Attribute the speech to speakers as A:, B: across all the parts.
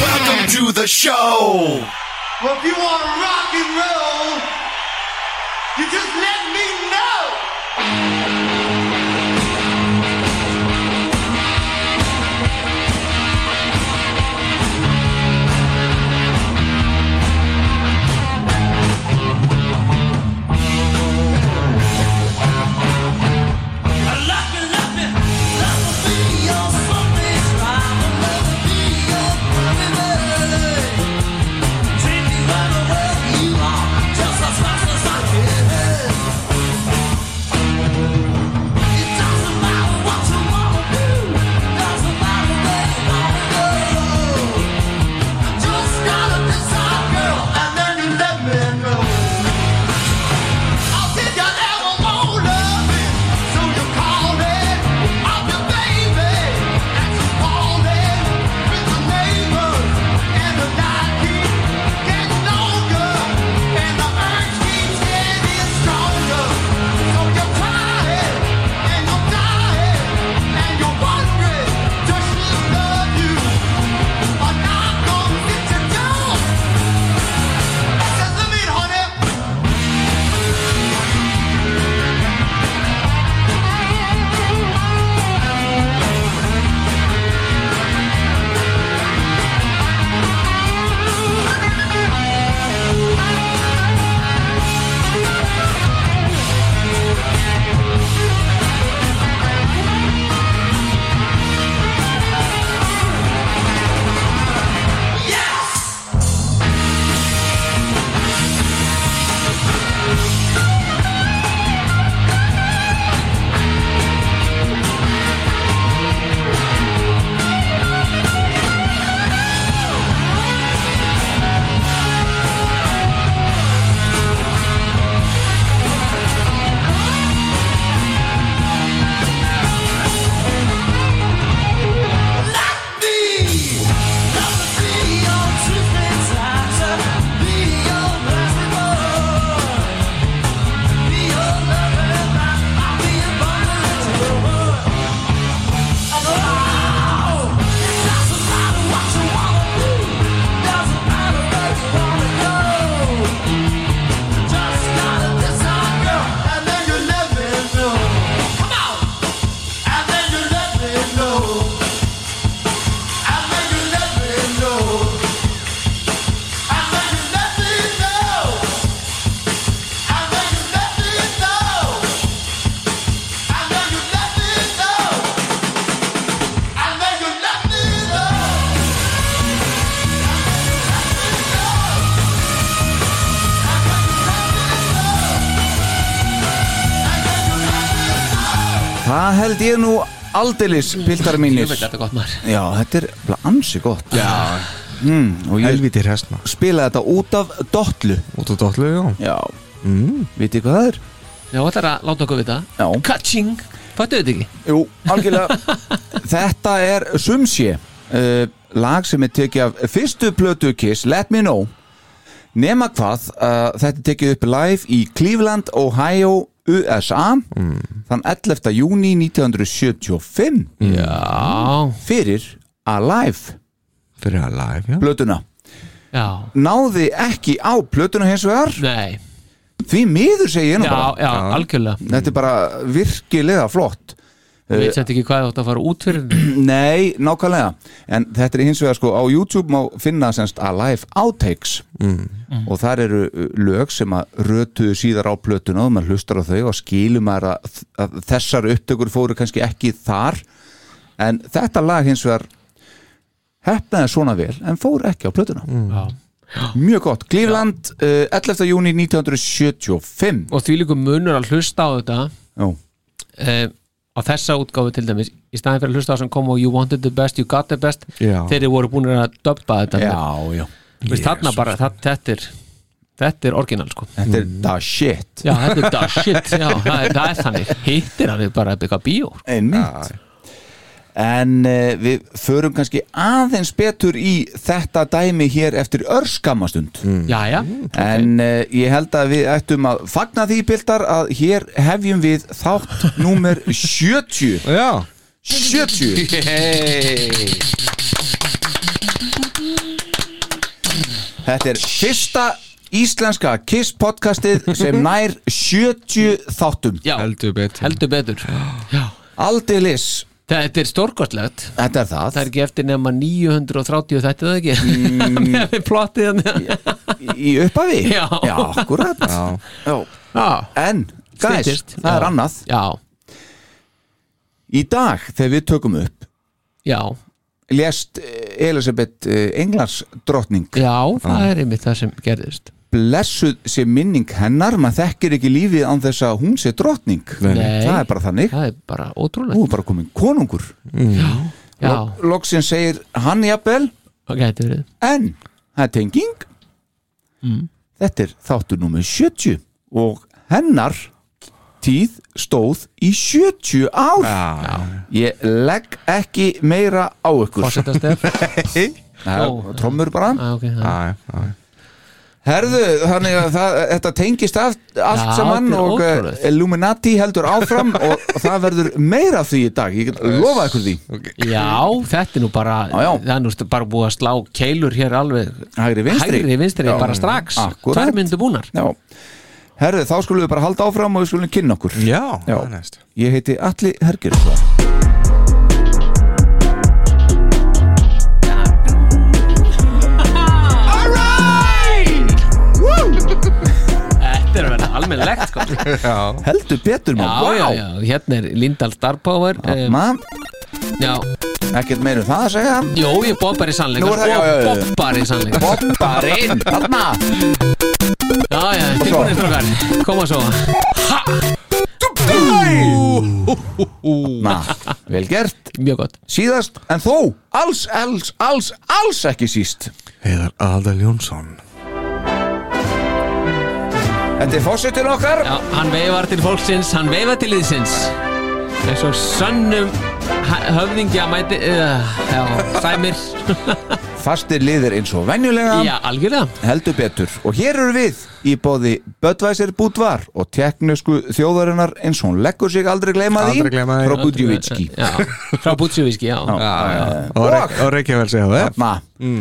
A: Welcome to the show.
B: Well, if you want to rock and roll, you just let me know. And then you let me know. I said you never won't love me, so you called it. I'm your baby, and you called it with the neighbors, and the night keeps getting longer, and the urge keeps getting stronger. So you're tired, and you're dying, and you're wondering, does she love you or not? Gonna get you down. I said, let me, honey. And then you let me know. Come on. And then you let me know. And then you let me know. And then you let me know. And then you let me know. And then you let me know. And then you let me know.
C: Það held ég nú aldeilis, piltar mínir
D: Jöfull, þetta er gott maður
C: Já, þetta er bara ansi gott Já mm, Og ég
E: Helviti hest maður
C: spilaði þetta út af dotlu
E: Út á dollu, já
C: Já mm. Vitið hvað það er?
D: Já, þetta er að láta okkur vita
C: Já.
D: Kaching Fættu þetta ekki?
C: Jú, algjörlega Þetta er Sumsé uh, lag sem er tekið af fyrstu plötu Kiss, Let Me Know nema hvað, uh, þetta er tekið upp live í Cleveland, Ohio USA þann 11. júni 1975
D: Já
C: fyrir Alive
E: Fyrir að live, já
C: plötuna
D: Já
C: náði ekki á plötuna hins vegar
D: Nei
C: því miður segi ég nú
D: Já,
C: bara
D: já, algjörlega
C: þetta er bara virkilega flott
D: Ég veit sem ekki hvað þú átt að fara út fyrir
C: Nei, nákvæmlega En þetta er hins vegar sko á YouTube má finna semst Alive Outtakes
E: Mm.
C: og þar eru uh, lög sem að rötuðu síðar á plötuna og maður hlustar á þau og skilur maður að, að þessar upptökur fóru kannski ekki þar en þetta lag hins vegar hefnaði svona vel en fór ekki á plötuna
E: Mm.
D: Já.
C: Mjög gott, Cleveland uh, 11. júni 1975
D: Og því líka munur að hlusta á þetta
C: Já,
D: eh, á þessa útgáfu til dæmis í staðin fyrir að hlusta á sem kom og You Wanted the Best, You Got the Best
E: Já.
D: þeir eru voru búin að döbba þetta
C: já, já.
D: Þú veist, þarna bara, það, þetta er þetta er orginal sko
C: Þetta er da shit
D: já, þetta er da shit, já, það er, það er þannig hittir hann við bara að bygga bíó
C: einmitt en uh, við förum kannski aðeins betur í þetta dæmi hér eftir örskamastund
D: já, já,
C: en uh, ég held að við ættum að fagna því bildar að hér hefjum við þátt númer 70
E: Já
C: 70 Þetta er fyrsta íslenska Kiss podcastið sem nær 70 þáttum
D: já,
E: Heldur betur
D: heldur betur já.
C: Aldilis,
D: þetta er stórkostlegt
C: þetta er það
D: það er ekki eftir nema 930 þetta er það ekki mm. við plottið hann
C: í upphafi
D: Já.
C: já akkurat já. en guys,
D: Styttist.
C: það er
D: Já.
C: annað
D: já,
C: í dag þegar við tökum upp
D: já,
C: lést eh, Elisabeth Englars drottning
D: já,
C: Ah.
D: það er einmitt það sem gerðist
C: blessuð sé minning hennar maður þekkir ekki lífið án þess að hún sé drottning
D: Nei.
C: það er bara þannig
D: það er bara
C: hún
D: ótrúlega
C: er bara komin konungur
D: já,
C: loksin segir hann jafnvel
D: það gæti verið
C: en það er tenging
D: Mm.
C: þetta er þáttur númer 70 og hennar tíð stóð í 70 ár ég legg ekki meira á ykkur
D: fórsetast þér
C: Það er trommur bara
D: ah, okay, það-
E: Æ, æ.
C: herðu, þannig að það, þetta tengist allt, allt
D: Já,
C: saman
D: þetta er
C: og
D: ótrúlegt.
C: eh, Illuminati heldur áfram og það verður meira af því í dag ég get lofa ykkur því
D: Já, þetta er nú bara
C: Ah, Já, já.
D: það er nú st- bara búið að slá keilur hér alveg
C: hægri vinstri,
D: hægri vinstri bara strax
C: Akkúrat.
D: tvær myndu búnar
C: Já. herðu, þá skulum við bara halda áfram og við skulum kynna okkur
E: Já,
C: Já.
E: það er næst
C: ég heiti Alli Hergjörnsson
D: Þetta er verið almennlegt sko Já,
C: heldur betur maður,
D: já, já, hérna er Lindahl Starpower um,
C: Mann,
D: Já,
C: ekkert meir um það að segja
D: jú, ég bobbar í sannleika
C: Nú er það- já, já, já, já.
D: og bobbar í sannleika
C: Bobbarinn, þarna
D: Já, já, tilbúinir strókar, koma svo
C: Na, vel gert,
D: Mjög gott
C: síðast en þó, alls, alls, alls, alls ekki síst
E: Heiðar Adal Jónsson
C: Þetta er fórsetin okkar
D: Já, hann veifar til fólksins, hann veifar til liðsins eins og sönnum ha- höfðingja mæti uh, Já, sæmir
C: Fastir liðir eins og venjulega
D: Já, algjörlega
C: Heldur betur Og hér eru við í bóði Böttvæsir Búdvar og teknisku þjóðarinnar eins og hún leggur sig aldrei gleyma því
E: Aldrei gleyma því.
C: Frá Budjuvitski
D: Já, frá Bútsjövíski, já
E: Og, Reyk, og Reykjavík CHF
C: Na,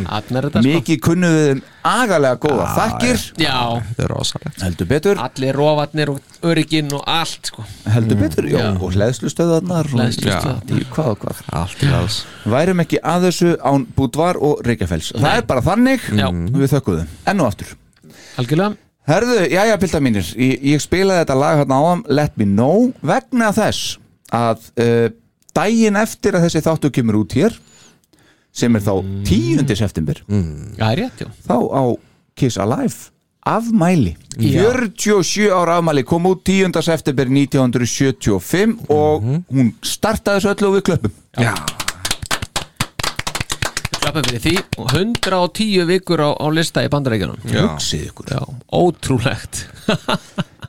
D: Allir þetta sko
C: Mm. mikið kunnum við um agalega góða þakkir
D: Já,
E: Þetta er rosalegt
C: Heldur betur,
D: allir rofarnir og öryginn og allt sko
C: heldur betur, já, og hleðslustöðarnar og-
D: Hleðslustöðarnar.
C: Já, Hvað og hvað
E: Allt í alls
C: værum ekki að þessu án Búdvar og Reykjafells það er bara þannig Mm.
D: Já.
C: við þökkuðum enn og aftur
D: Algjörlega
C: herðu, jæja pilda mínir ég, ég spilaði þetta lag hérna áðan Let Me Know vegna þess að uh, daginn eftir að þessi þáttu kemur út hér sem er þá 10. september
D: Já, það er rétt, já
C: þá á Kiss Alive afmæli 47 ára afmæli kom út 10. september 1975 og
E: Mhm.
C: hún startaði þessu öllu og við klöppum
E: Já,
D: Klappum fyrir því og 110 vikur á, á lista í bandarækjunum
E: já.
C: hugsið ykkur
D: Já, ótrúlegt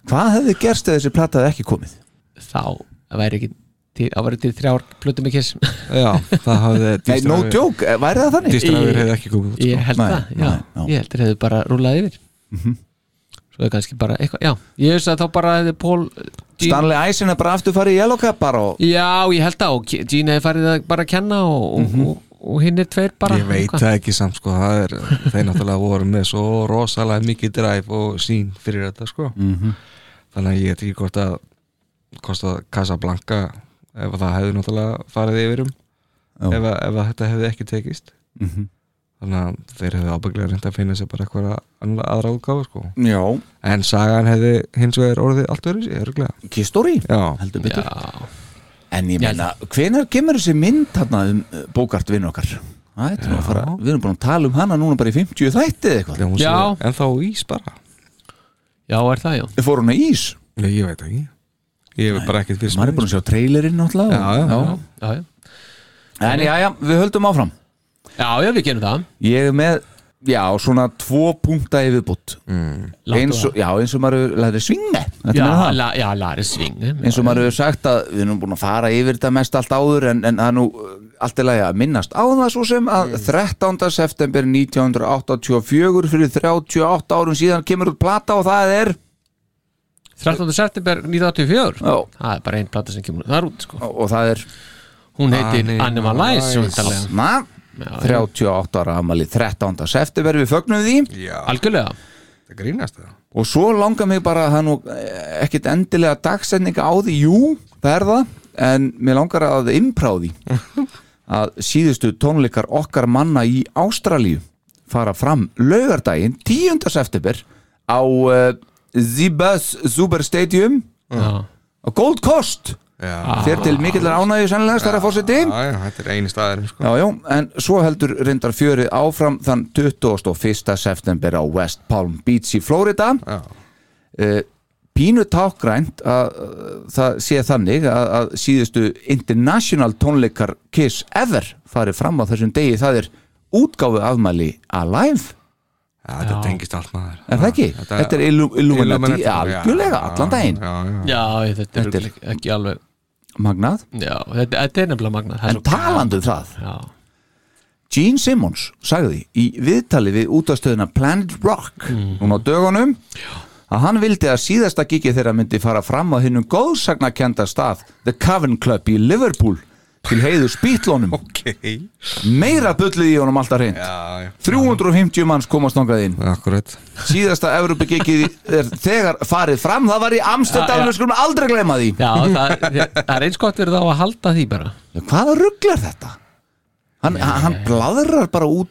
C: hvað hefði gerst eða þessi plataði ekki komið
D: Þá væri ekki til, þá væri til þrjár plötum í kiss
E: já Það hafði
C: Nei, no joke, eh, væri það þannig?
E: Dýstraður hefði ekki komið út
D: Ég
E: sko.
D: held
C: Nei,
D: það, já,
C: nei, já. Mhm.
D: ég held þeir hefðu bara rúlað yfir Svo er kannski bara eitthvað, já Ég veist að þá bara hefði Paul eh, Gene-
C: Stanley Eisen er bara aftur farið í Yellow Cup bara og
D: Já, ég held það og Ke- Gene hefði farið að bara kenna og, og,
C: Mhm.
D: og, og hinn er tveir bara
E: Ég veit
D: eitthvað.
E: það ekki samt sko það er, Þeir náttúrulega voru með svo rosalega mikið drive og sín Mhm. fyrir þetta sko Þannig að ég veit ekki hvort að hvort að Casablanca ef að það hefði náttúrulega farið yfir um
C: Já.
E: ef, að, ef að þetta hefði ekki tekist
C: Mhm.
E: þannig að þeir hefði ábygglega reynd að finna sér bara eitthvað annað- aðra útgáfa sko.
C: Já,
E: en sagan hefði hins vegar orðið allt verið sér, örglega
C: kistóri
E: Já,
C: heldur betur En ég meina, hvenær kemur þessi mynd þarna um bókart vinn okkar? Æ, þetta er nú að fara, við erum búin að tala um hana núna bara í 50 þætti eða eitthvað
E: Já, hún
D: Já.
E: sé- en þá ís bara
D: Já, er það, já
C: Fór hún að ís?
E: Nei, ég veit ekki Ég hef bara ekkert fyrst
C: Maður er búin að sjá trailerinn náttúrulega
E: Já, já, já.
D: Já, já,
C: En já, já, við höldum áfram
D: já, já við gerum það
C: Ég er með, já, svona tvo punkta í viðbútt
D: Láttu
C: eins og, Já, eins og maður læri svinga Þetta
D: Já,
C: meina það.
D: la, já, Lari Sving
C: eins og maður hefur sagt að við erum búin að fara yfir þetta mest allt áður en, en það er nú uh, allt í lagi að minnast á það svo sem að 13. september 1984 fyrir 38 árum síðan kemur út plata og það er
D: 13. september 1984
C: Já.
D: Það er bara einn plata sem kemur þar út sko.
C: og, og það er
E: Ah,
D: Hún heitir
E: Animalize.
D: Animalize væntanlega.
C: na,
D: um, Já,
C: 38 ára amali 13. september við fögnum því
E: Já,
D: Algjörlega
E: það grínast það
C: og svo langar mig bara að það er nú eh, ekkit endilega dagsetninga á því jú, það er það en mér langar að impráði að síðustu tónleikar okkar manna í Ástralíu fara fram laugardaginn 10. september á uh, Zibas Super Stadium
D: Já.
C: á Gold Coast
E: Já,
C: þér til mikillar ánægju sennilega stærra fórseti
E: já, já, þetta er eini staðurinn sko.
C: Já, já, en svo heldur reyndar fjörið áfram þann 21. september á West Palm Beach í Florida Eh,
E: Já,
C: pínu tákgrænt að uh, það sé þannig að, að síðustu international tónleikar Kiss ever farið fram á þessum degi það er útgáfu afmæli Alive,
E: Já, þetta tengist allt maður
C: er það ekki?
E: Já,
C: Þetta, er Illu- Illuminati,
E: já,
C: algjörlega,
E: já,
C: allan daginn
E: Já, já,
D: Já, þetta er
C: Þetta er-
D: ekki- ekki alveg
C: magnað,
D: Já, þetta, þetta er nefnilega magna
C: en talandu um það
D: Já,
C: Gene Simmons sagði í viðtali við útastöðuna Planet Rock
E: Mm.
C: núna á dögunum að hann vildi að síðasta gigi þeirra myndi fara fram á hinnum góðsagnakenda stað The Cavern Club í Liverpool til heiðu spýtlónum
E: ok
C: meira bullið í honum alltaf reynd
E: Já, já,
C: 350 manns komast nongað inn
E: akkurat
C: síðasta Evrópugikið er þegar farið fram það var í Amsterdam,
D: Já, já.
C: við skulum aldrei gleyma því
D: já það, það er eins gott verið á að halda því bara
C: hvaða rugglar þetta? hann, hann bladrar bara út,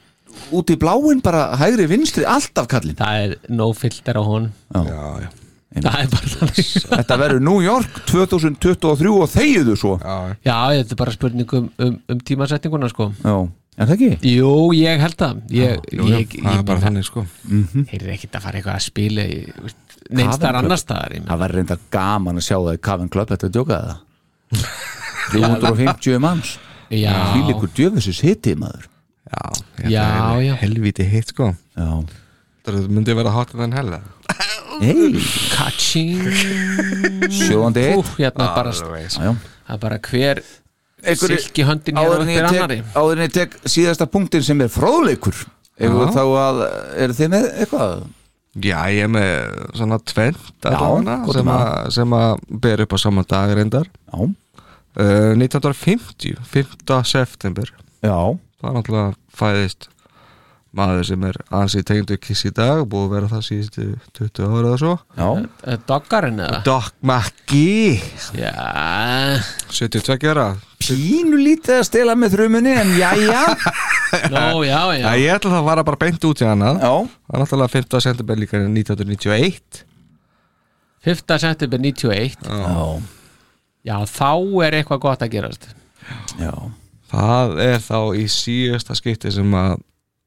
C: út í bláin bara hægri vinstri, alltaf kallinn
D: Það er no filter á hún
E: Já, já,
D: Það er bara þannig
C: þetta verður New York 2023 og þegiðu svo
E: já, já.
D: Já, þetta er bara spurning um, um, um tímasetninguna sko.
C: já, er það ekki?
D: Jú, ég held það Ég,
E: Jú, jú,
D: ég,
E: það er
D: ég,
E: bara þannig sko
D: ég er ekkert að fara eitthvað að spila í- neins þar annars staðar ég meina.
C: það verður reynda gaman að sjá það í Cavern Club þetta er djókaði það 350 manns
D: Já,
C: því líkur djöfisins hitið maður
E: Já, ég held
D: Já,
E: að það er
D: já.
E: Helvíti hitt sko
C: já,
E: Það myndi vera hotar en hella
C: hei,
D: kaching
C: sjóðandi
D: Ú,
C: hitt
D: hérna er bara,
E: Always.
C: Já, já.
D: það er bara hver
C: Einhverju-
D: silki höndin hér
C: áður
D: og
C: en
D: hver
C: ég
D: annari
C: tek, áður en ég tek síðasta punktin sem er fróðleikur eða þá að, eru þið með eitthvað?
E: Já, ég er með svona tvent allavega,
C: gott
E: sem,
C: um
E: að- sem að ber upp á saman dag reyndar
C: Já,
E: uh, 1950, 5. september
C: já,
E: það er náttúrulega fæðist maður sem er ansið tegndu kiss í dag búið að vera það síðustu 20 ára eða svo
C: já
D: Eh, Doggarinn eða?
E: Doc Mackie
D: Já,
E: 72 ára
C: Pínu lítið að stela með þrumunni en já, já,
D: Nó, já, já
E: Já, ég ætla það að vara bara beint út í annað
C: já
E: það er náttúrulega 5. september líka 1991
D: 5. september 91
C: Já,
D: Já, þá er eitthvað gott að gerast
C: já,
E: það er þá í síðasta skipti sem að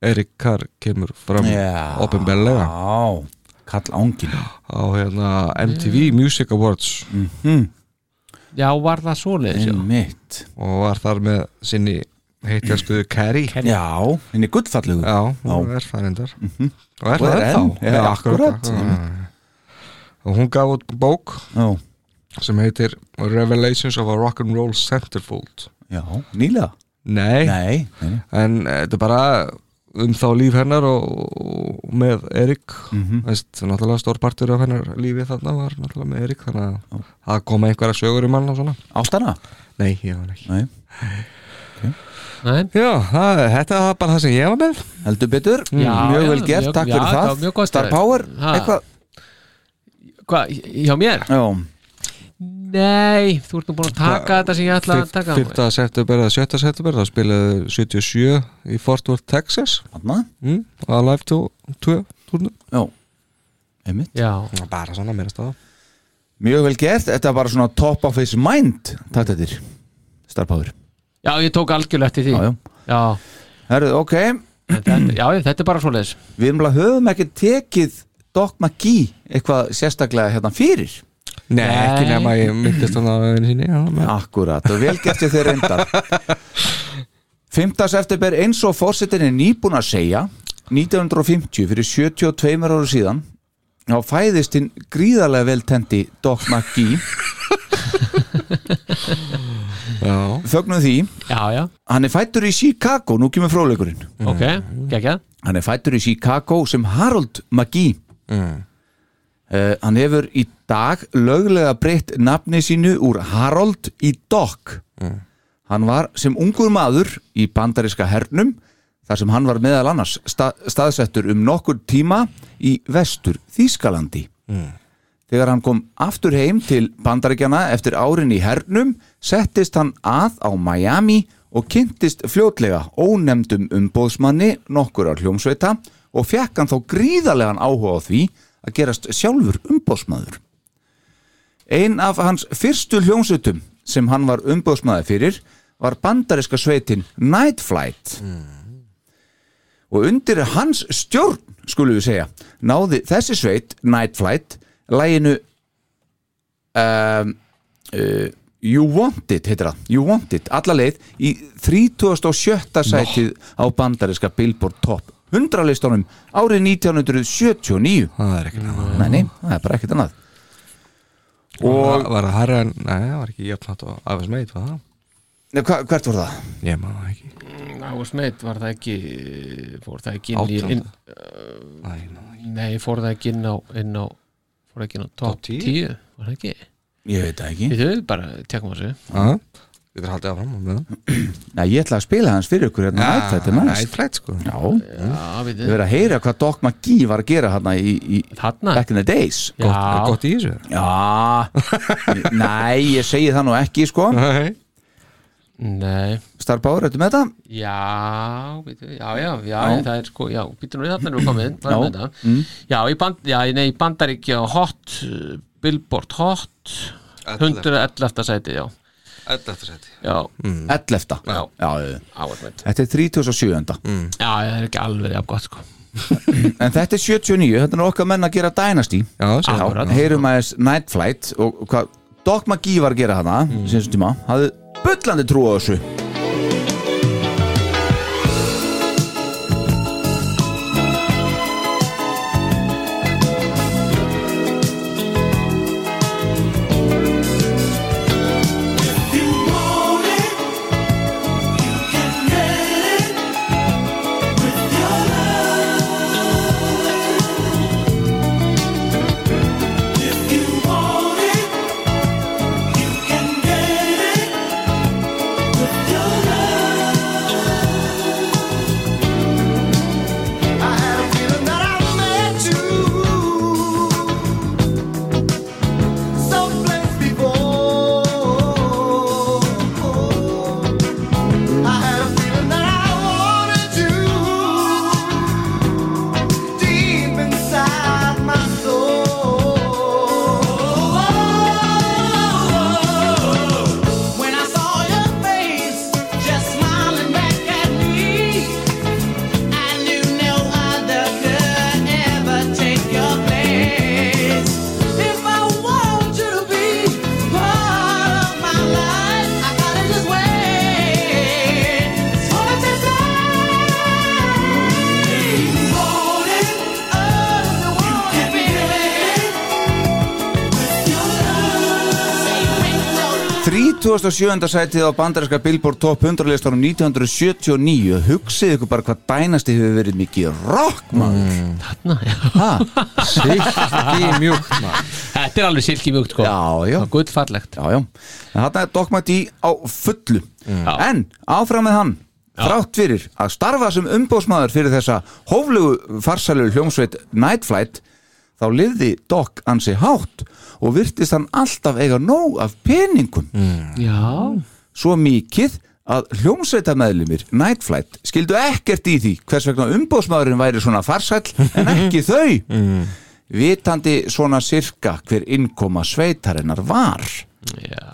E: Erik Carr kemur fram
C: Já.
E: opinberlega
C: já Kall ángin
E: á hérna, MTV Music Awards
D: Já, var það svoleiðis, já
C: Einmitt
E: og var þar með sinni heitjaskuðu Carrie
C: Já, henni gullfallegu
E: Já, hún er það reyndar Og er
C: Og
E: það
C: er
E: ennþá
C: enn, já, akkúrat.
E: Já, já, já. Og hún gaf út bók
C: Já,
E: sem heitir Revelations of a Rock'n'Roll Centerfold
C: já, nýlega
E: Nei,
C: Nei, nei,
E: en eh, þetta er bara um þá líf hennar og, og með Erik Veist, náttúrulega stór partur af hennar lífi þarna var náttúrulega með Erik þannig að það koma einhverja sögur um hann og svona
C: ástana
E: Nei, ég var ekki
C: Nei,
D: Nei.
E: Já, það, þetta var bara það sem ég var með
C: heldur betur
D: Já,
C: Mjög
D: já,
C: vel gert,
D: mjög-
C: takk
D: já,
C: fyrir
D: þetta
C: það
D: var mjög gott
C: Star
D: hjá þér.
C: Power,
D: Ha.
C: eitthvað
D: Hvað, hjá mér?
C: Já,
D: Nei, þú ert nú búin að taka þetta sem ég ætla að taka
E: 5. september eða 7. september þá spilaði þeir 77 í Fort Worth, Texas
C: Þarna?
E: mm, að live 2, 2 turnum
C: Já, einmitt
D: Já,
E: bara svona meira staða
C: Mjög vel gert, þetta er bara svona top of his mind Takk þetta Starpower
D: já, ég tók algjörlega eftir því
C: Já, já.
D: já.
C: Herðu, ok,
D: Þetta, já þetta er bara svoleiðis
C: við erum alveg höfum ekki tekið Dogma Gí eitthvað sérstaklega hérna fyrir
E: Nei, ekki nema að ég myndist hann á öðinu síni já, með-
C: Akkurat, og vel gert ég þeir reyndar 5. september eins og fórsetin er nýbúin að segja 1950 fyrir 72 ára síðan þá fæðist hinn gríðarlega vel tendi Dogma Gí
E: já.
C: þögnum því,
D: Já, já,
C: hann er fættur í Chicago nú kemur fróleikurinn
D: ok,
C: Mm.
D: geggjað
C: Hann er fættur í Chicago sem Harold McGee
E: Mm.
C: uh, Hann hefur í dag löglega breytt nafni sínu úr Harold í Doc Hann var sem ungur maður í bandariska hernum þar sem hann var meðal annars sta staðsettur um nokkur tíma í vestur Þýskalandi Þegar hann kom aftur heim til bandaríkjana eftir árin í hernum settist hann að á Miami og kynntist fljótlega ónefndum umbóðsmanni nokkur á hljómsveita og fekk hann þá gríðarlegan áhuga á því að gerast sjálfur umbóðsmaður. Ein af hans fyrstu hljómsveitum sem hann var umbóðsmaði fyrir var bandaríska sveitin Night Flight og undir hans stjórn skulum við segja, náði þessi sveit Night Flight, læginu um, uh, You Want It heitir það, You Want It, alla leið í 37. sætið á bandariska Billboard Top 100 listunum árið 1979
E: það er ekki nema
C: Nei, nei, það er bara ekkert annað
E: og var það herra en, nei, það var ekki jöfnhátt og afis meit, var það?
C: Nei, hva, hvert voru það?
E: ég maður það ekki
F: Ávers meitt var það ekki fór það ekki inn í
E: Átjánda.
F: inn,
E: Nei, ég man það ekki.
F: Nei, fór það ekki inn á, inn á fór það ekki inn á top,
E: Top 10?
F: 10 var það ekki?
C: Ég veit það ekki
F: Við þau bara tekum þessu
E: Já, við þurfum haldið áfram með það
C: Nei, ég ætla að spila hans fyrir ykkur hérna Night Flight er næst
E: Nætflætt sko
C: Já,
F: Já, við
C: við
F: þau
C: verðum að heyra hvað Doc McGee var að gera hérna í, í
D: Þarna,
C: Back in the Days
D: já,
E: Gott í þessu
C: Já, nei, ég segi það nú ekki sko
E: Nei.
F: Nei,
C: Starbáður, ertu með þetta?
F: já, við þau Já, já, já,
C: Já.
F: það er sko Já, býtum við þarna erum við komið
C: Já, Mm.
F: hvað er þetta? Já, í band, já, nei, í bandaríkja hot, uh, Billboard hot 111. sæti, já
E: Þetta seti
F: Já,
C: Mm. 11.
F: Já.
C: Já, já.
F: ávers meitt
C: þetta er 37.
F: Já, það er ekki alveg jafn gott sko
C: En þetta er 79, þetta er nú okkar menn að gera Dynasty
E: Já, segðu
C: Já,
E: það.
C: heyrum aðeins Night Flight og hvað Doc McGee var að gera hana mm. síðan tíma, hafði bullandi trú á þessu
B: When I saw your face, just smiling back at me. I knew no other could ever take your place. If I want you to be part of my life, I gotta just wait. It's for today. You want it, oh, you want it, baby. With your love, say with your
C: 37. sætið á bandarinska Billboard Top 100 listanum 1979 hugsið ykkur bara hvað Dynasty hefur verið mikið rock maður
D: þarna, já
C: ha,
E: Silki mjúkt maður
D: Þetta er alveg silki mjög, sko
C: Já, já.
D: Og gullfallegt
C: já, já. En þarna er Doc McGee á fullu
D: Já.
C: en áfram með hann þrátt fyrir að starfa sem umbóðsmaður fyrir þessa hóflugu farsælu hljómsveit Night Flight þá lifði Doc ansi hátt og virtist hann alltaf eiga nóg af peningum
D: Já
C: svo mikið að hljómsveitamæðlumir Nightflight skildu ekkert í því hvers vegna umbóðsmaðurinn væri svona farsæll en ekki þau vitandi svona sirka hver innkoma sveitarinnar var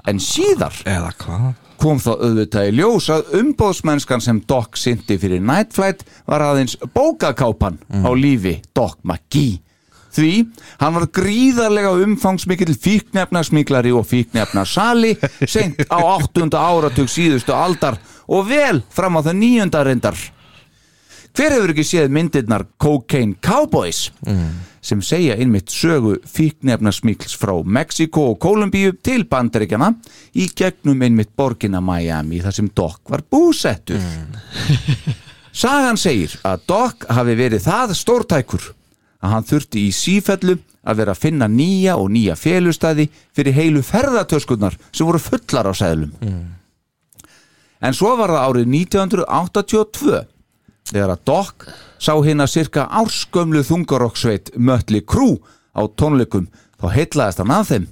C: en síðar
E: Eða hvað?
C: kom þá auðvitað í ljós að umbóðsmennskan sem Doc sinti fyrir Nightflight var aðeins bókakápan á lífi Doc McGee því hann var gríðarlega umfangsmikill fíknefnasmiklari og fíknefnasali seint á 8. áratug síðustu aldar og vel fram á það nýjunda reyndar hver hefur ekki séð myndirnar Cocaine Cowboys sem segja einmitt sögu fíknefnasmíkls frá Mexiko og Kólumbíu til bandaríkjana í gegnum einmitt borgina Miami þar sem Doc var búsettur Sagan segir að Doc hafi verið það stórtækur að hann þurfti í sífellu að vera að finna nýja og nýja félustæði fyrir heilu ferðatöskunnar sem voru fullar á sæðlum En svo var það árið 1982 þegar að Doc sá hérna cirka árskömlu þungarokksveit Mötli Krú á tónleikum þá heitlaðist hann af þeim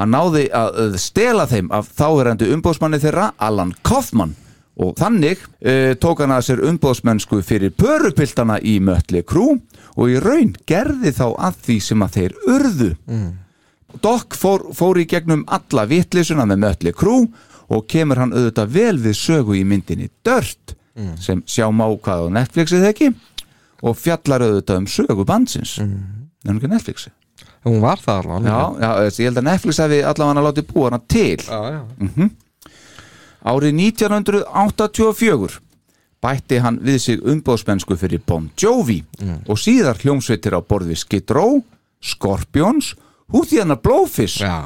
C: hann náði að að stela þeim af þáverandi umbóðsmanni þeirra Alan Kaufman og þannig e, tók hann að sér umbóðsmennsku fyrir pörupiltana í Mötli Krú og í raun gerði þá að því sem að þeir urðu Doc fór, fór í gegnum alla vitlisuna með Mötli Krú og kemur hann auðvitað vel við sögu í myndinni Dirt sem sjá má hvað á Netflixi þegar ekki og fjallar auðvitað um sögu bandsins mm. en hún ekki á Netflixi
E: Hún var það alveg
C: já, já, þessi, ég held að Netflix hefði allavega látið búa hana til Mhm.
E: já, já.
C: Árið 1984 bætti hann við sig umbóðsmennsku fyrir Bon Jovi og síðar hljómsveitir á borð við Skid Row, Scorpions, Húþjana Blowfish,
E: Já.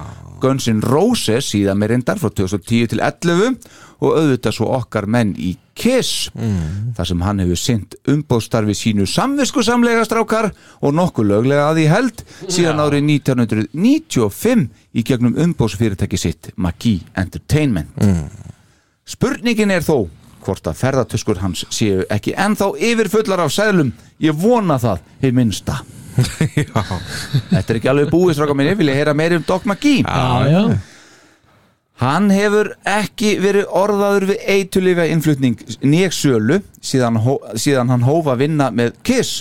C: Guns N' Roses síðan með reyndar frá 2010 til 11 og auðvitað svo okkar menn í Kiss
E: Mm.
C: þar sem hann hefur sinnt umbóðstarfi sínu samviskusamlega strákar og nokkuð löglega að því held síðan árið 1995 í gegnum umbóðsfyrirtæki sitt Magee Entertainment Spurningin er þó hvort að ferðartöskur hans séu ekki ennþá yfirfullar af sæðlum ég vona það hið minnsta Þetta er ekki alveg búið stráka minni, vil ég heyra meir um Dogma Gí
D: Já, já
C: Hann hefur ekki verið orðaður við eitulifja innflutning nýjaksölu síðan, hó- síðan hann hófa að vinna með Kiss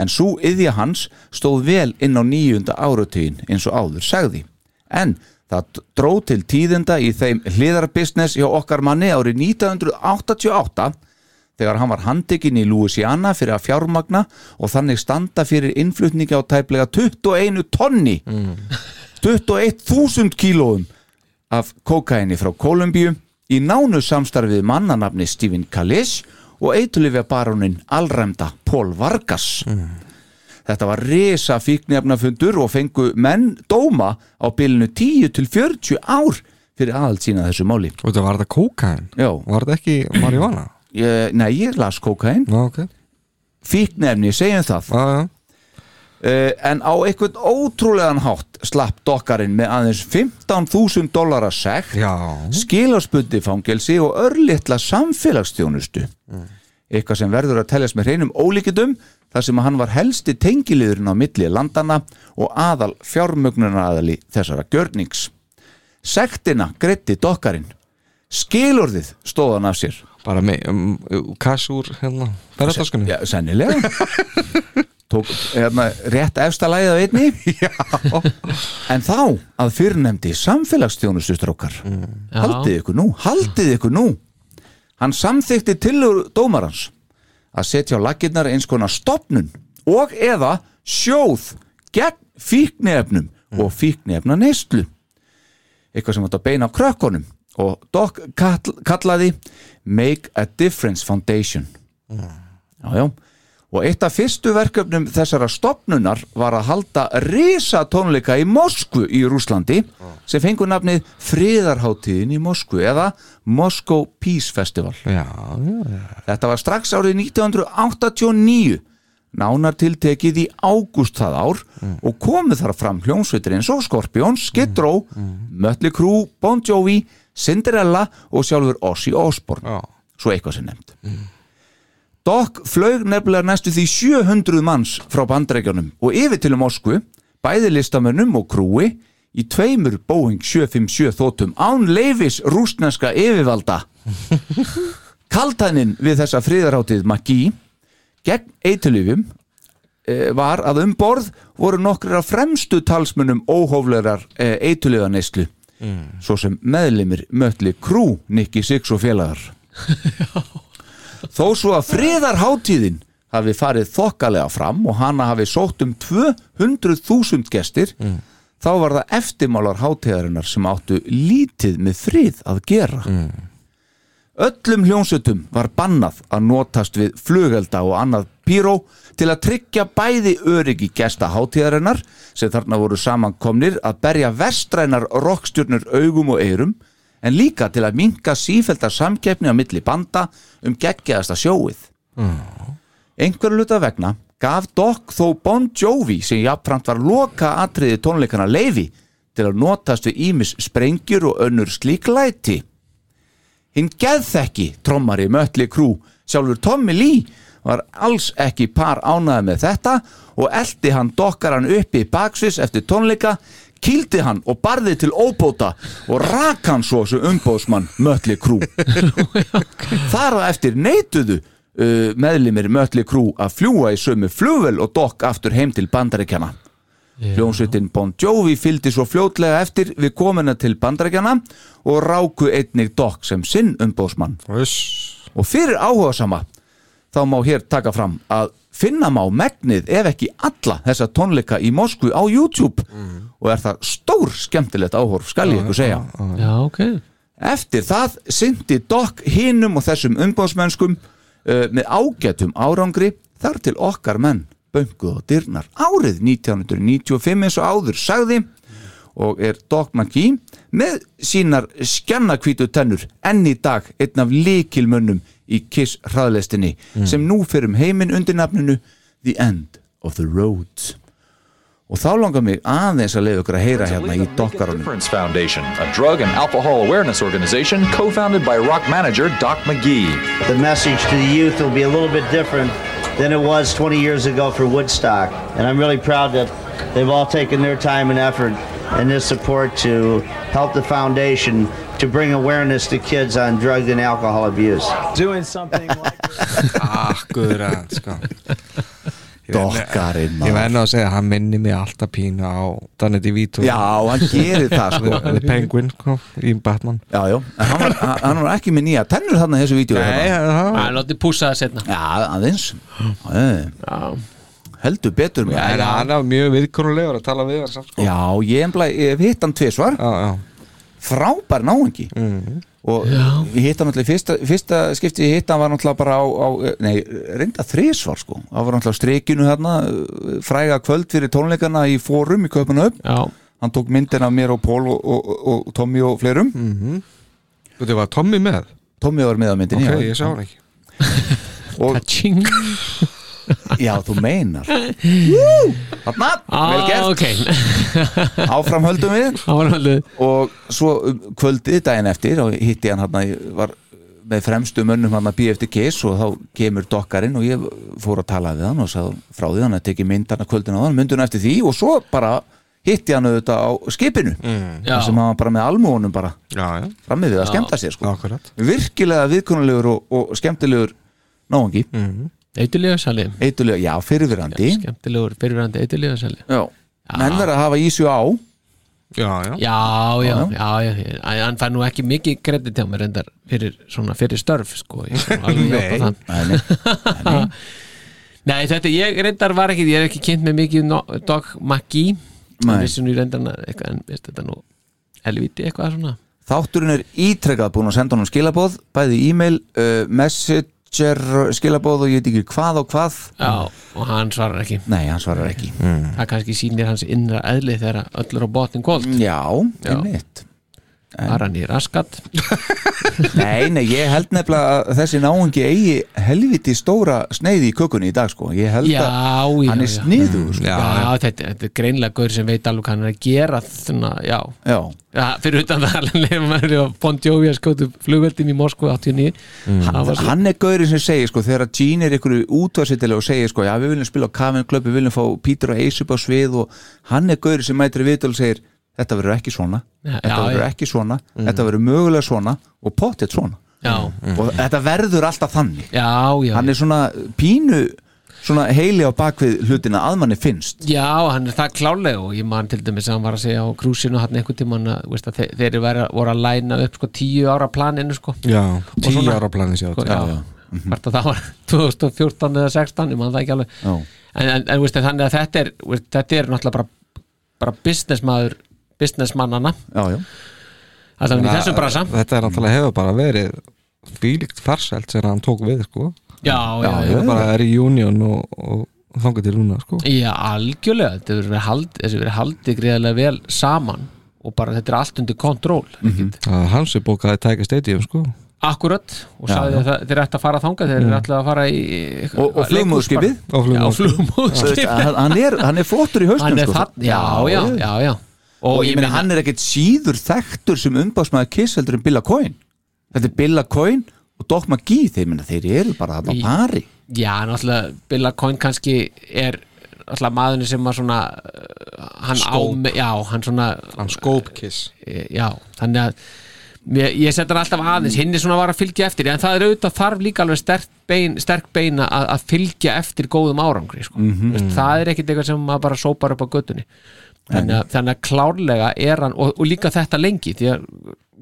C: en svo yðja hans stóð vel inn á nýjunda áratugin eins og áður sagði en það dró til tíðenda í þeim hliðarbusiness hjá okkar manni árið 1988 þegar hann var handekinn í Louisiana fyrir að fjármagna og þannig standa fyrir innflutningi á tæplega 21 tonni 21.000 kílóum af kókaini frá Kolumbíu í nánu samstarfið mannanafni Stephen Callis og eitulifja barónin allræmda Paul Vargas Þetta var resa fíknefnafundur og fengu menn dóma á bylunu 10 til 40 ár fyrir aðald sína að þessu máli
E: Og þetta var þetta kókain?
C: Já.
E: Var þetta ekki marihuana?
C: ég, Nei, ég las kókain
E: Já, ok Já,
C: fíknefni, segjum það
E: já
C: uh, en á einhvern ótrúlegan hátt slapp dokkarinn með aðeins 15.000 dólara sekt
E: Já
C: skilarspundi fangelsi og örlittla samfélagsþjónustu eitthvað sem verður að teljast með hreinum ólíkidum þar sem að hann var helsti tengiliðurinn á milli landana og aðal fjármögnunaraðali þessara gjörnings sektina greitti dokkarinn skilorðið stóð hann af sér
E: Bara með um, kass úr hérna Ferðartaskunni
C: Já, sennilega Tók hérna, rétt efsta lagið á einni Já En þá að fyrrnemdi samfélagsþjónustustrókar mm. Haldið ykkur nú, haldið ykkur nú Hann samþykti tillögur dómarans að setja á lakinnar eins konar stopnun og eða sjóð gegn fíknefnum og fíknefna neyslu eitthvað sem átt að beina á krökkunum og Doc kall, kallaði Make a Difference Foundation Já, já. Og eitt af fyrstu verkefnum þessara stopnunar var að halda risatónleika í Moskvu í Rúslandi sem fengur nafnið Friðarháttíðin í Moskvu eða Moscow Peace Festival.
E: Já, já
C: Þetta var strax árið 1989 nánar tiltekið í ágúst það ár og komið þar fram hljómsveitir eins og Skorpjón, Skid Row, Mötli Krú, Bon Jovi, Cinderella og sjálfur Ozzy Osbourne,
E: Já.
C: svo eitthvað sem nefnd. Dokk flög nefnilega næstu því 700 manns frá bandreikjanum og yfir til um Moskvu, bæði listamönnum og krúi, í tveimur Boeing 757 þótum án leifis rústneska yfirvalda. Kaltænin við þessa friðarháttið Maggi gegn eitilöfum var að um borð voru nokkrir af fremstu talsmunum óhóflegar eitulöfaneyslu svo sem meðlimir mötli krú Nikki Six og félagar þó svo að friðarháttíðin hafi farið þokkalega fram og hana hafi sótt um 200.000 gestir þá var það eftirmálar hátíðarinnar sem áttu lítið með frið að gera Öllum hljónsutum var bannað að notast við flugelda og annað píró til að tryggja bæði öryggi gesta hátíðarinnar sem þarna voru samankomnir að berja vestrænar rokkstjörnur augum og eyrum en líka til að minka sífelda samkeppni á milli banda um geggjaðasta sjóið. Einhverju luta vegna gaf Doc þó Bon Jovi sem jafnframt var loka atriði tónleikana leifi til að notast við ímis sprengjur og önnur slík læti. Hinn geðþekki trommari Mötli Krú, sjálfur Tommy Lee, var alls ekki par ánaði með þetta og eldi hann dokkaran uppi í baksvis eftir tónleika, kýldi hann og barði til óbóta og rak hann svo sem umbóðsmann Mötli Krú. Þar að eftir neituðu uh, meðlimir Mötli Krú að fljúa í sömu flugvel og dokk aftur heim til bandaríkjana. Hljómsveitin Bon Jovi fylgdi svo fljótlega eftir við komuna til bandarækjana og ráku einnig Doc sem sinn umbóðsmann. Og fyrir áhugasama þá má hér taka fram að finna má megnið ef ekki alla þessa tónleika í Moskvu á YouTube og er það stór skemmtilegt áhorf skal ég ykkur segja.
D: Mm. Já, ok
C: Eftir það syndi Doc hinum og þessum umbóðsmennskum uh, með ágætum árangri þar til okkar menn bönguð og dyrnar árið 1995 eins og áður sagði og er Doc McGee með sínar skjannakvítu tennur enn í dag einn af líkilmönnum í Kiss hraðlestinni sem nú fyrir um heiminn undir nafninu The End of the Road og þá langar mig aðeins að leiða ykkur að heyra hérna í dokkaranum
G: Difference Foundation, a drug and alcohol awareness organization co-founded by rock manager Doc McGee.
H: the message to the youth will be a little bit different than it was 20 years ago for Woodstock. And I'm really proud that they've all taken their time and effort and their support to help the foundation to bring awareness to kids on drug and alcohol abuse.
I: Doing something like
E: Akkur að, sko
C: Dokkarinn
E: Ég
C: maður.
E: verði nú að segja, hann minni mig alltaf pínu á Danny DeVito
C: Já, hann gerir það sko
E: The the Penguin, sko, í Batman
C: Já, já, en hann var, hann- hann var ekki með nýja tennur þarna í þessu vídeo
E: Nei,
C: Já,
E: það
D: Það er látið púsa það setna
C: aðeins Já, já. Heldur betur með
E: En hann er mjög viðkonulegur að tala við hann samt, sko
C: Já, ég, embla, ég hef hitt hann tvisvar
E: Já, já,
C: frábær náungi
E: Mhm.
C: og ég hitt hann náttúrulega í fyrsta, fyrsta skipti ég hitt hann var náttúrulega bara á, á nei, reynda þrísvar sko hann var náttúrulega á strikinu hérna fræga kvöld fyrir tónleikana í fórum í köpuna upp
D: Já,
C: hann tók myndin af mér og Pól og, og, og, og Tommy og fleirum
E: Mm. Þetta var Tommy með
C: Tommy var með á myndin
E: Ok, ég sá hann ekki
C: og,
D: tjing
C: já, þú meinar þarna, vel
D: ah,
C: gert
D: Ok,
C: áfram höldum við
D: það var alveg
C: og svo um, kvöldið daginn eftir og hitti hann hann að ég var með fremstu mönnum hann að býja eftir kiss og þá kemur dokkarinn og ég fór að tala við hann og sagði frá því hann að teki myndana kvöldin á hann, mynduna eftir því og svo bara hitti hann auðvitað á skipinu
D: Já,
C: þar sem hann var bara með almónum bara
E: Já, já,
C: frammið við að skemmta sér sko.
E: akkurat
C: virkilega viðkonulegur og, og skemmtilegur náungi, mm.
D: eitilíða sali
C: eitulega, já, fyrirverandi já,
D: Skemmtilegur, fyrirverandi eitilíða sali
C: menn verða að hafa í sig á
E: Já, já
D: Já, já, já, já, já, Æ, hann fær nú ekki mikið kredit hjá mér endar fyrir svona fyrir störf sko, ég skal nú alveg
E: Nei.
D: játa það.
C: Nei, nei.
D: Nei, þetta ég reyndar var ekki, ég er ekki kynnt með mikið no, Doc McGee
C: Nei.
D: en vissi nú í reyndarna eitthvað en veist þetta nú helviti eitthvað svona
C: Þátturinn er ítrekkað búin að senda honum skilabóð bæði e-mail, uh, messenger skilabóð og ég veit ekki hvað og hvað
D: Já, og hann svarar ekki
C: Nei, hann svarar ekki
D: Mm,
C: Mm.
D: það kannski sýnir hans innra eðli þegar öll er á botnin kvöld
C: Já, einmitt
D: Aranir Askat
C: Nei, nei, ég held nefnilega að þessi náungi eigi helviti stóra sneiði í kökunni í dag sko Ég held
D: Já,
C: að
D: já,
C: hann er
D: já.
C: sniður sko.
D: Já, þetta, þetta er greinlega gaur sem veit alveg hvað hann er að gera þannig að, já
C: Já,
D: Já, fyrir utan það alveg nefnum maður að Bon Jovi að skjótu flugveldin í Moskvu 89 það var svo,
C: hann er gaurið sem segir sko þegar að Gene er ykkur útvarsittilega og segir sko já við viljum spila á Kavin Club, við viljum fá Peter og Ace upp á svið og hann er gaurið sem mætir í viðtölu og segir þetta verður ekki svona,
D: Já,
C: þetta
D: já,
C: verður
D: já.
C: ekki svona þetta verður mögulega svona og pottet svona
D: já,
C: og þetta verður alltaf þannig
D: já, já
C: hann er svona pínu svona heili á bakvið hlutina að manni finnst
D: Já, hann er það klálega og ég man til dæmis að hann var að segja á krúsinu hann einhvern tímann að, veist að þe- þeir vera, voru að læna upp sko tíu ára planinu sko,
E: já, tíu
D: svona-
E: ára planið sér
D: sko já, já, Hvort að það var 2014 eða 16, ég man það ekki alveg
C: Já.
D: en, en, en veist, að þannig að þetta er veist, þetta er náttúrulega bara, bara businessmaður businessmannana
C: já, já.
D: allan í þessum brasa
E: þetta er náttúrulega hefur bara verið fílíkt farsælt sem hann tók við sko.
D: Já, já, já,
E: þetta bara er í union og, og þangað til núna sko.
D: Já, algjörlega, þetta hefur verið haldið, þessi hefur verið haldið greiðlega vel saman og bara þetta er allt undir kontról mm
C: Mhm.
E: Það er hans er bókaði Tiger Stadium sko.
D: akkurat og sagði að þeir ætti að fara þangað þeir mm. ætlaði að fara í
C: Mhm. og, og flugmóðskipið
D: Já,
E: og flugum
D: flugmóðskip
C: hann, hann, er, hann er flottur í hausnum
D: Hann er
C: sko.
D: það, já, já, já, já
C: og, ég meina hann er ekkert síður þekktur sem umbásmaður Kiss heldur en Billa Coyne þetta er Billa Coyne og Doc McGee þeir, meina, þeir eru bara þarna á
D: Í-
C: pari
D: Já, náttúrulega, Billa Coyne kannski er náttúrulega maðurinn sem að svona uh, hann á,
E: Skóp.
D: me- já, hann svona Eh,
E: hann skóp kiss
D: já, þannig að ég, ég setja hann alltaf aðeins, hinn er svona að vara að fylgja eftir en það er auðvitað þarf líka alveg sterk bein, sterk bein að, að fylgja eftir góðum árangri sko. mm það er ekkit eitthvað sem maður bara sópar upp á göttunni þannig að, þannig að klárlega er hann og, og líka þetta lengi því að,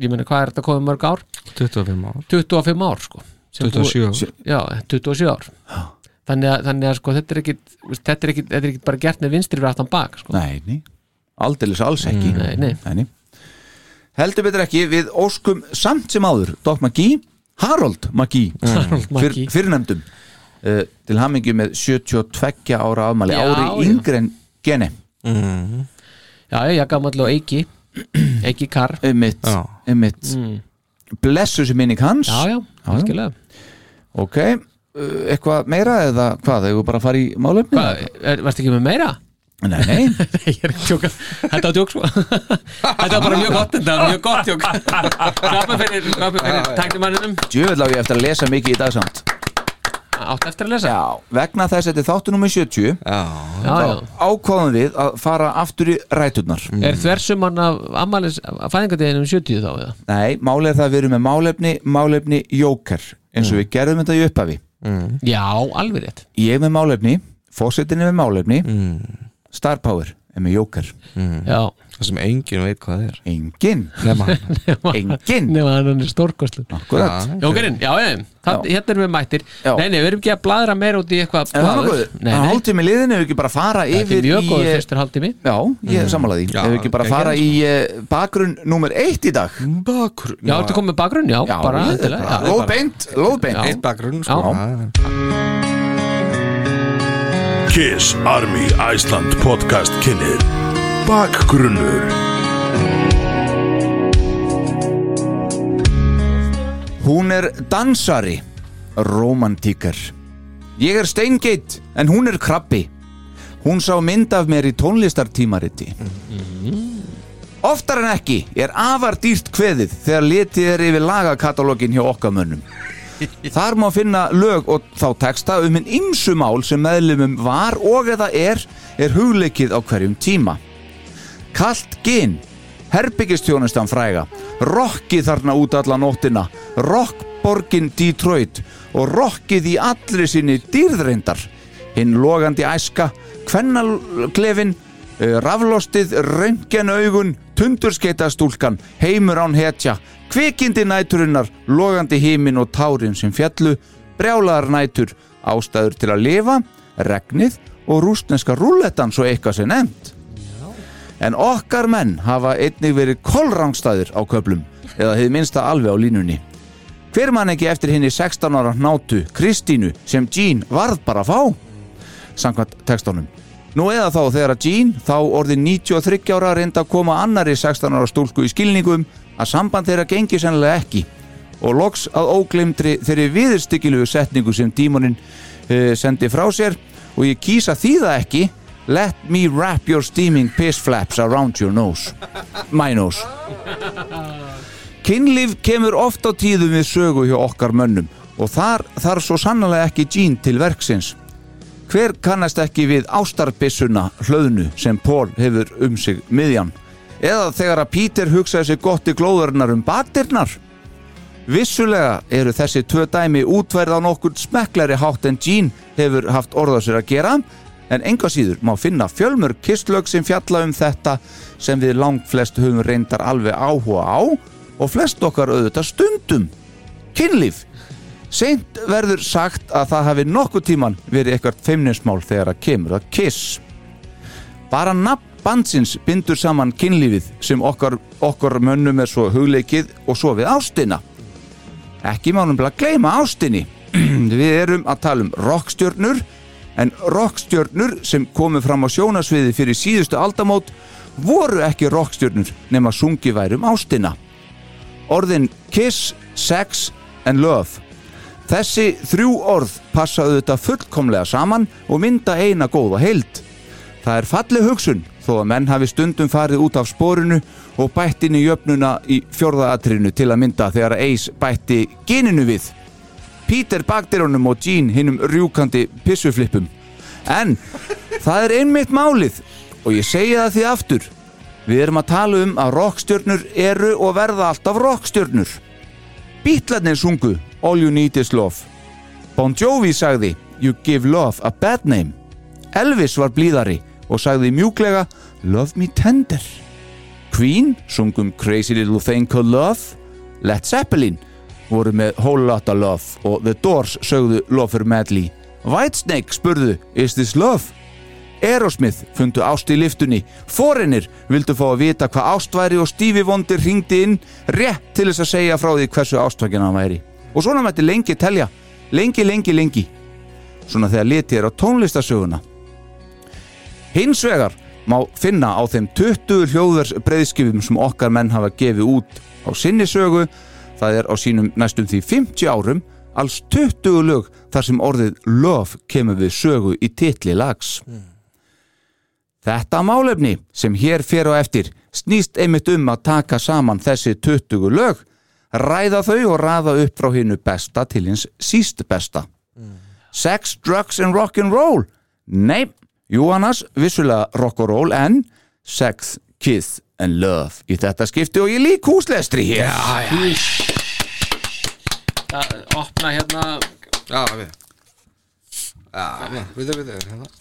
D: ég meina hvað er þetta komið mörg ár?
E: 25 ár
D: 25 ár sko sem búið-
E: 27 ár.
D: já, 27 ár þannig að, þannig að sko, þetta, er ekkit, þetta, er ekkit, þetta er ekkit bara gert með vinstri fyrir aftan bak sko.
C: nei, nei, aldeilis alls ekki
D: Mm, Nei, nei.
C: heldur betur ekki við óskum samt sem áður Doc McGee, Harold McGee
D: Mm. Harold
C: fyr,
D: McGee.
C: fyrirnefndum uh, til hamingju með 72 ára afmæli
D: Já,
C: ári
D: já.
C: yngri en geni
D: já, ég gaf allavega eiki eiki kar
C: einmitt,
E: Já.
C: einmitt. blessu sem minning hans
D: Mm. já, já,
C: já.
D: algjörlega
C: Ok, uh, eitthvað meira eða hvað, þegar við bara að fara í málefni?
D: Hvað, er- varstu ekki með meira?
C: Nei, nei,
D: ég er ekki tjóka, þetta var tjók svo þetta var bara mjög gott, þetta var mjög gott tjók klappa fyrir, klappa fyrir tæknumanninum,
C: djöfull á ég eftir að lesa mikið í dag samt
D: átt eftir að lesa já,
C: Vegna þess að þetta er þáttu nummer 70
D: já,
C: ákváðum við að fara aftur í ræturnar
D: er þversumann af ammælis, af fæðingadeginum 70 þá eða?
C: Nei, málið er það að við erum með málefni, málefni jóker eins og
D: Mm.
C: við gerðum þetta í upphafi
D: já, alveg rétt
C: Ég er með málefni, fósettin er með málefni
D: Mm.
C: Star Power er með jóker
D: já,
E: það sem enginn veit hvað það er
C: Engin,
E: nema hann
C: engin
D: nema að hann er stórkoslu
C: Akkurat
D: Jókerinn, já, já, það,
C: Já.
D: hérna erum við mættir
C: Já.
D: Nei, nei, við erum ekki að bladra meira út í eitthvað
C: En það er
D: blaður.
C: góður,
D: Nei,
C: það
D: nei,
C: hálfti með liðinu ef við ekki bara fara
D: þetta
C: yfir
D: er mjög góður
C: eh,
D: fyrstur haldtími
C: Já, ég
D: Mm.
C: er sammála því
E: Já,
C: Ef við ekki bara
E: ekki
C: fara í uh, bakgrunn nummer eitt í dag
E: bakgrunn
D: Já, ertu komið með bakgrunn, já, bara
C: ég-
D: endilega já.
C: Lóðbeint, lóðbeint
E: eitt bakgrunn sko.
D: Já.
E: Það er-
A: Kiss Army Iceland podcast kynir Bakgrunnur
C: Hún er dansari Romantíkar Ég er steingeit en hún er krabbi Hún sá mynd af mér í tónlistartímariti Oftar en ekki er afar dýrt kveðið þegar litið er yfir lagakatalógin hjá okkamönnum Þar má finna lög og þá texta um hinn ymsumál sem meðlumum var og eða er er hugleikið á hverjum tíma Kalt gin Herbyggistjónustan fræga Rokkið þarna út alla nóttina Rokkborgin Detroit og rokkið í allri sinni dýrðreindar hinn logandi æska kvennaglefin eh, raflostið, röntgenaugun tundurskeitastúlkan heimur án hetja kvikindi næturinnar logandi himin og tárin sem fjallu brjálaðar nætur ástæður til að lifa, regnið og rústneska rúletan svo eitthvað sem nefnt En okkar menn hafa einnig verið kolrangstæðir á köplum eða hefði minnsta alveg á línunni. Hver mann ekki eftir henni 16 ára nátu Kristínu sem Jean varð bara að fá? Samkvæmt textunum. Nú eða þá þegar að Jean, þá orðin 93 ára reyndi að koma annari 16 ára stúlku í skilningum að samband þeirra gengi sennilega ekki og loks að óglemdri þeirri viðurstykilugu setningu sem dímonin uh, sendi frá sér og ég kýsa þýða ekki Let me wrap your steaming piss flaps around your nose My nose Kynlíf kemur oft á tíðum við sögu hjá okkar mönnum og þar þarf svo sannlega ekki gín til verksins Hver kannast ekki við ástarbissuna hlöðnu sem Pól hefur um sig miðjan? Eða þegar að Pítur hugsaði sig gott í glóðurnar um bakdyrnar? Vissulega eru þessi tvö dæmi útverð á nokkur smekklari hátt en Jean hefur haft orða sér að gera en enga síður má finna fjölmur kistlög sem fjalla um þetta sem við langflest höfum reyndar alveg áhuga á og flest okkar auðvitað stundum. Kynlíf Seint verður sagt að það hafi nokkuð tíman verið eitthvað feimnismál þegar að kemur að kiss. Bara nafn bandsins bindur saman kynlífið sem okkar, okkar mönnum er svo hugleikið og svo við ástina. Ekki mánum bara gleyma ástinni. við erum að tala um rockstjörnur en rockstjörnur sem komu fram á sjónasviði fyrir síðustu aldamót voru ekki rockstjörnur nema sungi værum ástina. Orðin kiss, sex and love Þessi þrjú orð passaðu þetta fullkomlega saman og mynda eina góða heild. Það er falleg hugsun þó að menn hafi stundum farið út af spórinu og bætt inn í jöfnuna í fjórðaatrinu til að mynda þegar Ace bætti geninu við. Peter bakterónum og Gene hinnum rjúkandi pissuflippum. En það er einmitt málið og ég segi það því aftur. Við erum að tala um að rockstjörnur eru og verða alltaf rockstjörnur. Bítlarnir sungu All You Need Is Love Bon Jovi sagði You Give Love a Bad Name Elvis var blíðari og sagði mjúklega Love Me Tender Queen sungum Crazy Little Thing Called Love Led Zeppelin voru með Whole Lotta Love og The Doors sögðu Love for Medley Whitesnake spurðu Is This Love Aerosmith fundu ást í liftunni Foreignir vildu fá að vita hvað ást væri og Stevie Wonder ringdi inn rétt til þess að segja frá því hversu ástvækjan hann væri og svona mætti lengi telja lengi, lengi, lengi svona þegar litið er á tónlistasöguna hins vegar má finna á þeim 20 hljóðvers breyðskifum sem okkar menn hafa gefið út á sinni sögu það er á sínum næstum því 50 árum alls 20 lög þar sem orðið löf kemur við sögu í titli lags Þetta málefni sem hér fer á eftir snýst einmitt um að taka saman þessi 20 lög, ræða þau og ræða upp frá hinnu besta til hins síst besta. Sex, drugs and rock'n'roll? Nei, jú annars vissulega rock'n'roll en sex, kiss and love í þetta skipti og ég lík húslestri hér.
F: Það opna hérna
E: Já, við Já, við, við, við, við hérna.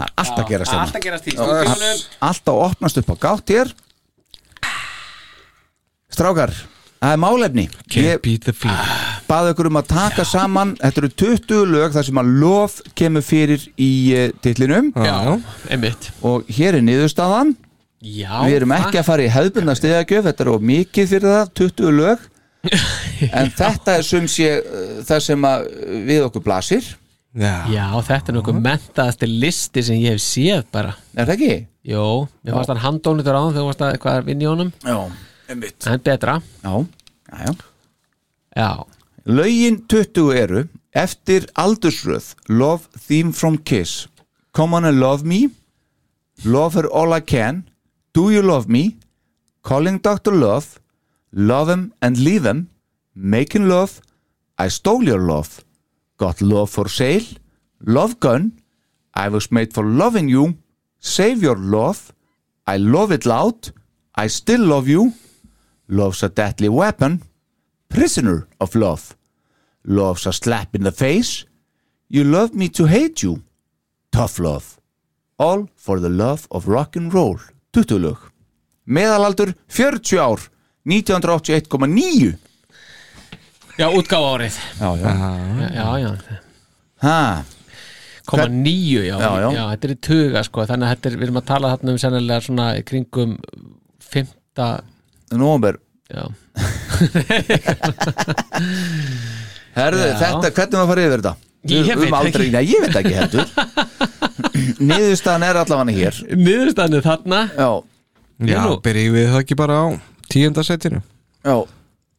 C: Það er allt að gera stjórna.
F: Alltaf gerast í stúdíunum
C: Alltaf opnast upp á gátt hér Strákar, það er málefni Ég
E: Beat the feet
C: baði ykkur um að taka saman Þetta eru 20 lög þar sem að lof kemur fyrir í uh, titlinum
E: Já,
F: Einmitt
C: og hér er niðurstaðan
F: Já
C: Við erum ekki að fara í hefðbundna stiðagjöf Þetta er of mikið fyrir það, 20 lög En þetta er sum sé uh, það sem að uh, við okkur blasir
E: já,
F: Já, þetta er nokkuð mentaðasti listi sem ég hef séð bara
C: Er það ekki?
F: Jó, mér fannst hann handónitur á hann þegar þú varst að hvað er vinn í honum
C: Já, einmitt
F: En betra
C: Já, já, já
F: Já,
C: Lögin 20 eru Eftir aldursröð Love Theme from Kiss Come on and love me Love her all I can Do you love me Calling Dr. Love Love him and leave him Making love I stole your love Got love for sale Love gun I was made for loving you Save your love I love it loud I still love you Love's a deadly weapon prisoner of love. Love's a slap in the face. You love me to hate you. Tough love. All for the love of rock and roll. 20 lög. Meðalaldur 40 ár. 1981,9.
F: já útgáfa árið
C: Já, já.
F: Já, já,
C: Ha,
F: koma
C: Hvern-
F: nýju já,
C: Já,
F: já,
C: já.
F: þetta er í tuga sko Þannig að þetta er, við erum að tala þarna um sennilega svona í kringum fymta
C: nómer.
F: Já,
C: Herðu,
F: Já.
C: þetta, hvernig var að fara yfir þetta?
F: Ég
C: Um-
F: veit
C: um aldrei,
F: ekki.
C: Nei, ég veit ekki heldur. Niðurstaðan er allavega hér.
F: niðurstæðinu þarna
C: Já,
E: Já,
D: nú.
E: byrjum við það ekki bara á tíundasettinu
C: Já,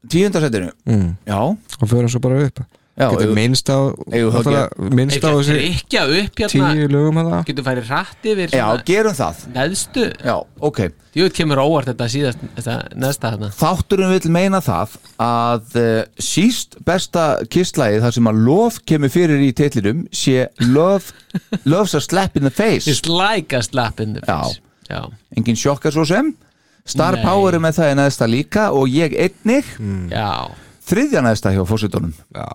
C: tíundasettinu
E: mm.
C: Já,
E: og förum svo bara upp
C: já
E: Getum
C: eigum-
E: minnst á
C: eigum við þá
E: náttúrulega minnst á
D: Eitthvað
E: þessi
D: drikja upp hérna
E: tíu lögum hana
D: Getur færið rætt yfir
C: Já,
D: svona
C: gerum það
D: neðstu
C: Já, ok
D: Jú, þetta kemur óvart þetta síðast þetta neðsta hérna
C: Þátturinn vil meina það að uh, síst besta kisslægið þar sem að lof kemur fyrir í titlinum sé love, love's a slap in the face
D: It's like a slap in the face Já,
C: engin sjokka svo sem Star
D: Nei. Mm.
C: Power er með það í næsta líka og ég einnig
D: já.
C: þriðja næsta hjá fósitunum
E: Já,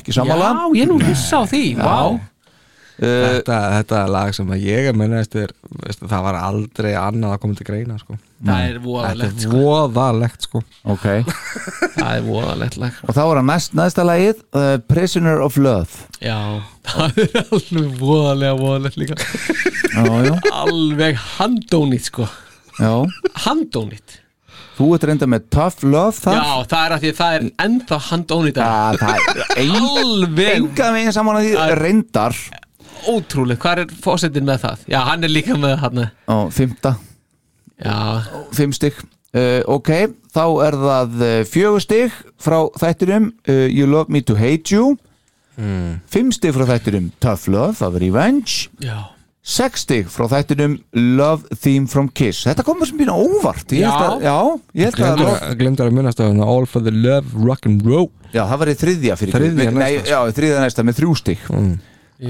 C: ekki
D: já
C: sammála
D: ég er nú hissa á því Vá,
C: uh,
E: þetta, þetta er lag sem að ég að menna eftir veist, það var aldrei annað að koma til greina sko.
D: það er
E: Þetta
D: voðalegt
E: er
D: sko.
E: voðalegt sko.
C: ok
D: Það er voðalegt lag
C: og þá er að næst, næsta lagið uh, Prisoner of Love
D: Já, það er alveg voðalega voðalegt líka
C: já, já,
D: Alveg handónýtt sko
C: já.
D: Handónýtt
C: þú ert reynda með Tough Love þar
D: Já, það er að því að það er ennþá handónýtt
C: Ah, það er ein,
D: Alveg
C: enga megin saman að því reyndar
D: ótrúlegt Hvað er fósettin með það? Já, hann er líka með hann
C: á fymta,
D: Já,
C: fimm stygg uh, ok, þá er það uh, fjögur stygg frá þættinum uh, You Love Me To Hate You mm. fimm stygg frá þættinum Tough Love, það var Revenge
D: já
C: sex stygg frá þættinum Love Theme From Kiss þetta kom sem býna óvart ég held að, já, ég held að love,
E: Glemdur að minnast á hana All for the love, rock and roll
C: já, það var í þriðja fyrir
E: Þriðja
C: Nei,
E: næsta.
C: nei, já, þriðja næsta með þrjú stygg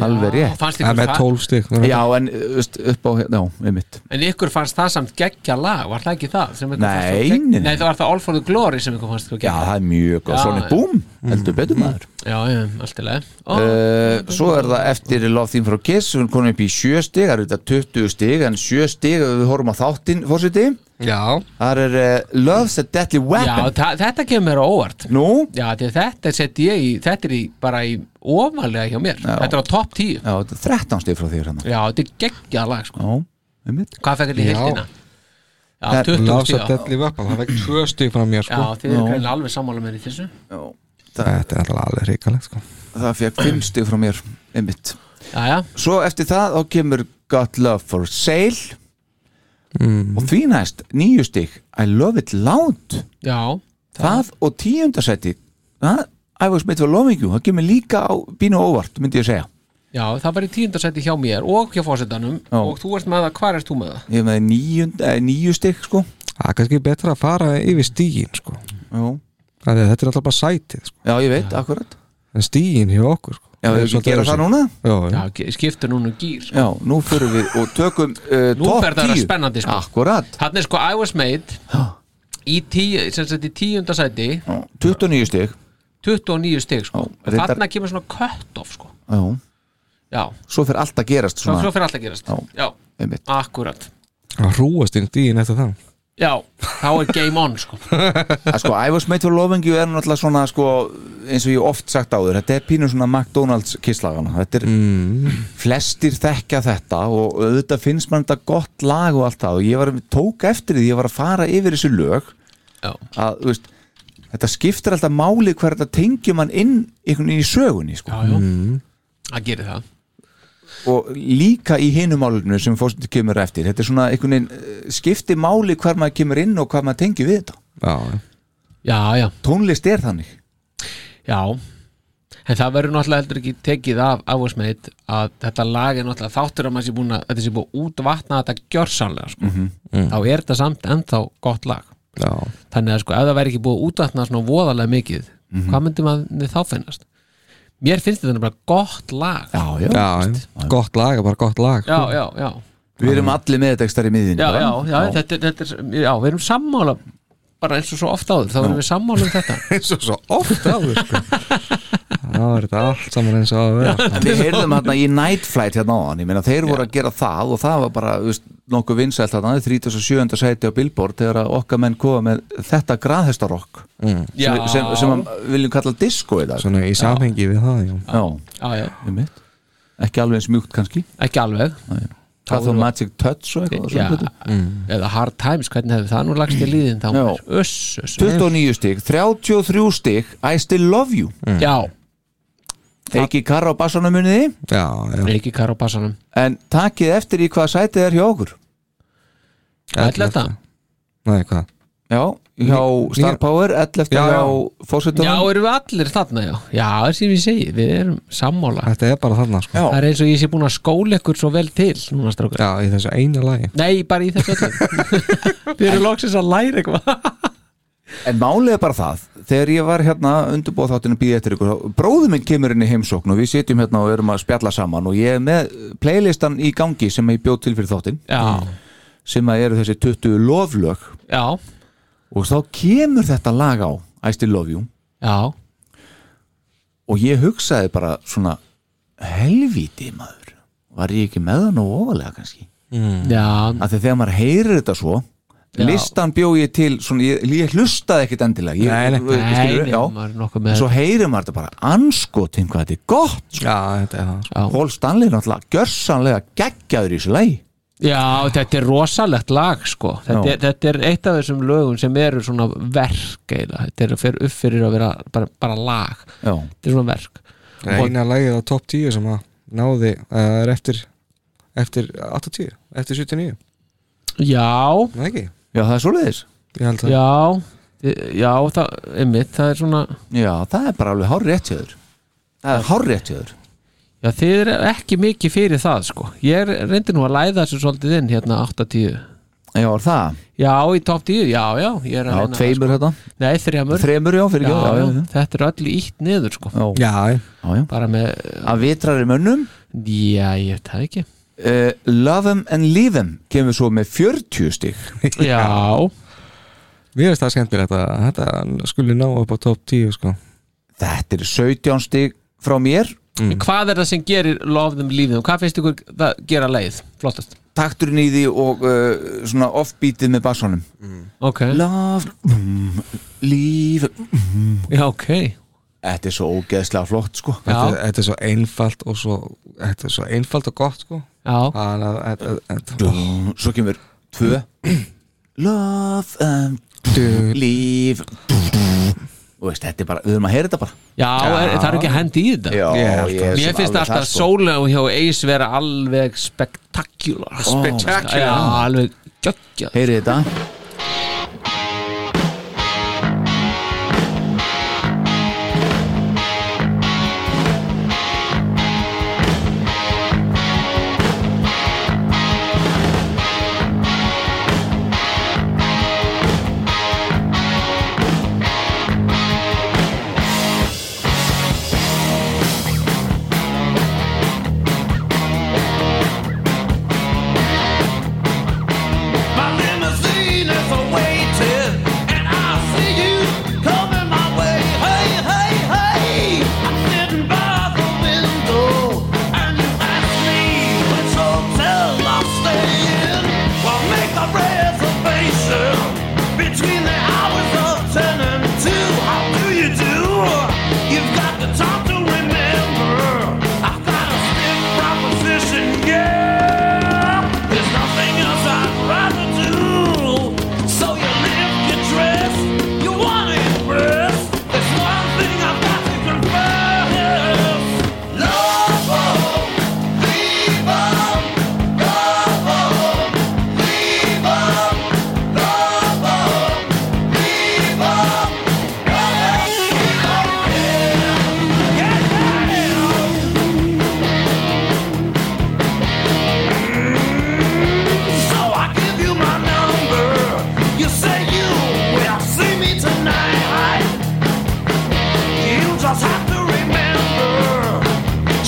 C: alveg rétt
D: fannst
E: Það er
D: ykkur,
E: með
D: það,
E: 12 stík
C: já, en uh, veist, upp á, já, um mitt
D: en ykkur fannst það samt geggja lag, var það ekki það? sem ykkur
C: Nei,
D: fannst það gegg-
C: nei, nei.
D: nei, það var það All for the Glory sem ykkur fannst þú
C: já,
D: geggja
C: það er mjög góð,
D: Já,
C: svona
D: já.
C: búm heldur betur maður
D: já, já, allt í leið
C: Uh, svo er það eftir Love Theme frá Kiss við erum komin upp í sjö stig, það eru þetta 20 stig en sjö stig ef við horfum á þáttinn fórsviti,
E: Já,
C: það er uh, Love's a Deadly
D: já,
C: Weapon
D: þa- þetta kemur mér á óvart
C: nú,
D: já, því að þetta sett ég í, þetta er í, bara í ofalega hjá mér, þetta er á topp 10
C: já, þetta er 13 stig frá þér hérna. hann já,
D: já, þetta er geggja lag, sko
C: einmitt
D: hvað fekk þetta í
E: Já.
D: heildina? já,
C: Það-
D: 20
E: Lása
D: stíða
E: Deadly Weapon, það fekk 2 stík frá mér
D: já,
E: sko.
D: þið eru greinlega alveg sammála mér í þessu
C: já,
E: Þetta er alltaf alveg hrikalegt sko.
C: það fekk 5 stig frá mér, einmitt
D: já, já,
C: svo eftir það þá kemur Got Love for Sale og því næst nýju stig I Love It Loud
D: já,
C: það og tíundasæti I Was Made for Loving You, það kemur líka á bínu óvart, myndi ég segja
D: já, það var í tíundarsæti hjá mér og hjá fósetanum
C: Já.
D: og þú ert með það, hvar ert þú með það?
C: ég hef með níund, eh, níu stygg sko
E: Það er kannski betra að fara yfir stígin sko.
C: já.
E: Af því að Þetta er alltaf bara sætið sko.
C: já, ég veit, akkurat
E: En stígin hjá okkur sko.
C: já,
E: er
C: við ekki
E: svolítið
C: gera
E: öðruvísi.
C: það núna
E: Já,
D: Já, ge- skiptu núna um gýr sko.
C: já, nú fyrir við og tökum uh,
D: Nú
C: topp
D: fer það að vera
C: 10.
D: spennandi, sko.
C: akkurat,
D: Þannig er sko I was made í, tíu, sem sagt, í tíunda sæti
C: Já, 29 stygg
D: 29 stig sko.
C: Já, reyndar-
D: Þannig kemur svona cut off sko.
C: já,
D: Já,
C: svo fyrir allt að gerast
D: svo, svo
C: svona,
D: fyrir alltaf gerast
C: Já.
D: Já,
C: einmitt
D: akkurat
E: það hrúast inn stígin eftir það
D: Já, þá er game on sko.
C: að sko, I was made for loving you er náttúrulega svona sko, eins og ég hef oft sagt áður þetta er pínu svona McDonalds kisslagana þetta er,
D: Mm.
C: flestir þekkja þetta og auðvitað finnst mann þetta gott lag og allt það og ég var, tók eftir því ég var að fara yfir þessu lög
D: Já.
C: að, þú veist þetta skiptir alltaf máli hver þetta tengjum mann inn, einhvern veginn í sögunni sko.
D: Já, já, það gerir það
C: og líka í hinum málunum sem fórstu kemur eftir þetta er svona einhvern veginn, eh, skiptir máli hver maður kemur inn og hvað maður tengjum við þetta
E: Já,
D: Já, já,
C: tónlist er þannig
D: já En það verður náttúrulega heldur ekki tekið af I was made að þetta lag er náttúrulega þáttur að maður sé búin að þetta sé búin að útvatna þetta gjörsanlega sko.
C: Mhm,
D: Þá er þetta samt ennþá gott lag
E: já,
D: þannig að sko ef það væri ekki búið að útvatna svona voðalega mikið hvað myndi maður þá finnast mér finnst þetta bara gott lag já,
C: já,
E: já, Gott lag, er bara gott lag
D: já,
E: sko.
D: já, já,
C: við erum allir meðdekstar í miðinni
D: já,
C: bara.
D: já, Þetta, er- þetta er, já, við erum sammála bara eins og svo ofta áður, þá erum við sammála um þetta
E: Eins og svo oft áður sko. Já, er þetta allt saman eins og að vera
C: En Við heyrðum hérna í Night Flight hérna á hann, ég meina þeir voru að gera það og það var bara þú veist, nokkuð vinsælt þarna, 37. sæti á Billboard þegar að okkar menn koma með þetta graðhestarokk mm. sem,
D: Já.
C: sem, sem að við viljum kalla disco í dag
E: Svona í samhengi við það, já
C: Já,
D: já, já,
C: um mitt Ekki alveg eins mjúkt kannski
D: ekki alveg
C: Það
D: voru-
C: þú Magic Touch og eitthvað
D: já,
C: svona hluti.
E: Mm.
D: eða hard times, hvernig hefði það nú lagst í líðin þá,
C: Já.
D: uss, uss
C: 29 stig, 33 stig I still love you
D: já,
C: Eiki Karra á bassanum muniði
E: Já, já
D: ekki kar á bassanum
C: en takið eftir í hvað sætið er hjá okkur
D: ætla þetta,
E: Nei, hvað?
C: Já, hjá Star Power, 11
E: Já,
C: hjá
E: já.
D: Já,
C: fórsetunum
D: erum við allir þarna, já Já, það sem ég segi, við erum sammála
E: Þetta er bara þarna, sko
C: Já.
D: Það er eins og ég sé búin að skóla ykkur svo vel til Núna strákar
E: Já, í þessu eina lagi
D: Nei, bara í þessu öllu Við erum loksins að læra eitthvað
C: En málið er bara það, þegar ég var hérna undurbóð þáttinu býði eftir ykkur þá- bróður minn kemur inn í heimsókn og við sitjum hérna og erum að spjalla saman og ég er með playlistan í gangi sem ég bjóð til fyrir þáttin
D: Já,
C: sem að eru þessi 20 loflög
D: já,
C: og þá kemur þetta lag á I still love you
D: já
C: og ég hugsaði bara svona helvíti maður var ég ekki með það nú ofalega kannski
D: Já,
C: af því þegar maður heyrir þetta svo
D: Já.
C: listan bjó ég til svona, ég, ég hlustaði ekkit endilega ég,
E: Nei, nei.
C: skilurðu,
D: nei, sko. nei,
C: já.
D: maður er nokkuð með
C: svo heyrir maður þetta bara anskotin hvað þetta er gott sko.
E: Já, þetta er það, sko
D: Já.
C: Paul Stanley er náttúrulega gjörsanlega geggjaður í þessu lagi
D: Já, þetta er rosalegt lag sko. þetta,
C: Já.
D: er, þetta er eitt af þessum lögum sem eru svona verk eila. þetta er að fyrir upp fyrir að vera bara, bara lag,
C: já,
D: þetta er svona verk
E: Það er eina lagið á top 10 sem að náði Það er eftir, eftir 80, eftir 79
D: Já,
E: Nei, ekki?
C: já það er svoleiðis
E: Ég held að
D: já Já, það, einmitt, það er svona
C: já, það er bara alveg hár rétt hjáður það er hár rétt hjáður
D: Já, þið er ekki mikið fyrir það sko. Ég er- reyndi nú að læða þessu svolítið inn hérna 8-10
C: já, er það,
D: Já, í top 10, já, já, ég er
C: já,
D: að reyna það,
C: tveimur hérna. þetta
D: sko. Nei, þrjamur
C: þremur, já, fyrir
D: já,
C: ekki
D: já,
C: já, já,
D: Þetta er öll ítt niður sko.
C: já.
E: Já,
C: Já, já.
D: Bara með,
C: að vitrari mönnum
D: já, ég veit það ekki
C: uh, Love 'em and leave 'em kemur svo með 40 stig
D: Já,
E: mér finnst það skemmtilegt að þetta skuli ná upp á top 10, sko
C: þetta er 17 stig frá mér
D: hvað er það sem gerir lofðum lífðum, um? hvað finnst ykkur það gera leið, flottast
C: takturinn í því og uh, svona offbeatið með bassanum
D: ok,
C: Love, mm, leave 'em.
D: já ok
C: þetta er svo ógeðslega flott sko
E: þetta,
D: já,
E: þetta er svo einfalt og svo Þetta er svo einfalt og gott, sko
D: já,
E: Þannig að þetta- þetta-
C: Dun, svo kemur 2 Love and leave dun. og veist, þetta er bara, við höfum að heyra þetta bara
D: já er, það er ekki að hendi í þetta
C: ég er
D: Mér
C: sem
D: finnst
C: alveg
D: alltaf
C: sko.
D: sóla og hjá Ace vera alveg spektakular Spektakular Já, alveg gjöggja
C: heyrið þetta
B: My limousine is awaiting, and I see you coming my way. Hey, hey, hey! I'm sitting by the window, and you ask me which hotel I'm staying. Well, make the reservation between the hours of ten and two. How do you do? You've got the time to remember. I've got a stiff proposition, yeah. There's nothing else I'd rather do. So you live, you dress, you wanna impress. There's one thing I've got to confess. Love, oh, leave 'em. Love, oh, leave 'em. Love, oh, leave 'em. Get down. So I give you my number. You say you will see me tonight. You just have to remember.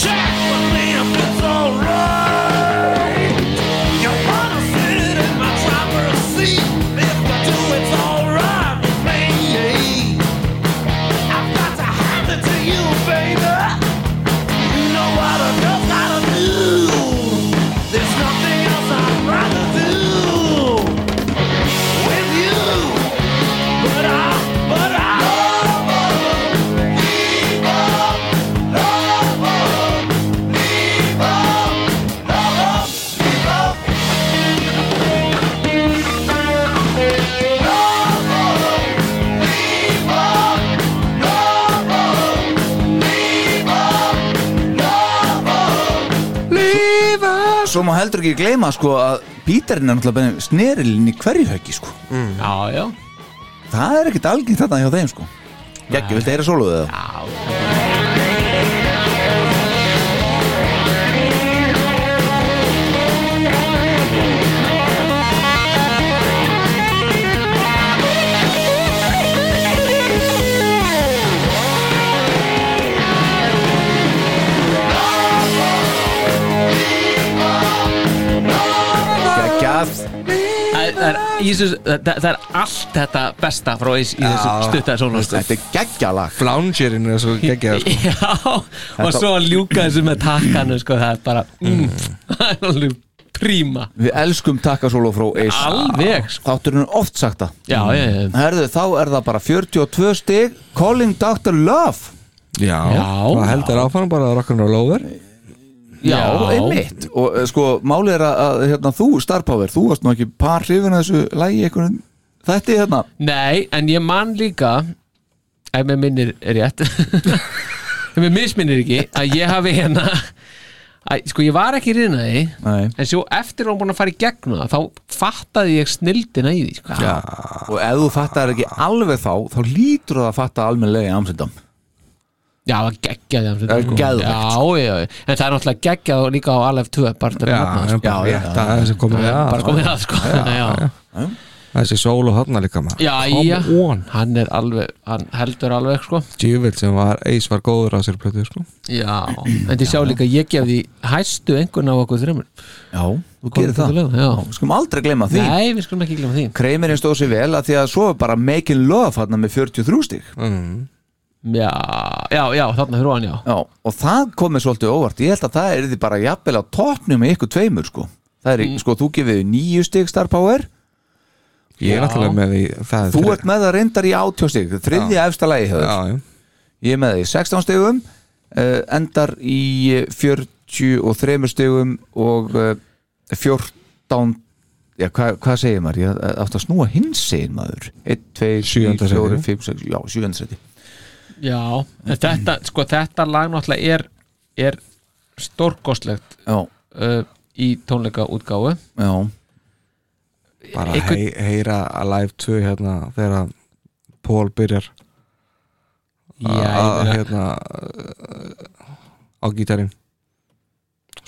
B: Check with me if it's alright. You wanna sit in my driver's seat. If you do, it's alright with me. I've got to hand it to you, baby. You know what a girl's gotta do. There's nothing else I'd rather do with you. But I, but I. oh.
C: svo má heldur ekki gleyma sko að Pítarinn er náttúrulega snerilinn í hverju höggi sko.
D: já, já
C: Það er ekkert algengt þarna hjá þeim sko. Gekki, viltu heyra sóluðu það? Gekkjað
D: Það það er, Jesus, það, það er allt þetta besta frá í, í þessu stuttaði sólunum
C: Þetta er geggjalag
E: Floungerinn er svo geggjað sko.
D: Já, og svo að ljúka þessu með takkanu sko, það er bara mm, það er alveg príma
C: Við elskum takkasólu frá Eis
D: Alveg, sko.
C: Þátturinn er oft sagt það
D: Já, ég, ég,
C: Herðu, þá er það bara 42 stig Calling Dr. Love
E: Já, það heldur áfram bara rock'n'roll over
C: Já, einmitt Og eh, sko, málið er að, að hérna, þú, Star Power Þú varst nú ekki par hrifin að þessu lægi einhvern Þetta er hérna
D: Nei, en ég man líka ef mér minnir er rétt ef mér misminnir ekki að ég hafi hérna að, sko ég var ekki rinna því
C: Nei.
D: en svo eftir að hún búin að fara í gegnum það þá fattaði ég snildina í því sko.
C: Já. Og ef þú fattar ekki alveg þá Þá lítur það að fatta almennlega í Amsterdam
D: já, það geggjaði hann
C: Það er geðveikt,
D: já, já, já, en það er náttúrulega geggjað og líka á Alef 2 bara til að nefna það,
E: já,
D: sko.
E: já,
C: já,
E: já, það er sem komið að
D: bara komið að sko já, já, já.
E: Þessi sól og hotna líka maður Come on.
D: hann er alveg, hann heldur alveg sko
E: Djúvill sem var, Ace var góður á sér plötu sko.
D: Já, en þið sjá líka ég gef því hæstu einhvern á okkur þreymur
C: Já, þú gerir það
D: Lög, já.
C: Við skulum aldrei glemma því
D: Nei, við skulum ekki glemma því
C: Kreimirinn stóð sér vel að því að svo er bara Making Love hérna með 43 stig
E: Mm.
D: Já, já, já, þarna fyrir hann, já
C: Já, og það komið svolítið óvart Ég held að það er því bara jafnvel á topnum með ykkur tveimur sko Það er,
E: Mm.
C: sko, þú gefið nýju stig Star Power
E: Ég er náttúrulega með því það er
C: Þú
E: þre-
C: ert með það reyndar í átjó stig Þriðja efsta lagi
E: Já,
C: hefur
E: já,
C: Ég er með það í 16 stigum uh, Endar í eh, 43 stigum Og uh, 14 Já, hva, hvað segir maður? Ég eh, átti að snúa hins segir maður 1, 2, 3,
E: Sjöunda
C: 4,
E: sæti.
C: 5, 6 Já, 7. seti
D: Já, en þetta, sko, þetta lag náttúrulega er, er stórkostlegt
C: Já,
D: uh, í tónleika útgáfu
C: já,
E: bara
D: Einhvern-
E: hei, heyra Alive 2 hérna þegar að Paul byrjar
D: Já,
E: að
D: ég meina,
E: hérna á gítarinn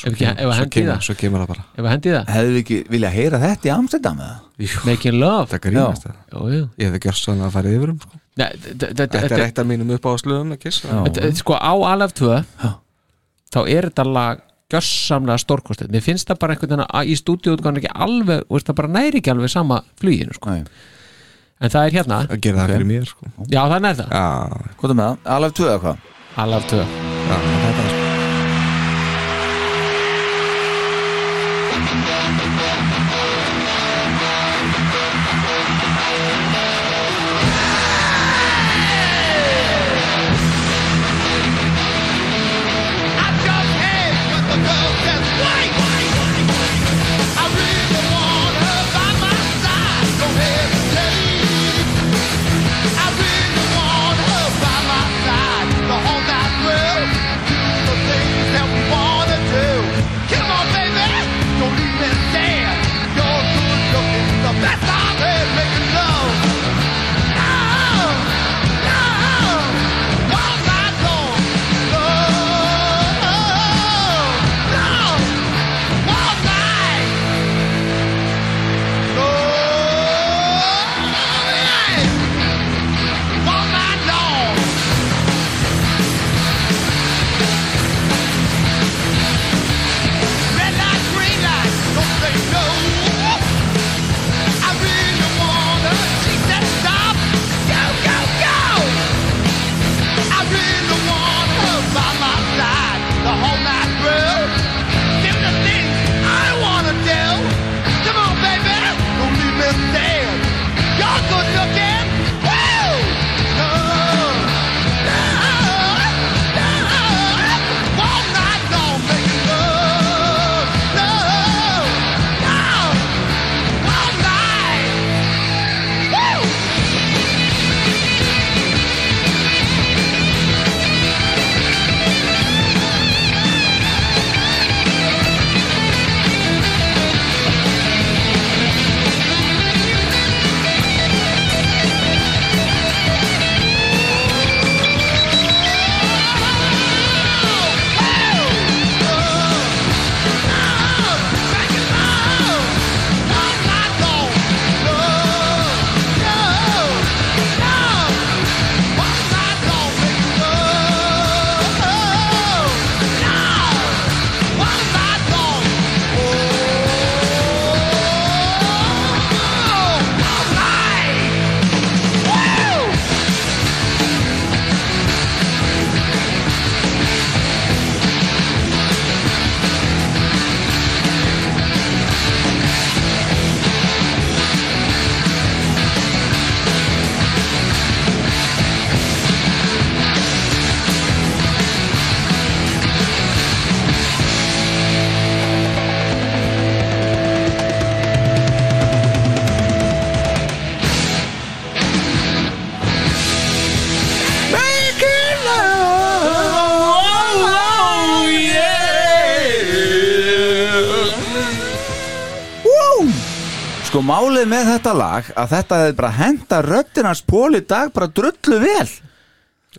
D: Ef ekki- ef að
E: svo,
D: hendi
E: kemur,
D: það?
E: svo kemur það bara
D: ef við hendi það
C: hefðu ekki viljað heyra þetta í Amsterdam eða?
D: Making love
E: það grínast það
D: Jú, jú.
E: ég hefði gjörst svona að fara yfir um sko.
D: Nei, þ- þ- þ-
E: þetta er
D: Þetta
E: eitt af mínum uppáðsluðum ekki
C: Já.
D: þetta- Sko, á Alef 2 þá er þetta lag gjössamlega stórkostlegt Mér finnst það bara einhvern veginn að í stúdíóutgáðan ekki alveg og veist, það bara næri ekki alveg sama fluginu, sko
C: Nei.
D: En það er hérna
E: að gera það fyrir mér sko.
D: Já, það er það
E: já,
C: Hvað er með það? Alveg tvö eða hvað?
D: Alef 2
E: já, þetta er sko
B: I jump head, but the girl says, wait. I really want her by my side. Don't hesitate. I really want her by my side. The whole night will. The
C: Sko málið með þetta lag að þetta hefði bara henda röddinans Pól í dag bara drullu vel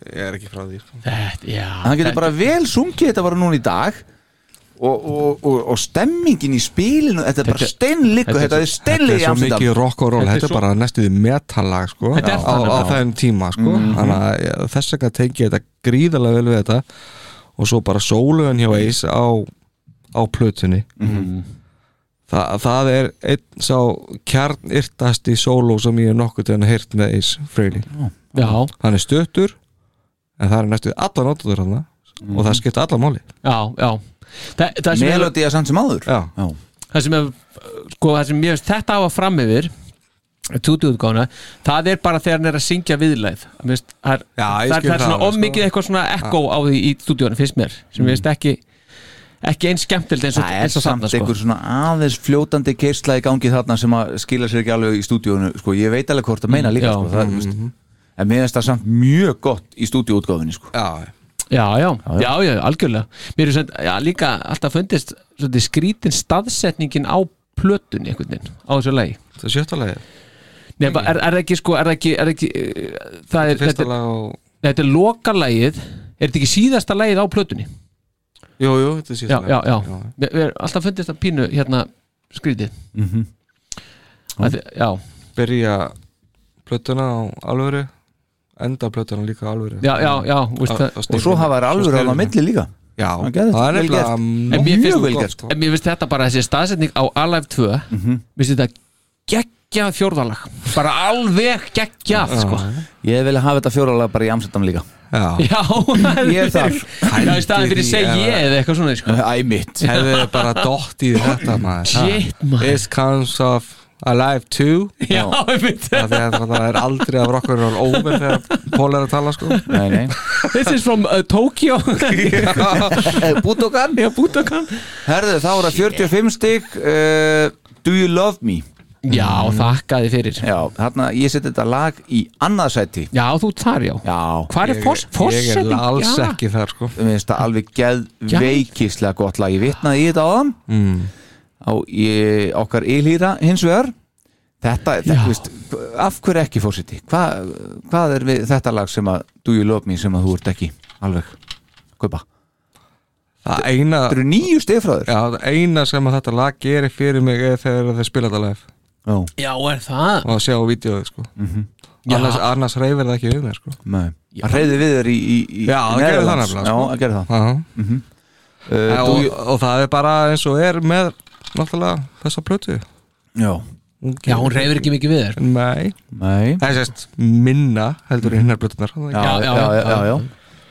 E: Ég er ekki frá því sko.
D: Þetta, já
C: Hann getur bara vel sungið þetta bara núna í dag og, og, og, og stemmingin í spilinu þetta er bara
D: Þetta-
C: steinlikku
D: þetta er
C: þetta er
E: Þetta
C: steinli
E: er
C: í
E: svo
C: Amsterdam
E: mikið rock og roll
D: Þetta er
E: Þetta er
D: svo-
E: bara næstu því metallag sko,
D: Þetta er
E: á,
D: það
E: á
D: nefnilega.
E: þeim tíma sko.
D: Mhm.
E: Þannig að ég- þess vegna tengi ég þetta gríðarlega vel við þetta og svo bara sóluðan hjá Ace á, á plötunni
D: Mhm.
E: Þa, Það er einn sá kjarnirtasti sóló sem ég hef nokkuð til hann heyrt með Ace Frehley
D: Já,
E: Hann er stuttur en það er næstu því allar notaður hann og
D: Mhm.
E: það skipta allar máli
D: já, já Þa, það, sem ég,
C: melodía samt sem áður
E: Já.
D: það sem ég sko, það sem ég veist þetta hafa fram yfir tútútgána, það er bara þegar hann er að syngja viðlæð Mér finnst- það er,
E: Já, ég
D: það er,
E: skil
D: það er
E: það
D: svona
E: alveg, sko.
D: ofmikið eitthvað svona ekko á því í stúdíónu finnst mér sem ég veist ekki ekki eins skemmtild eins og,
C: það er
D: eins og
C: samt
D: þarna, sko.
C: einhver svona aðeins fljótandi keisla í gangi þarna sem að skila sér ekki alveg í stúdíónu sko ég veit alveg hvort að meina líka
D: já.
C: sko, það, mm en mér finnst það samt mjög gott í stúdíóutgáfinni sko
E: Já,
D: já, já, já, já, algjörlega Mér er sem, já, líka alltaf fundist svolítið skrítin staðsetningin á plötunni einhvern veginn, á þessu lagi
E: það er sjötta lagið
D: Nei, bara, er, er ekki sko, er ekki, er ekki eh, það er,
E: Fyrsta
D: þetta,
E: lag og
D: er- þetta er lokalagið er þetta ekki síðasta lagið á plötunni
E: Jú, jú, þetta er
D: já,
E: síðasta
D: já, já,
E: lagið.
D: mér mér er alltaf fundist að pínu hérna skrítið Mhm. mm -hmm. já,
E: byrja plötuna á alvöru enda plötuna líka á alvöru
D: já, já, já, veist það
C: og svo hafa þær alveg alveg á milli líka
E: já,
C: Hann gerði
E: það
C: þetta
E: er
C: vel gert.
D: En
E: nefnilega
D: mér finnst-
E: mjög vel
C: Mjög vel
E: gert sko.
D: En mér finnst þetta bara þessi staðsetning á Alive 2 mm -hmm. Mér finnst þetta geggjað fjórðalag Bara alveg geggjað sko.
C: ég vil hafa þetta fjóralega bara í Amsterdam líka
E: já,
D: Já,
C: Ég er þar.
D: Já, í staðin fyrir
E: Pældi því
D: segja ég eða eitthvað svona sko.
C: æ mitt
E: hefði bara dótt í þetta maður
D: Shit,
E: Ha.
D: maður.
E: This comes of Alive 2
D: Já, ég veit
E: Það er, það er aldrei af rockur og óver þegar Pól er að tala sko
C: nei, nei.
D: This is from uh, Tokyo
C: Budokan
D: Já, Budokan
C: Herðu, þá er það 45 stygg uh, Do you love me?
D: Já, þakkaði fyrir
C: Já, þarna ég seti þetta lag í annað sæti
D: Já, þú ert þar, já
C: Já,
D: Hvar er fós,
E: Ég er
D: fósetting?
E: alls
D: Já.
E: ekki þar sko
C: mér finnst það alveg geðveikislega gott lag Ég vitnaði í þetta á þann
E: mm.
C: á ég, okkar ylýra hins vegar Þetta, þetta
D: Já.
C: veist, af hverju ekki fórseti? Hva, hvað er við þetta lag sem að Do you love me sem að þú ert ekki alveg kaupa?
E: Það eina,
C: Þetta eru nýju stygg frá þér
E: já, það eina sem að þetta lag gerir fyrir mig er þegar þeir spila þetta live
C: Já,
D: Já, er það?
E: og að sjá á vídeoðu sko
D: Já.
E: annars, annars reyfir það ekki við mér sko
C: nei Það reyði við þér í, í, í
E: Já, það
C: í
E: gerði það
C: Netherlands.
E: nefnilega,
C: Já,
E: sko.
C: það gerði það
E: Já
C: uh,
E: og,
C: do you,
E: og það er bara eins og er með náttúrulega þessa plötu
C: Já,
D: Já, hún reyfir ekki mikið við þér
E: Nei,
C: nei
E: það er sérst minna heldur en hinnar plötunar
C: já, já,
D: já,
C: já,
D: já,
C: já, já.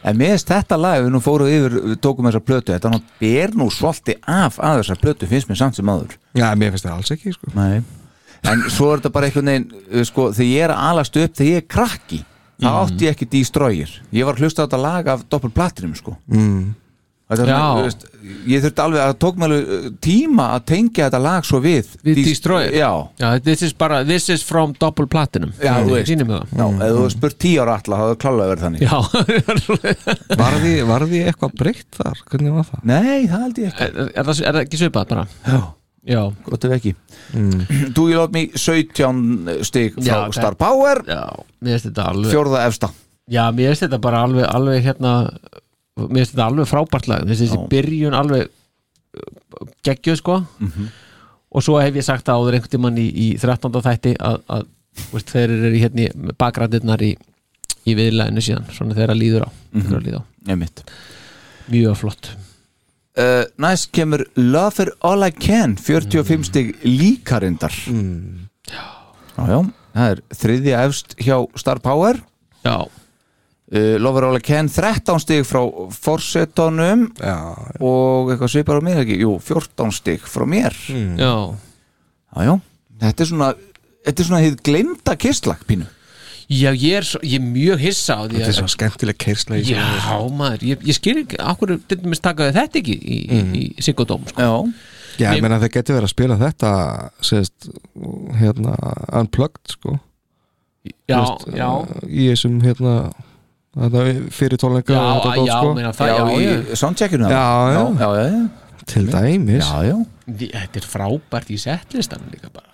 C: En mér finnst þetta lag, við nú fórum yfir, við tókum þessa plötu, þetta hann ber nú svolítið af að þessa plötu, finnst mér samt sem aður.
E: Já, mér finnst það alls ekki sko.
C: Nei. En svo er þetta bara einhvern veginn, uh, sko, þegar ég er að alast upp, þegar ég er krakki, þá
D: Mhm.
C: átti ég ekki destroyer. Ég var að hlusta á þetta lag af doppelplatrinum, sko.
E: mm.
C: Þetta, er svona,
D: Já.
C: þú veist, ég þurfti alveg að tók mér alveg uh, tíma að tengja þetta lag svo við.
D: Við
C: Dis-
D: Destroyer?
C: Já.
D: Já, this is bara, this is from double platinum
C: Já, þú veist.
D: Sýnum við það
C: Já, ef þú hefur spurt tíu ára alltaf, þá hefur klálega verið þannig.
D: Mhm. Já,
E: var, því, var því eitthvað breytt þar? Hvernig var það?
C: Nei, það held ég ekki.
D: er, er, það, er það ekki svipað bara?
C: Já.
D: Já,
C: gott ef ekki Do you love me 17 stig frá
D: Mm. Já, það-
C: Star Power
D: já, mér finnst þetta alveg
C: fjórða efsta
D: Já, mér finnst þetta bara alveg, alveg hérna Mér finnst þetta alveg frábært lag Mér finnst
C: Já.
D: þessi byrjun alveg uh, geggjuð sko
E: Mhm.
D: Og svo hef ég sagt það áður einhvern tímann í, í 13. þætti að, að þú veist, þeir eru í hérna í- bakræðirnar í, í viðlæðinu síðan svona þeirra líður á,
E: Mhm.
D: mm líður á.
C: Einmitt.
D: Mjög flott
C: uh, næst kemur Love for all I can 45
E: Mm.
C: stig líkarindar mm. já, já, það er þriðja efst hjá Star Power
D: Já,
C: uh, Love for all I can 13 stig frá Forsetonum
E: Já,
C: og eitthvað svipar á mér ekki jú, 14 stig frá mér
E: Mm.
D: já
C: já, já, þetta er svona þetta er svona hefð glemda kistlak pínu
D: Já, ég er, svo, ég er mjög hissa á því
E: þetta
D: að
E: er svo skemmtileg keirsla í
D: Já,
E: þessu.
D: maður, ég, ég skil ekki Akkur, til dæmis takaði þetta ekki í, í, í Sigurdóm, sko
C: já,
E: Mhm. Já, ég meina þeir getur verið að spila þetta sérst, hérna unplugged sko
D: Já,
E: Þú veist,
D: já
E: uh, í þessum hérna þetta fyrir tónleika
D: Já,
E: og þetta dót,
D: já,
E: sko.
D: meina það, já,
C: í
D: já,
C: soundcheckinu
E: Já, já.
C: já, já, já,
E: til dæmis
C: já, já.
D: Því- Þetta er frábært í setlistanum líka bara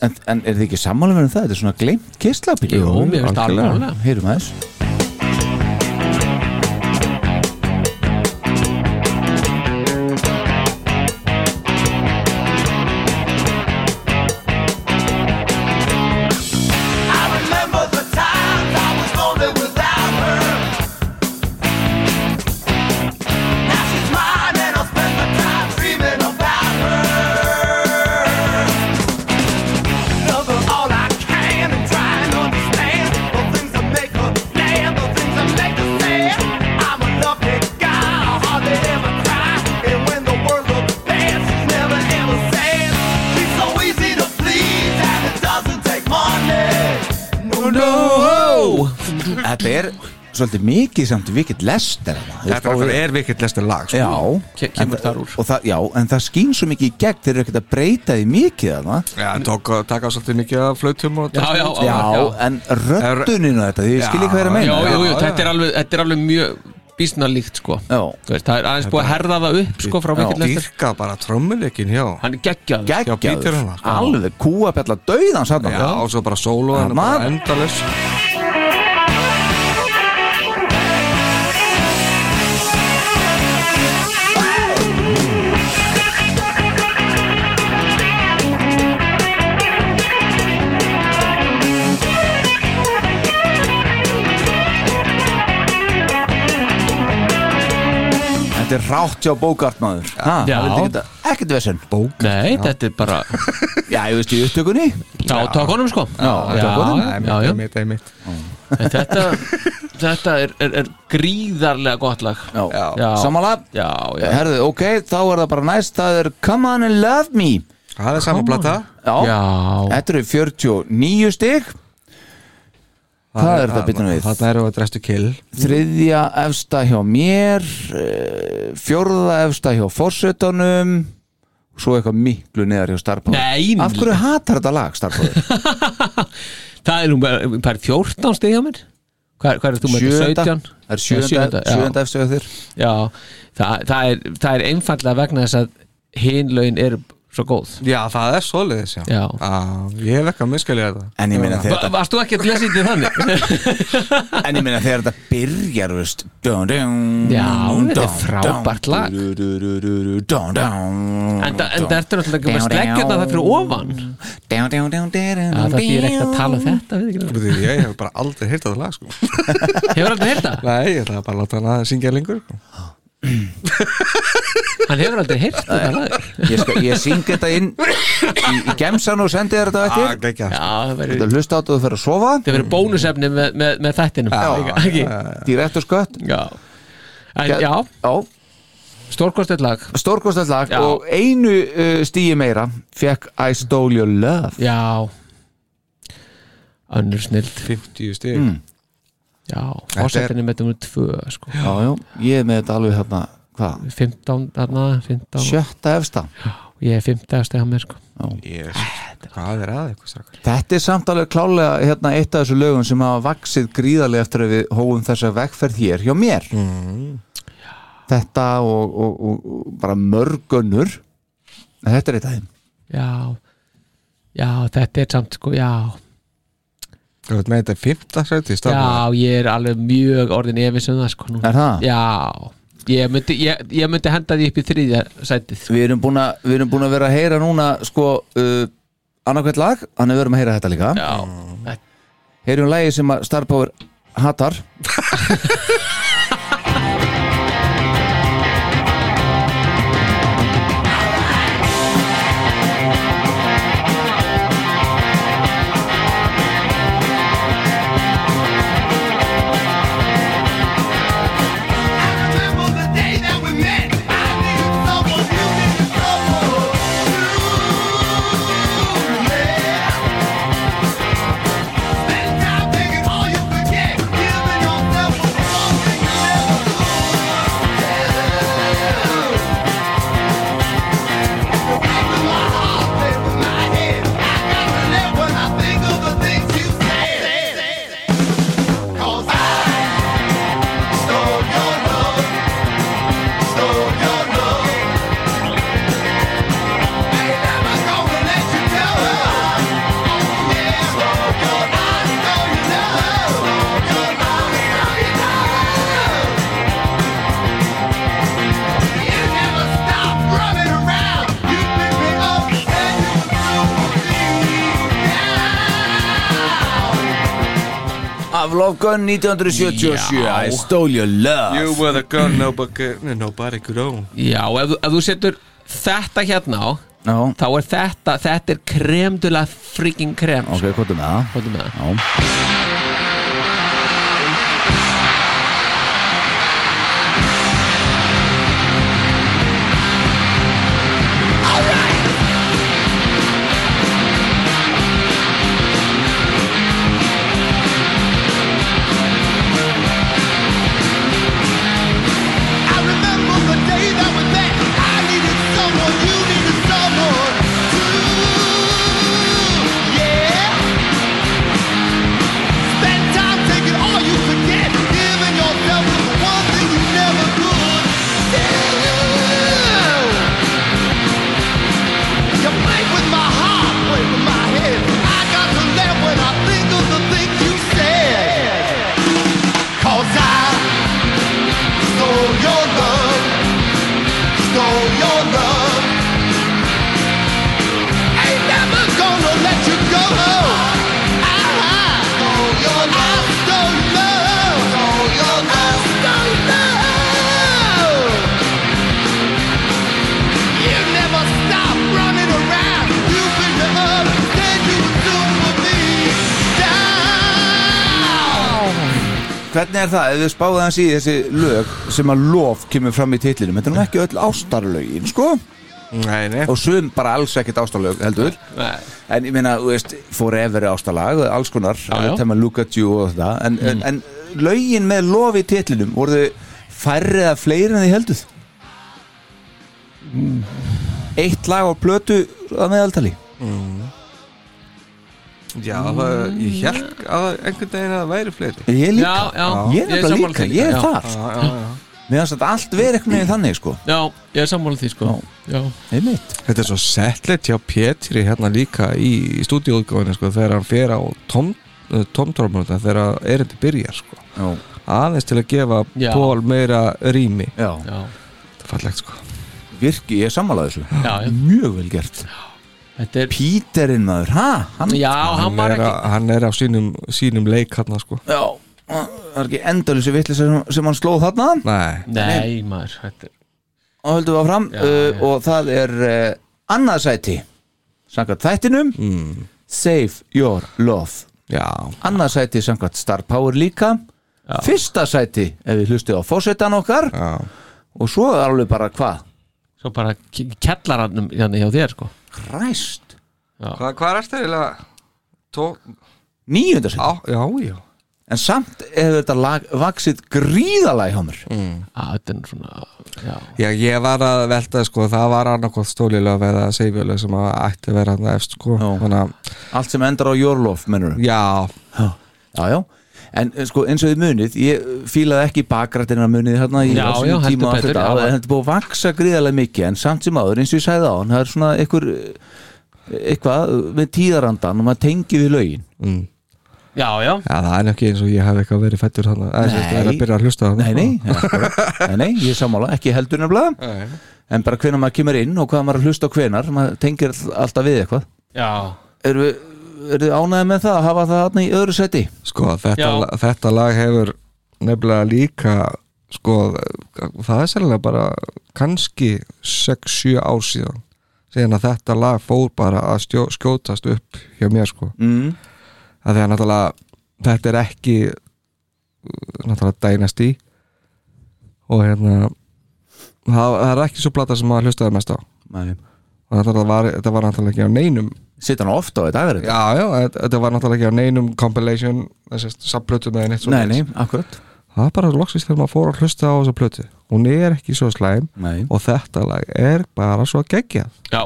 C: en, en er þið ekki sammála með um það? Þetta er svona gleymt kistlapíkja
D: Jú, mér finnst það alveg málið.
C: Heyrum aðeins
B: I remember the times I was lonely without her. Now she's mine and I spend my time dreaming about her. Love her all I can and try and understand the things that make her land, the things that make her sad. I'm a lovely guy, I hardly ever cry, and when the world looks bad, she's never ever sad. She's so easy to please and it doesn't take money.
C: Oh, Þetta er svolítið mikið samt vikið lestar hana. Þú veist,
E: Þetta
C: og-
E: er- er vikið lestur lag sko.
C: Já,
D: kemur
C: en-
D: þar úr.
C: og það, Já, en það skín svo mikið í gegn Þeir eru ekkert að breyta því mikið hana.
E: Já, tók, taka svolítið mikið af flautum og
D: já, já,
C: Já, en rödduninu þetta Ég skil ekki hvað er að
D: já,
C: meina
D: jú, jú, þetta er alveg, þetta er alveg mjög bísnarlíkt sko
C: Já.
D: Þú veist, það er aðeins búið að herða það upp sko frá
C: Já.
D: mikill lestur
E: Dýrka bara trommuleikin, já
D: hann er geggjað
E: Já, Peter
C: Geggjaður,
E: Hanna, sko.
C: alveg kúabella döiðan satna
E: Já, og svo bara solo
C: Já,
E: hann er bara
C: maður.
E: endalaus
C: Þetta er rátt hjá bókartmaður Ha,
D: Já.
C: vildi ekki þetta- Ekkert vesinn
D: nei, þetta er bara já,
C: Já, ég veist í upptökunni
D: tók honum sko já, já, já, já,
E: Einmitt, einmitt
D: En þetta þetta er, er, er gríðarlega gott lag
C: Já,
D: Já.
C: sammála
D: já, já,
C: Herðu, ok, þá er það bara næst Það er Come on and love me
E: Það er saman blata
C: Já,
D: já.
C: þetta eru 49 stig Hvað er þetta að byrja við?
E: Þetta eru að drestu kill
C: Þriðja efsta hjá mér eh, Fjórða efsta hjá Forsetunum Svo eitthvað miklu neðar hjá Starpower
D: Nei,
C: Af hverju hatar þetta lag Starpower?
D: það er nú bara, bara 14 stig hjá mér hvað, hvað er þú með þetta?
C: Sjöunda
D: 17?
C: Það er sjöunda,
D: Sjöunda, já.
C: sjöunda efsta hjá þér
D: Já, það, það, er, það er einfallega vegna þess að hinlaun eru svo góð
E: Já, það er svoleiðis, já
D: Já.
E: Ég hef ekki að miskilja þetta
C: En ég meina
D: Va-
C: þegar
D: Varst þú ekki að lesa þetta þannig?
C: þetta En ég meina þegar þetta byrjar veist, dun, dun,
D: Já,
C: dun,
D: þetta er
C: dun,
D: frábært
C: dun,
D: lag.
C: du, du, du, du, du, dun, dun,
D: En það
C: dun,
D: ertu náttúrulega ekki með sleggjuna það fyrir ofan Já,
C: dun, dun, dun, dun,
D: það er ekki að tala um þetta við ekki.
E: Því Ég hef bara aldrei heyrt þetta lag, sko
D: Hefur aldrei heyrt það?
E: Nei, ég ætlaði bara að láta hann að syngja lengur sko.
D: Hann hefur aldrei heyrt þetta lag
C: Ég, skal, ég syng þetta inn í, í gemsan og sendi þér þetta á
E: Ah,
C: eftir
E: geggjað,
D: Já,
E: sko.
D: það
C: Þetta
D: verður
C: er hlusta átt og þú fer að sofa
D: Það verður bónusefni með, með, með þættinum líka, ekki?
C: Direkt og skött
D: Já En já, stórkostið lag
C: Stórkostað lag
D: Já.
C: og einu uh, stíi meira Fekk I stole your love
D: Já Önnur snild
E: 50 stig
C: Mm.
D: Já, fórsetinni með þetta um tvö sko.
C: Já, já, ég er með þetta alveg hérna Hvað?
D: 15, þarna 15
C: Sjötta efsta
D: og ég er 15 steg á mér sko.
E: Hvað er að eitthvað, strakkar?
C: Þetta er samt alveg klálega hérna, eitt af þessu lögum sem hafa vaksið gríðarlega eftir að við hófum þessa vegferð hér hjá mér Mm. Þetta og, og, og, og bara mörgunnur Þetta er eitt af þeim
D: Já Já, þetta er samt sko, já
E: Þú veit með þetta er 15 sæti í stafnum
D: Já, ég er alveg mjög orðin efins um það sko nú.
C: Er það?
D: Já, ég myndi, ég, ég myndi henda því upp í þriðja sætið sko.
C: Við erum búin að, við erum búin að vera að heyra núna sko uh, annarkvæmt lag Þannig við erum að heyra þetta líka
D: Já,
C: Mm. Heyrum lagi sem að Star Power hatar
B: Remember the day that we met? I needed someone, you needed someone to let. Spend time thinking all you could get, giving yourself a moment.
C: Of Love Gun 1977 I stole your love
E: You were the gun nobody, could- nobody could own
D: Já, og ef, þú- ef þú setur þetta hérna á
C: Já,
D: þá er þetta, þetta er kremdula freaking krem
C: ok, hvað er með það?
D: Hvað er með það?
C: Já
B: I remember the day that was that I needed someone, you needed someone too. Yeah. Spend time taking all you could get, giving yourself to the one thing you never could. do. You play with my heart, play with my head. I got to laugh when I think of the things you said. 'Cause I stole your love, stole your love. Ain't never gonna let you go. I stole your love, I stole love, stole your love, stole love. You never stop running around. You've been the up, said you would do for me. Down.
C: Hvernig er það, ef þið spáðu hans í þessi lög sem að lof kemur fram í titlinum Þetta er nú ekki öll ástarlögin, sko
E: Nei, nei
C: Og sum bara alls ekkert ástarlög, heldur
D: Nei.
C: En ég meina, þú veist, forever er ástarlag Alls konar,
D: já.
C: tema look at you og það En, en, en lögin með lof í titlinum voru þau færri eða fleiri en þið heldur Mm. Eitt lag á plötu að meðaltali
E: Já, það, ég held að einhvern daginn að það væri fleiri
C: Ég líka,
D: Já,
C: ég er
D: já. Ég er
C: nefnilega
D: sammála
C: líka,
D: því. sko,
C: ég er
D: Já.
C: þar
E: Já, já, já
C: Mér finnst þetta allt verið eitthvað neginn þannig sko
D: Já, ég er sammála því sko Já,
C: Einmitt
E: Þetta er svo settlegt hjá Pétri hérna líka í, í stúdíóðgóðinu sko, þegar hann fer á tom, tomtormönda þegar erindi byrjar sko.
C: Já,
E: aðeins til að gefa
D: Já.
E: Pól meira rými
C: já.
D: já,
E: Þetta er fallegt sko
C: virki, ég er sammálaðið þessu
D: já, já.
C: Mjög vel gert
D: Þetta er
C: Píterinn maður, ha? Hann,
D: Já, hann var
E: er,
D: ekki
E: á- hann er á sínum, sínum leik hérna sko
C: já Það er ekki endalísu vitlis sem, sem hann slóð þarna
E: Nei,
D: Nei, maður, þetta er
C: Og höldum við áfram
D: Já,
C: uh,
D: já.
C: Og það er uh, annað sæti Sankvæmt þættinum
E: mm,
C: Save your love
E: já
C: Annað sæti sankvæmt Star Power líka Fyrsta sæti ef við hlustið á fósettan okkar
E: Já,
C: Og svo er alveg bara hvað?
D: svo bara kellarannum hérna hjá þér sko
C: Christ
E: hvað, hvað er þetta eiginlega? Tó,
C: Níunda sæti
E: á, já, já
C: En samt hefur þetta lag vaksið gríðalega hjá mér
D: Mm. að þetta er svona, já,
E: Já, ég var að velta sko, það var annarkoð stólilega eða seifjölu sem að ætti að vera hann efst sko,
C: Já.
E: þannig að
C: Allt sem endar á your love, mennur
E: Já,
C: Já, já, já En eh, sko eins og þið munið, ég eh, fílaði ekki bakrættina munið hérna í
D: Já,
C: á sínum
D: já, heldur
C: tíma og allt
D: betur,
C: þetta,
D: já.
C: En þetta er búið að vaksa gríðalega mikið En samt sem áður, eins og ég sæði á hann Það er svona einhver, eh, eitthvað með tíðarandan Og maður tengið við lögin
E: mm.
D: já, já
E: Já, það er ekki eins og ég hef eitthvað verið fættur hann að
C: Nei.
E: er að byrja að hlusta hann
C: Nei, nei, nei, nei, ég er sammála, ekki heldur nefnilega En bara hvenær maður kemur inn og hvað maður er að hlusta á hvenar Maður tengir all- alltaf við eitthvað
D: Já,
C: Eru er þið ánægði með það að hafa það þarna í öðru seti?
E: Sko, þetta,
D: Já.
E: la- þetta lag hefur nefnilega líka sko, það er sérlega bara kannski 6-7 ár síðan síðan að þetta lag fór bara að stjó, skjótast upp hjá mér sko
C: Mm.
E: að því að náttúrulega þetta er ekki uh, náttúrulega dænast í og hérna það, það er ekki svo plata sem maður hlustaði mest á og náttúrulega var, þetta var náttúrulega ekki á neinum
C: Sitt hann ofta á þetta aðverð
E: já, já, þetta- þetta var náttúrulega ekki á neinum compilation, þessi subplötu með neitt svo
C: Nei, nei, akkurat
E: það er bara loksins þegar maður fór að hlusta á þessa plötu hún er ekki svo slæm
C: Nei.
E: og þetta lag er bara svo geggjað
D: já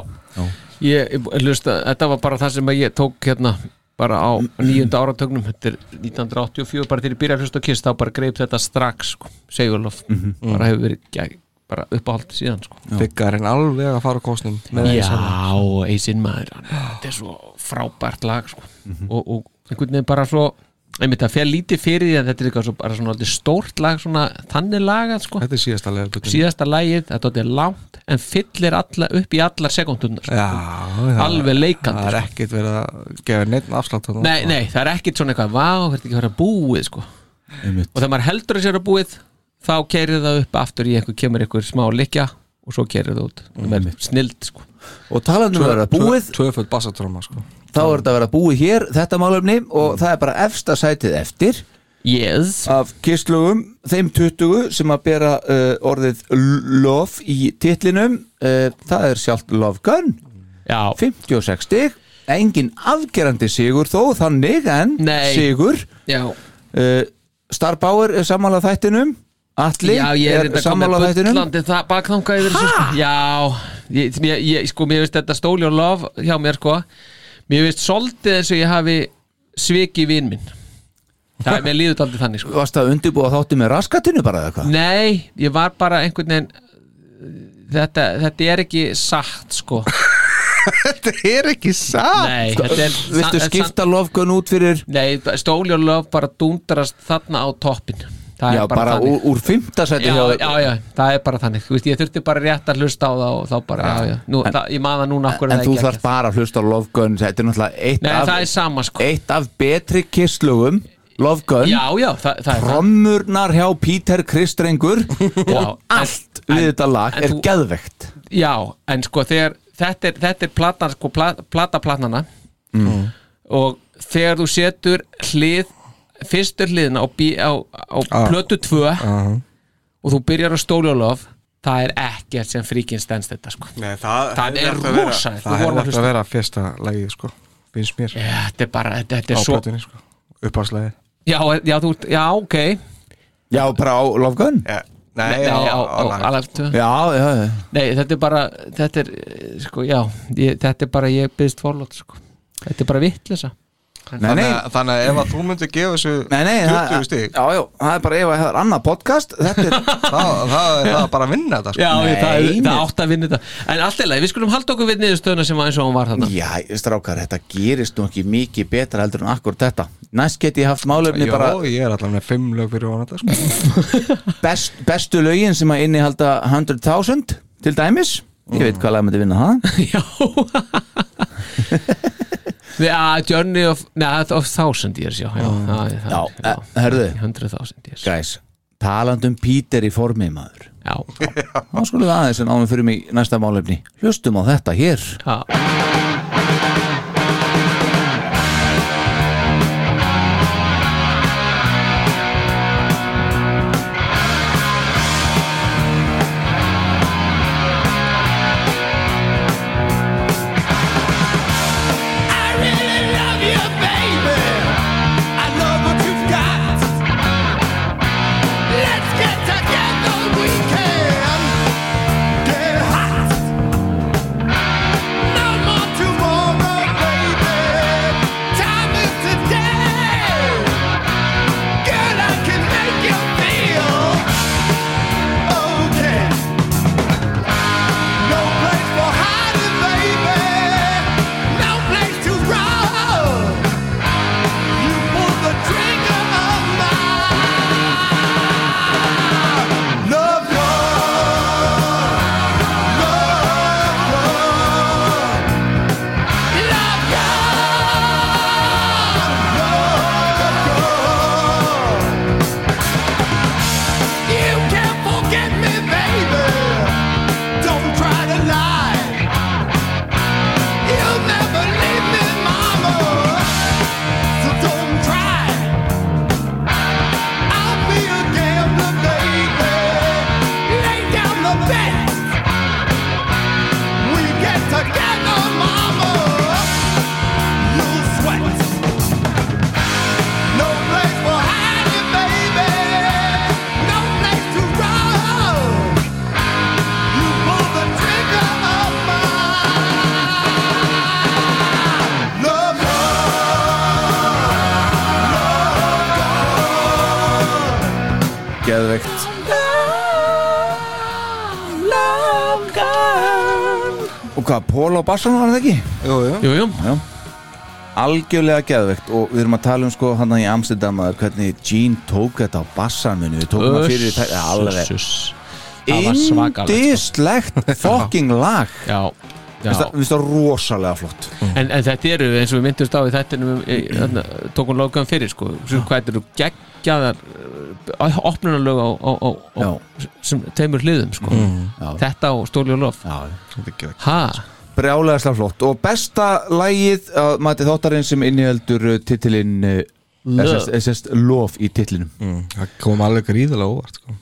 D: Ég, ég hlusta, þetta var bara það sem að ég tók hérna bara á nýjunda áratögnum þetta er 1984, bara til ég byrja að hlusta á kist þá bara greip þetta strax sko, segjulof, bara hefur verið ja, bara uppáhald síðan sko
E: byggarinn alveg að fara á kostnum með
D: Já,
E: Ace Hardware.
D: Eisin maður hann- þetta er svo frábært lag sko. og, og einhvern veginn bara svo einmitt það fer lítið fyrir því að þetta er eitthvað svo, bara svona aldrei stórt lag svona, þannig lagað sko
E: Þetta er síðasta lega
D: síðasta lagið, þetta er langt en fyllir alla, upp í allar sekundunar
E: Já, já
D: alveg leikandi
E: Það er
D: sko.
E: ekkert verið að gefa neitt afslátt þarna. sko.
D: nei, nei, það er ekkit svona eitthvað, vá, þetta ekki að vera búið sko.
C: Einmitt.
D: og þegar maður heldur að sér að búið þá keirir það upp aftur í eitthvað kemur eitthvað smá likja og svo keirir það út það er snild sko.
C: Og talandum að vera búið,
E: Tvö- Tvöföld bassatróma sko
C: þá er þetta að vera búið hér, þetta málefni og það er bara efsta sætið eftir
D: yes,
C: af kistlugum, þeim 20 sem að bera uh, orðið l- love í titlinum uh, það er sjálft Love Gun
D: já
C: 56 stig, engin afgerandi sigur þó þannig en
D: Nei.
C: sigur
D: já,
C: uh, Starbauer er sammála þættinum Atli
D: já ég er
C: er,
D: þetta
C: sammála
D: komið
C: þættinum
D: bullandi það bakþanga yfir þessu sko. já, ég, ég, ég, sko mér veist þetta stóli og lof hjá mér sko mér veist soldið eins og ég hafi sviki vinn minn það er mér líður aldrei þannig sko
C: Varst það undirbúa þátti með raskatinu bara eða hvað?
D: Nei, ég var bara einhvern veginn Þetta, þetta er ekki satt sko
E: Þetta er ekki satt
D: Nei, þetta er
C: Sko, Viltu
D: sa-
C: skipta Love Gun út fyrir
D: Nei, stóli og löf bara dúndrast þarna á toppin Það
C: já,
D: er bara,
C: bara
D: þannig
C: úr, úr fimmta sæti
D: já,
C: hjá þér?
D: já, já, það er bara þannig Þú veist, Ég þurfti bara rétt að hlusta á það og þá bara, já, já Nú, það, Ég maða núna akkur
C: En þú þarf bara að hlusta á Love Gun Þetta er náttúrulega eitt,
D: Nei,
C: af,
D: það er sama sko
C: eitt af betri kistlugum Love Gun
D: Já, já, það, það er það
C: Rommurnar hjá Píter Kristrengur
D: Já,
C: og allt
D: en-
C: við þetta lag
D: en
C: er
D: þú-
C: geðvegt
D: Já, en sko þegar Þetta er, þetta er platan, sko, plat, plata platnana Og þegar þú setur hlið Fyrstu hliðina á, bí- á, á plötu 2 Og þú byrjar á stóli og lof Það er ekkert sem fríkinn stendst þetta sko
E: Nei, það,
D: Það
E: hefði
D: er
E: átt að vera-
D: rosalegt. Við
E: Það
D: vorum að
E: hefði hægt að
D: hlusta.
E: vera fyrsta lagið sko finnst mér
D: Já, Þetta er bara, þetta, þetta
E: á
D: er svo
E: plötunni sko uppáðslagið
D: já, já, þú, ert- já, ok
C: Já, bara á Love Gun
E: Nei,
D: Nei, já, á, á, á,
E: lagið.
D: á,
C: Já, já, já
D: Nei, þetta er bara Þetta er, eh, sko, já ég, Þetta er bara, ég byggðist forlótt, sko Þetta er bara vittlisa
C: Nei, nei,
E: Þannig að- þannig að ef að þú myndir gefa þessu
C: nei, nei það-
E: 20 stík
C: Já, já, það er bara ef að það er annað podcast Þetta er
E: það er það bara að vinna þetta sko.
D: ég, það,
C: Nei,
D: það átt að vinna þetta En allt í lagi, við skulum halda okkur við niðurstöðuna sem var eins og hún var þarna
C: Já, strákar, þetta gerist nú ekki mikið betra heldur en akkur þetta Næst get ég haft málefni
E: Jó,
C: bara
E: ég er allavega með fimm lög fyrir ofan þetta sko.
C: best, bestu lögin sem að innihalda 100.000 til dæmis Ég veit hvað lag myndi vinna það
D: Já Já, Journey of, neða, of Thousand Years, já Já, já,
C: Já,
D: það-
C: eh, herðu.
D: 100.000 Years
C: Gæs, talandum Píter í formi maður
D: Já,
C: Þá skulum við aðeins en ámið fyrir mig næsta málefni Hlustum á þetta hér
D: já
B: I really love you, baby. I love what you've got. Let's get together, we can get hot. No more tomorrow, baby. Time is today. Girl, I can make you feel okay. No place for hiding, baby. No place to run. You pull the trigger of my love gun. Love gun. Love gun. Love gun. You can't forget me, baby. Don't try to lie. You'll never leave me, mama. So don't try. I'll be a gambler, baby. Lay down the bet. We get together, mama. You'll sweat. No place for hiding, baby. No place to run. You pull the trigger of my love
C: Geðvegt Og hvað, Pól og Bassan var það ekki?
E: jú, jú.
D: Jú, jú,
C: Já. algjörlega geðveikt og við erum að tala um sko hann í Amsterdam að hvernig Gene tók þetta á bassanminu við tókum það fyrir þetta alveg
F: Það var svakalegt sko.
C: indislegt fucking lag
F: Já, já.
C: Mér finnst það rosalega flott
F: En, en þetta eru eins og við myndumst á í þetta tók hún logan fyrir sko Svo hvað þetta eru geggjaðar eh, opnunarlög á, á, á, á sem teimur hliðum sko
C: Mm. Já.
F: Þetta og Stóli og Lof
C: Já.
F: Ha,
C: brjálæðislega flott og besta lægið að mati þáttarinn sem innihöldur titilinn uh, SSS Lof í titlinum
E: Mm, það kom alveg gríðalega óvart sko.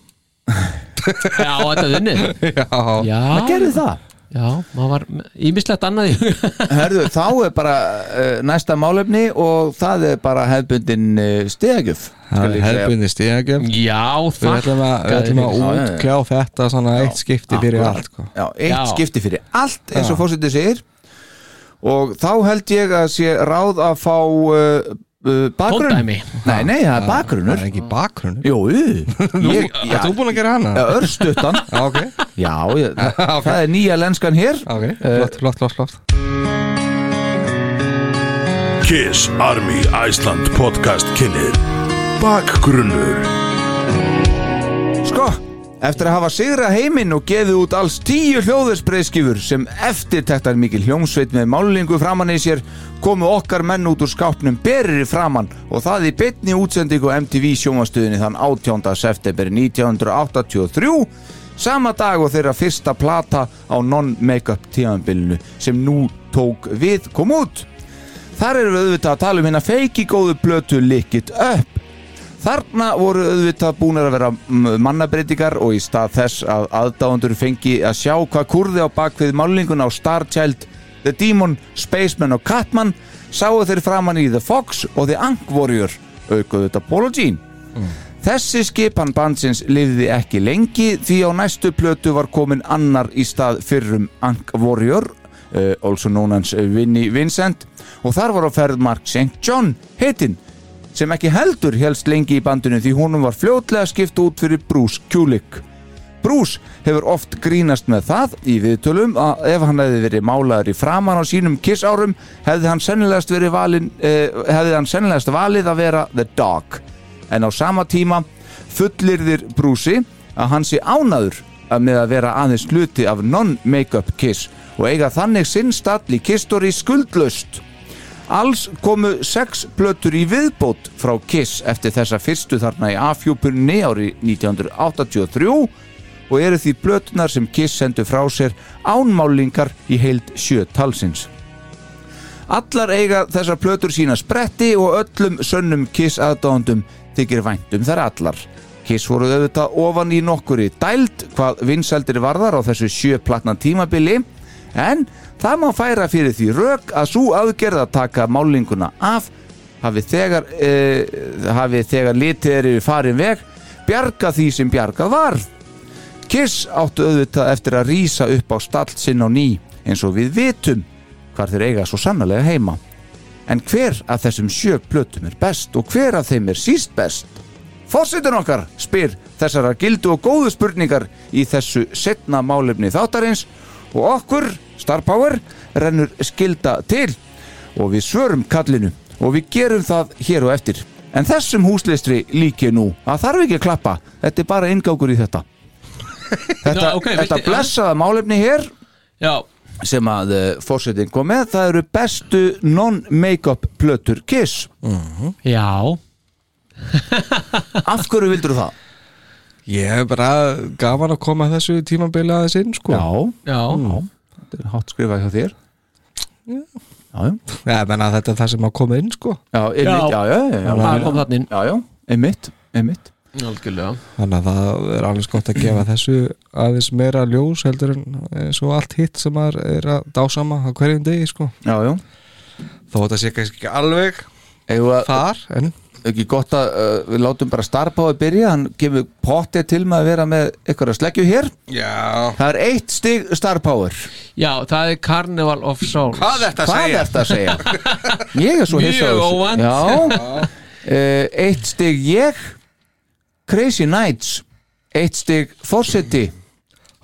F: já þetta er unnið
E: já,
F: Já,
C: Það gerði það
F: já, maður var ímislegt annað í huga
C: Herðu, þá er bara uh, næsta málefni og það er bara hefbundin uh, stegjöf
E: það er hefðbundið stíðagjöf
F: Já,
E: við ætlum að, við ætlum að
C: Já, já, já.
E: útkljá þetta svona eitt skipti fyrir allt sko.
C: Já, eitt
F: Já.
C: skipti fyrir allt eins og
E: Já.
C: fórsetið segir og þá held ég að sé ráð að fá uh, uh, bakgrunn
F: Fóndæmi.
C: Nei, nei, það er
E: það
C: bakgrunnur
E: er ekki bakgrunni
C: Jú, ég, já,
E: Þú búin að gera hana?
C: já, örstuttan
E: Já, ok,
C: Já, ég, það, það er nýja lenskan hér Eh,
E: ok, flott, flott, flott, flott.
A: Kiss Army Iceland podcast kynir Bakgrunnur
C: Sko, eftir að hafa sigra heiminn og gefið út alls tíu hljóðursbreyðskifur sem eftirtektar mikil hljómsveit með málingu framann í sér komu okkar menn út úr skápnum berri framann og það í bytni útsendingu á MTV sjómastuðinni þann 18. september 1983 sama dag og þeirra fyrsta plata á non-make-up tíðanbylnu sem nú tók við kom út. Þar erum við auðvitað að tala um hérna feiki góðu blötu Lick It Up Þarna voru auðvitað búnar að vera mm, mannabreitingar og í stað þess að aðdáðundur fengi að sjá hvað kurði á bakvið málingun á Star Child, The Demon, Spaceman og Catman sáu þeir framann í The Fox og The Ankh Warrior aukuðu þetta Polo Jean. Þessi skipan bandsins lifði ekki lengi því á næstu plötu var komin annar í stað fyrrum Ankh Warrior, uh, also known as Vinnie Vincent og þar var á ferð Mark St. John heitinn sem ekki heldur helst lengi í bandinu því honum var fljótlega skipt út fyrir Bruce Kulick. Bruce hefur oft grínast með það í viðtölum að ef hann hefði verið málaður í framann á sínum kiss árum hefði hann sennilegast verið valin eh, hefði hann sennilegast valið að vera The Dog en á sama tíma fullirðir Brucey að hann sé ánaður að með að vera aðeins hluti af non-make-up kiss og eiga þannig sinn stall í kistori skuldlaust Alls komu sex plötur í viðbót frá Kiss eftir þessa fyrstu þarna í A-fjúpunni ári 1983 og eru því plötunar sem Kiss sendu frá sér ánmálingar í heild sjö talsins. Allar eiga þessar plötur sína spretti og öllum sönnum Kiss aðdáðandum þykir vænt um þær allar. Kiss voru auðvitað ofan í nokkuri dælt hvað vinsældir varðar á þessu sjö platna tímabili en það má færa fyrir því rök að svo aðgerð að taka málinguna af hafi þegar, eh, hafi þegar litið er yfir farin veg bjarga því sem bjargað varð. Kiss áttu auðvitað eftir að rýsa upp á stall sinn á ný eins og við vitum hvar þeir eiga svo sannlega heima. En hver af þessum sjö plötum er best og hver af þeim er síst best? Fórsitun okkar spyr þessara gildu og góðu spurningar í þessu setna málefni þáttarins og okkur, Star Power, rennur skilda til og við svörum kallinu og við gerum það hér og eftir. En þessum húslistri líki nú að þarf ekki að klappa, þetta er bara ingákur í þetta.
F: Ná,
C: Þetta,
F: ok,
C: þetta
F: viltu-
C: blessaða málefni hér
F: Já,
C: sem að fórsetin kom með það eru bestu non-make-up plötur Kiss
F: já
C: af hverju vildur það?
E: Ég hef bara gaman að koma þessu tímabili aðeins inn sko
F: Já,
C: Mm. þetta er hátt skrifað hjá þér já, já,
E: Ég menna að þetta er það sem að koma inn sko
C: já, einmitt, já, já, já, já,
F: það kom þannig
C: já, já, einmitt, einmitt
F: inn Algjörlega
E: Þannig að það er alveg gott að gefa þessu aðeins meira ljós heldur en eins og allt hitt sem maður er að dásama á hverjum degi sko
C: já, já,
E: Þó þetta sé kannski ekki alveg
C: Eigum við að-
E: þar en
C: ekki gott að uh, við látum bara starfbáði byrja, hann gefur pottið til með að vera með ykkur að sleggju hér
E: Já
C: það er eitt stig starfbáður
F: Já, það er Carnival of Souls
E: Hvað er þetta að
C: hvað
E: segja?
C: er þetta að segja? ég er svo
F: Mjög
C: hissa á þessu.
F: óvænt.
C: já, uh, eitt stig ég Crazy Nights eitt stig Fawcetti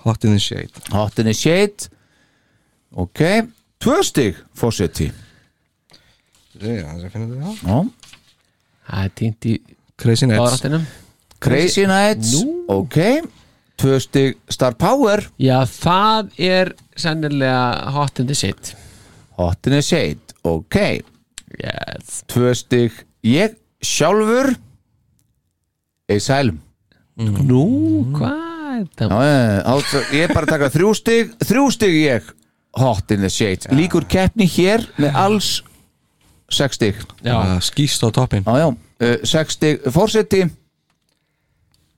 E: Hot in the shade
C: Hot in the Shade ok, tvö stig Fawcetti
E: Ég er aðeins að finna þetta, já.
C: Já.
D: Það er týnt í
E: Crazy Nights
D: báðráttinum
C: Crazy Nights Ok Tvö stig Star Power
D: Já, það er sennilega hot in the shit
C: Hotin is eight Ok
D: Yes
C: Tvö stig Ég sjálfur Asylum
D: Nú, hvað er það?
C: Já, já, já, Ég er bara að taka þrjú stig Þrjú stig ég Hot in the shades Líkur keppni hér með alls Sex stig
D: Já,
E: Það uh, Skýst á toppin
C: Já, já uh, Sex stig Forseti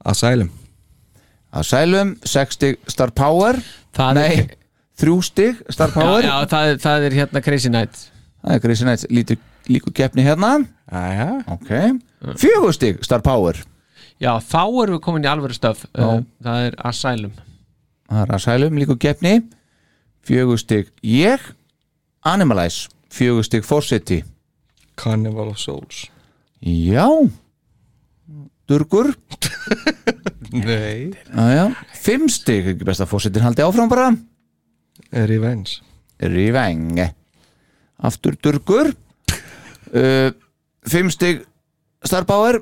E: Asylum
C: Asylum Sex stig Star Power
D: það
C: Nei
D: er
C: Þrjú stig Star
D: Já,
C: Power
D: já það, er, það er hérna Crazy Night
C: Það er Crazy Nights lítur, Líkur keppni hérna
E: Jæja
C: Ok Fjögur stig Star Power
D: Já, þá erum við komin í alvöru stöf Eh, Það er Asylum
C: Það er Asylum líkur keppni Fjögur stig ég Animalize Fjögur stig Forseti
E: Carnival of Souls
C: Já Durgur
E: Nei
C: Aja, fimm stig, ekki best að fórsetin haldi áfram bara
E: Eh, Revenge
C: Riveng Aftur durgur uh, Fimm stig Starbauer,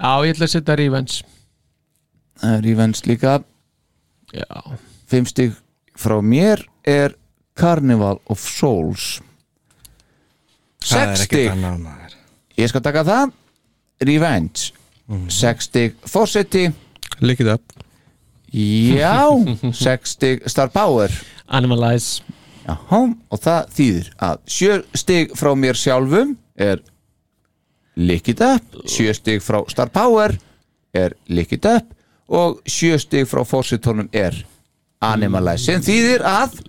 D: Já, ég ætla að setja Revenge
C: Rivens líka
D: Já,
C: Fimm stig frá mér er Carnival of Souls
E: Það er
C: Sex
E: ekkert
C: stig,
E: annað maður
C: ég skal taka það Revenge
E: Mhm.
C: Sex stig fórseti
E: Lick it up
C: Já, sex stig Starbauer
D: Animalize
C: Jaha, og það þýðir að sjö stig frá mér sjálfum er Lick it up sjö stig frá Star Power er Lick it up og sjö stig frá fórsitónum er Animalize, sem þýðir að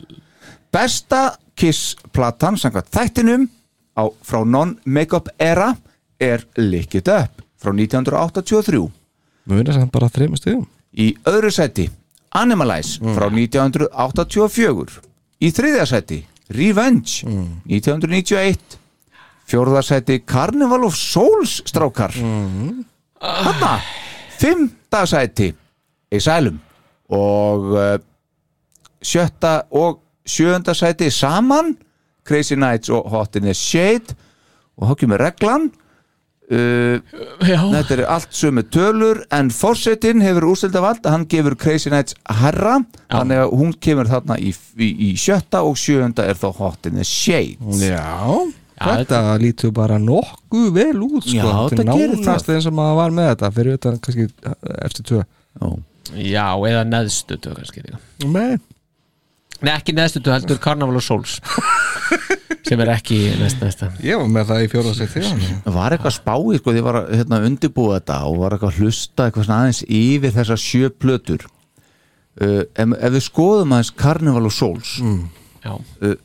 C: besta Kiss platan samkvæmt þættinum á, frá non-makeup era er Lick it up frá 1983
E: Muna samt bara þrejum stigum
C: í öðru sæti Animalize frá 1984 í þriðja sæti Revenge 1991 fjórða sæti Carnival of Souls strákar mm. þarna fimmta sæti Asylum og uh, sjötta og sjöunda sæti saman Crazy Nights og Hot in the Shade og þá kemur reglan uh,
D: Já,
C: Þetta eru allt sömu tölur en forsetin hefur úrstildavald hann gefur Crazy Nights herra þannig að hún kemur þarna í, í, í sjötta og sjöunda er þá hot in the shade
E: Já Þetta lítur bara nokkuð vel út sko.
C: Já,
E: þetta
C: þetta gerir
E: Nánast eins og maður var með þetta fyrir þetta kannski eh, eftir tvö
D: já eða neðstu töf kannski líka
E: Nei
D: Nei, ekki neðstu töf, heldur Carnival of Souls sem er ekki næst næsta
E: Ég var með það í fjóra sér þegar
C: Var eitthvað spáið sko því ég var að hérna, undirbúa þetta og var eitthvað að hlusta eitthvað svona aðeins yfir þessar sjö plötur uh, ef, ef við skoðum aðeins Carnival of Souls
D: Já,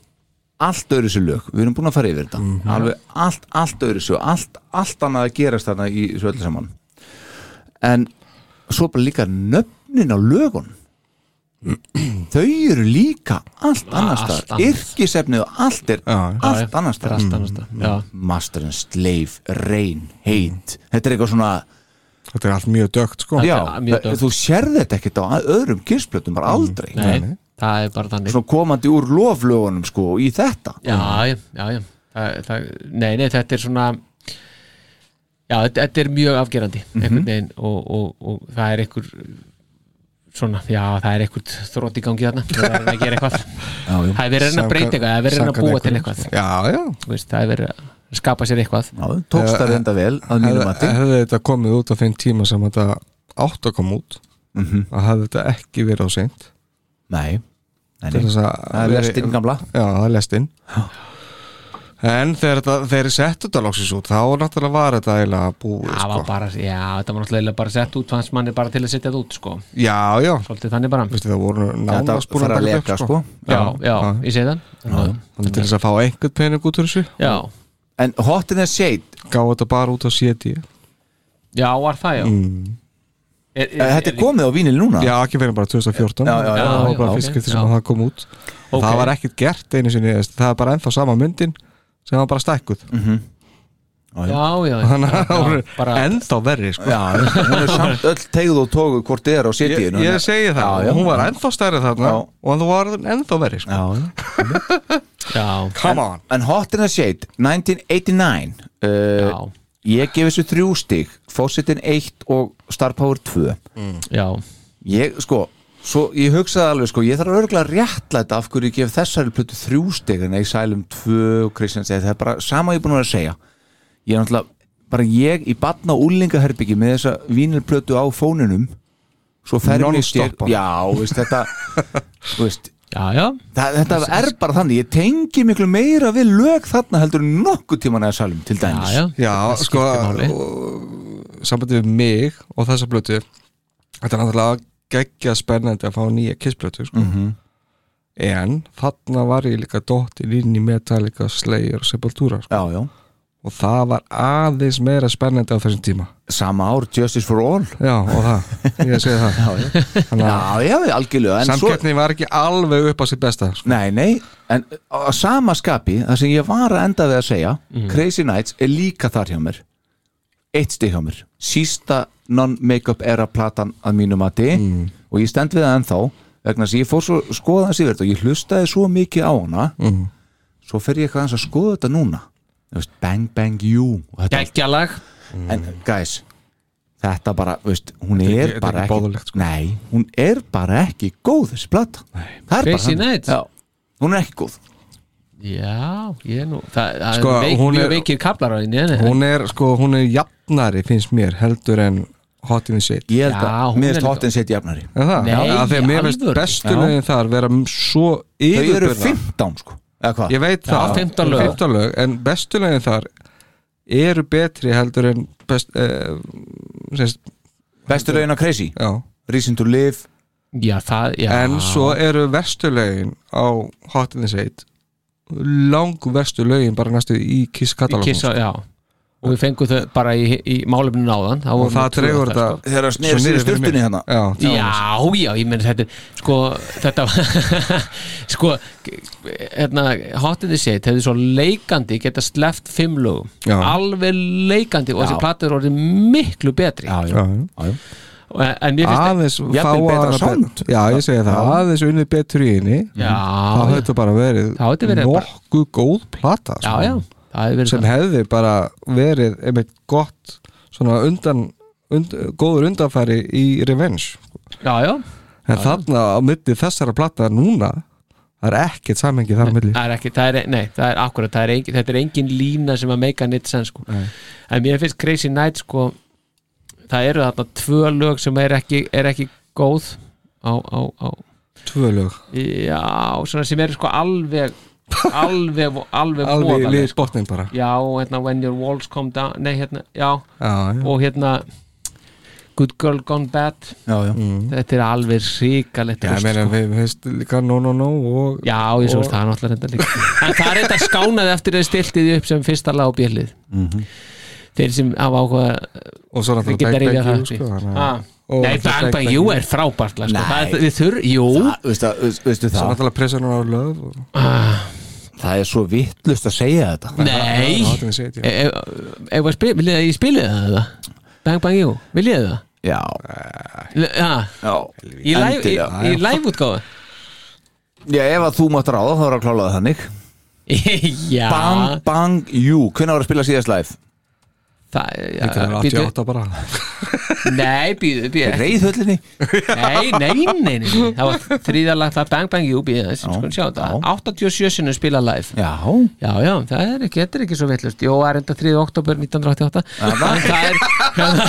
C: allt öðru sér lög, við erum búin að fara yfir þetta
D: Mhm.
C: alveg allt, allt öðru sér allt, allt annað að gerast þarna í þessu öllu saman en svo bara líka nöfnin á lögun þau eru líka allt annars
D: allt
C: staðar,
D: annað.
C: yrkisefnið og allt er allt annars
D: það
C: staðar
D: er
C: Mm.
D: allt annars það Já,
C: Master and Slave, Rain, Hate þetta er eitthvað svona
E: Þetta er allt mjög dögt sko
C: já,
D: er mjög dökkt. Mm.
C: þú sérð þetta ekkert á öðrum kissplötum bara aldrei
D: nei, það er bara þannig
C: svona komandi úr loflögunum sko í þetta
D: Já, já, já, já. Það, það, Nei, nei, þetta er svona Já, þetta, þetta er mjög afgerandi einhvern veginn og, og, og það er einhver svona, já, það er einhver þrótt í gangi þarna það er að gera eitthvað
C: já, já.
D: það er verið að reyna að breyta eitthvað, það er verið að reyna að búa til eitthvað
E: Já, já
D: Þú veist, það er verið að skapa sér eitthvað
C: Já, tókst það reynda vel að mínu mati
E: Eh, hefði, hefði þetta komið út á þeim tíma sem þetta átt að koma út mm -hmm. að hefði þetta ekki verið á seint
C: Nei, nei,
E: til
C: nei.
E: þess að
C: Það er lestinn gamla
E: já, það er lestinn en þegar þetta- þeir settu þetta loksins út þá náttúrulega var þetta eiginlega búið
D: það
E: sko.
D: var bara, já, þetta var náttúrulega bara sett út fannst manni bara til að setja það út, sko
E: já, já,
D: svolítið þannig bara,
E: Vistu, það voru
C: Þetta
E: nánast búin
C: fara að
E: að taka
C: leka
E: þetta upp
C: sko
E: sko.
D: já, já,
E: já.
D: ég segi það
E: Þannig til þess að fá einhvern pening út úr þessu
D: já,
C: En Hot in the Shade,
E: gáði þetta bara út á CD
D: já, var það, já
E: Mm.
C: Mm.
D: er,
C: eh, þetta er komið á vínil núna
E: já, ekki fyrir bara 2014
C: Já, já, já,
E: það var
D: já,
E: bara
D: ok,
E: fyrst skipti
D: já.
E: sem það kom út
D: Ok.
E: það var ekkert gert einu sinni það er bara ennþá sama myndin sem var bara stækkuð
C: Mm.
D: já, já, já,
E: þannig að það voru
D: bara-
E: ennþá verri sko.
C: Já, hún er samt öll tegð og tógu hvort þið er á
E: ég,
C: setjinu
E: ég segi það,
C: Já, já.
E: hún var ennþá stærri þarna
C: Já.
E: og þú var ennþá verri sko.
C: Já, já.
D: Já,
E: Come on
C: En Hot in a Shade, 1989 uh,
D: já,
C: Ég gef þessu þrjú stig Fawcettin 1 og Star Power 2
D: já
C: Ég, sko Svo ég hugsaði alveg sko, ég þarf örgulega réttlæta af hverju ég gef þessari plötu þrjú stig en ég sælum tvö og Kristján segi það er bara sama og ég er búin að vera að segja ég er náttúrulega, bara ég í batna og úlingaherbyggi með þessa vínilplötu á fónunum svo fermist ég
E: Non-stoppa.
C: já, veist þetta þú veist,
D: Já, já,
C: það, þetta er bara þannig, ég tengi miklu meira við lög þarna heldur en nokkuð tíman eða salum til
D: já,
C: dæmis
D: já,
E: Já,
D: Það
E: sko
D: skiptir máli.
E: og- Sambandi við mig og þessa blötu Þetta er náttúrulega geggja spennandi að fá nýja kissblötu sko. En þarna var ég líka dottin inn í Metallica, Slayer og Sepultura sko.
C: já, já.
E: Og það var aðeins meira spennandi á þessum tíma
C: sama ár Justice for All
E: Já, og það, ég segi það Þannig að
C: já, já, algjörlega en svo-
E: samkeppni var ekki alveg upp á sitt besta sko.
C: Nei, nei, en á sama skapi það sem ég var að enda við að segja
E: Mhm.
C: Crazy Nights er líka þar hjá mér eitt stig hjá mér sísta non-makeup era platan að mínu mati
E: Mhm.
C: og ég stend við það ennþá vegna þess að ég fór svo skoða hans yfir þetta og ég hlustaði svo mikið á hana
E: Mhm.
C: svo fer ég eitthvað aðeins að skoða þetta núna Þú veist, bang bang you og þetta
D: geggjalag
C: en guys þetta bara, veist, hún er,
E: ekki- þetta er
C: bara
E: ekki
C: ekki,
E: boðlegt, sko.
C: nei, hún er bara ekki góð þessi plata Það er bara
D: Crazy
C: þannig.
D: Nights.
C: Já, hún er ekki góð
D: Já, ég er nú Það, það
E: Sko,
D: er veik,
E: hún
D: mjög
E: er-
D: veikir kaplar á henni henni.
E: Hún er, sko, hún er jafnari finnst mér heldur en Hot in the Shade
C: ég held
D: Já,
C: að
D: hún
C: mér
D: er
C: finnst
D: líka-
C: hotin set jafnari
E: Er það?
D: Nei,
E: Já, af því að
D: í
E: mér finnst
D: alvöru.
E: bestu
C: Já.
E: lögin þar vera m- svo
C: þau eru
E: yfirburða
C: 15 sko eða hvað,
E: Ég veit
D: Já,
E: það
D: 15 lög.
E: 15 lög En bestu lögin þar eru betri heldur en best, eh, sérst,
C: bestu lögin á Crazy
E: já.
C: Reason to Live,
D: Já, það, já
E: En svo eru verstu lögin á Hot in the Shade lang verstu lögin bara næstu í Kiss
D: Í
E: katalógum sko.
D: Kiss á, já Og við fengum þau bara í, í málefninu náðan
E: og það dregur þetta
D: sko.
C: þegar það snerist
E: niður
C: niður
E: fyrir
C: sturtunni
E: mér.
C: hérna
E: Já,
D: Já, sko. já, ég meni þetta er- Sko, þetta var- Sko, hérna Hotinni set hefði svo leikandi geta sleppt fimm lögum
E: Já.
D: Alveg leikandi og
C: Já.
D: þessi platur orðið miklu betri
C: já,
E: já,
C: já,
E: já.
C: já, já.
D: En mér finnst
E: aðeins
C: jafnvel betra
E: hana
C: sound.
E: bet- já ég segi það, aðeins unnið betur í henni
D: Já,
E: þá
D: já.
E: hefði þetta bara verið,
D: Þá hefði verið bara-
E: nokkuð góð plata sko.
D: Já, já, það hefði verið
E: sem
D: það.
E: hefði bara verið einmitt gott svona undan und, góður undanfæri í Revenge
D: Já, já,
E: en þarna á milli þessara plata núna það er ekkert samhengi þar á milli
D: það er ekki, það er, nei, það er akkurat það er engin, þetta er engin lína sem að meika nýtt sen sko. en mér finnst Crazy Night sko, það eru þarna tvö lög sem er ekki, er ekki góð á, á, á
E: tvö lög,
D: já, svona sem eru sko alveg alveg, alveg
E: alveg sko.
D: voðaleg,
E: liðið botnin bara
D: sko. já, hérna When Your Walls Come Down, nei hérna, já
E: já, já.
D: og hérna Good Girl Gone Bad,
C: já.
D: þetta er alveg ríkalegt
E: Mm. Já, ég meina, við veist líka no no no og
D: Já, ég svo veist það er náttúrulega reynda líka En það er þetta skánaði eftir að stilti því upp sem fyrsta lag á bjölið
C: Mhm.
D: Þeir sem hafa áhuga
E: og svo
D: Þeir
E: náttúrulega
D: geta
E: Bang
D: reyðja
E: Bang
D: það Ah. uppi.
E: You, sko, þannig
D: Ha.
E: að- og
D: Nei,
E: náttúrulega
D: Bang Bang You er frábært lag, sko.
C: Nei.
D: Það er- Við þurr, jú
C: Það, veistu, það, veistu- veistu
E: svo
C: það,
E: náttúrulega pressa núna á löf og
D: Ah.
C: það er svo vittlust að segja þetta
D: Nei
E: Það er Hot in the Shade, já.
D: E- e- Ef að spila, viljið að ég spili það eða? Bang Bang You, viljið þið það?
C: já,
D: L- Já,
C: já,
D: í live- í-
C: endilega.
D: í live útgáfu
C: já, ef að þú mátt ráða þá er að klála það þannig
D: Já
C: Bang Bang You, hvernig var að spila síðast live?
D: Það, já,
E: Þetta er
D: býtu-
E: 88 bara
D: Nei, býðu, býðu
C: Reyðhöllinni?
D: Nei, nei, nei, nei, nei. Það var þrýðalag það Bang Bang You býða þess,
C: Já,
D: sko sjá þetta
C: já.
D: 87 sinnum spila live
C: Já,
D: Já, já, það er ekki, þetta er ekki svo villust Jó, það er enda 3. oktober 1988 En það er
E: Það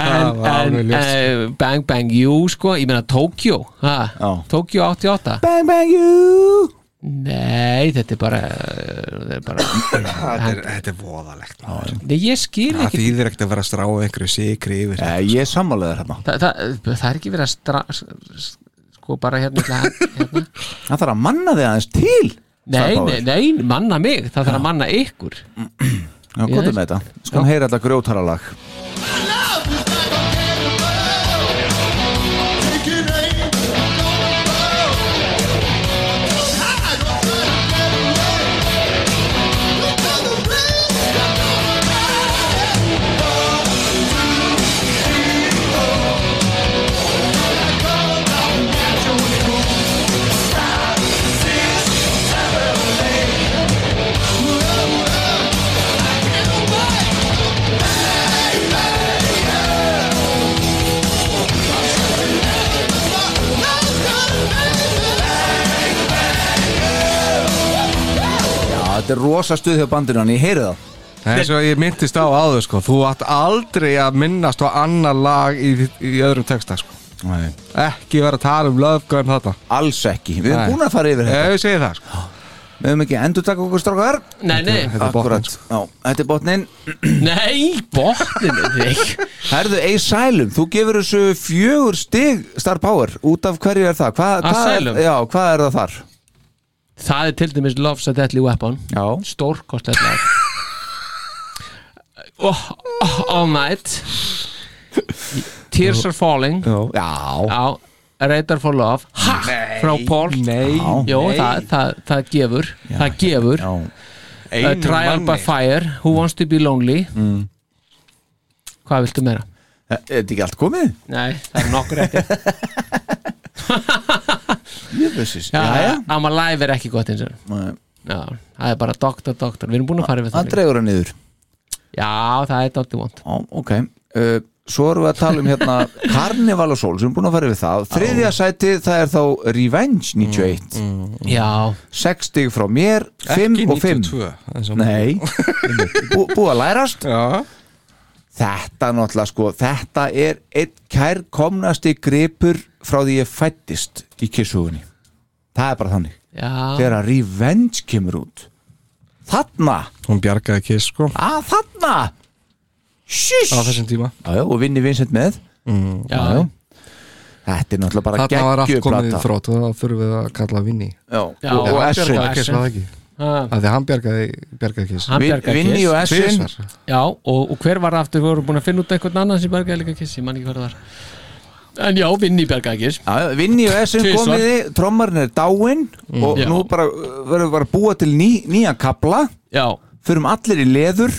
E: var
D: En,
E: alveg
D: en
E: ljóst.
D: eh, Bang Bang You, sko, ég meina Tokyo ha,
C: Já.
D: Tokyo 88
C: Bang Bang You
D: Nei, þetta er bara Þetta er bara
E: Þetta er- þetta er voðalegt maður.
D: Nei, ég skil
E: Það
D: ekki
E: þýðir ekkert að vera að strá einhverju sikri yfir
C: Já, Eh, ég er sammálaður hérna
D: Þa, það, það er ekki verið að stra, s- sko bara hérna, hérna.
C: Það þarf að manna þig aðeins til
D: Nei,
C: sagði Páll.
D: nei, nei, manna mig það þarf að manna ykkur
C: Já, gott um þetta Skulum heyra þetta grjótaralag
J: Six, seven,
C: þetta er rosa stuð hjá bandinu hann, ég heyri það
E: Það er svo að ég myndist á áður sko Þú átt aldrei að minnast á annar lag í, í öðrum texta sko
C: Nei.
E: Ekki vera að tala um löfgöðum þetta
C: alls ekki, við erum
E: Nei.
C: búin að fara yfir þetta
E: Ef við segja það sko
C: við höfum ekki endur taka okkur strákar
D: Nei, nei,
E: Þetta er botnin
C: Akkúrat.
E: sko
C: Já, þetta er botnin
D: nei, botninu þig
C: Herðu, Asylum, þú gefur þessu fjögur stig Star Power út af hverju er það? Hva,
D: Asylum?
C: Hvað er, já, hvað er það þar?
D: Það er til dæmis Love's a Deadly Weapon
C: Já,
D: Stórkostlegt lag oh, oh, All Night Tears Are Falling
C: já,
D: á Radar for Love ha, frá Paul nei, Jó, Það, það, það gefur það gefur
C: já.
D: uh, Trial by Fire, Who Wants to be Lonely
C: Mm.
D: Hvað viltu meira?
C: Er er þetta ekki allt komið?
D: Nei, það er nokkur eftir
C: Jöfessis, já, já,
D: I'm Alive er ekki gott eins og
C: Nei,
D: Já, það er bara doktor, doktor, við erum búin að fara yfir
C: Það
D: það
C: dregur hann niður
D: Já, það er dálítið vond
C: Já, ok uh, Svo erum við að tala um hérna Carnival og Soul sem er búin að fara yfir það Þriðja sæti, það er þá Revenge 91
D: Já,
C: Sex stig frá mér, 5
E: Ekki
C: og 5
E: 92 eins og-
C: Nei, Bú, búið að lærast
E: Já
C: þetta náttúrulega sko þetta er einn kærkomnasti gripur frá því ég fættist í kissugunni það er bara þannig,
D: já,
C: þegar að revenge kemur út þarna,
E: Hún bjargaði kiss sko
C: að þarna
E: Á
C: shush,
E: þessum tíma
C: jájá, og vinni Vincent með
D: Mm, já,
C: jájá þetta er náttúrulega bara
E: Þarna var allt komið í
C: geggjöplata
E: þrótt og það þurfum við að kalla Vinni
C: Já,
D: Já,
C: og, og
E: Hann
C: Essin
E: bjargaði kiss var það ekki
D: Ha,
E: Af Því að hann bjargaði, bjargaði kiss
D: Ah. hann
C: Vin-
D: bjargaði
C: Vinni og
D: kiss
C: Essin
E: Tvisvar.
D: Já, og, og hver var aftur, við vorum búin að finna út eitthvað annan sem bjargaði líka kiss, ég man ekki hvað það var En já, Vinni bjargaði kiss
C: Já, Vinni og Essin
D: Tvisvar. Mm.
C: komiði trommarinn er dáinn og
D: Já.
C: nú bara uh, verðum við bara að búa til ný, nýja kapla
D: Já,
C: förum um allir í leður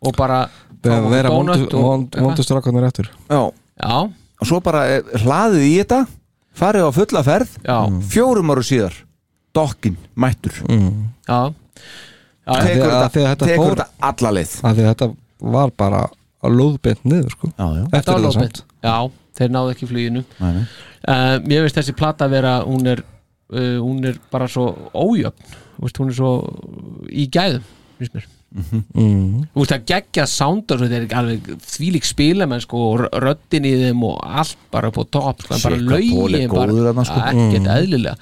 D: og bara
E: Það er að vera
D: Donut og- eitthvað.
E: móndustrákunar eftir
C: já,
D: Já,
C: og svo bara eh, hlaðið í þetta farið á fulla ferð
D: já,
C: fjórum áru síðar dokkin, mættur
D: já
E: Af því
C: tekur,
E: að- af því
C: Mm. þetta,
E: að þetta
C: tekur
E: fór-
C: þetta alla leið
E: Af Því að þetta var bara að lóðbent niður sko
C: já, já.
E: Eftir
D: Þetta var
E: þetta
D: lóðbent
E: samt
D: Já, þeir náðu ekki fluginu
C: Nei, nei.
D: uh, Mér veist þessi plata vera hún er, uh, hún er bara svo ójöfn Þú veist, hún er svo í gæðum finnst mér.
C: Mhm.
D: Þú veist, það geggja soundar þetta er alveg þvílík spila menn sko, og rö- röddin í þeim og allt bara upp á topp, sko, en bara
C: Shit, hvað Paul er
D: lögin bara,
C: góður þarna, sko.
D: ekkert eðlilega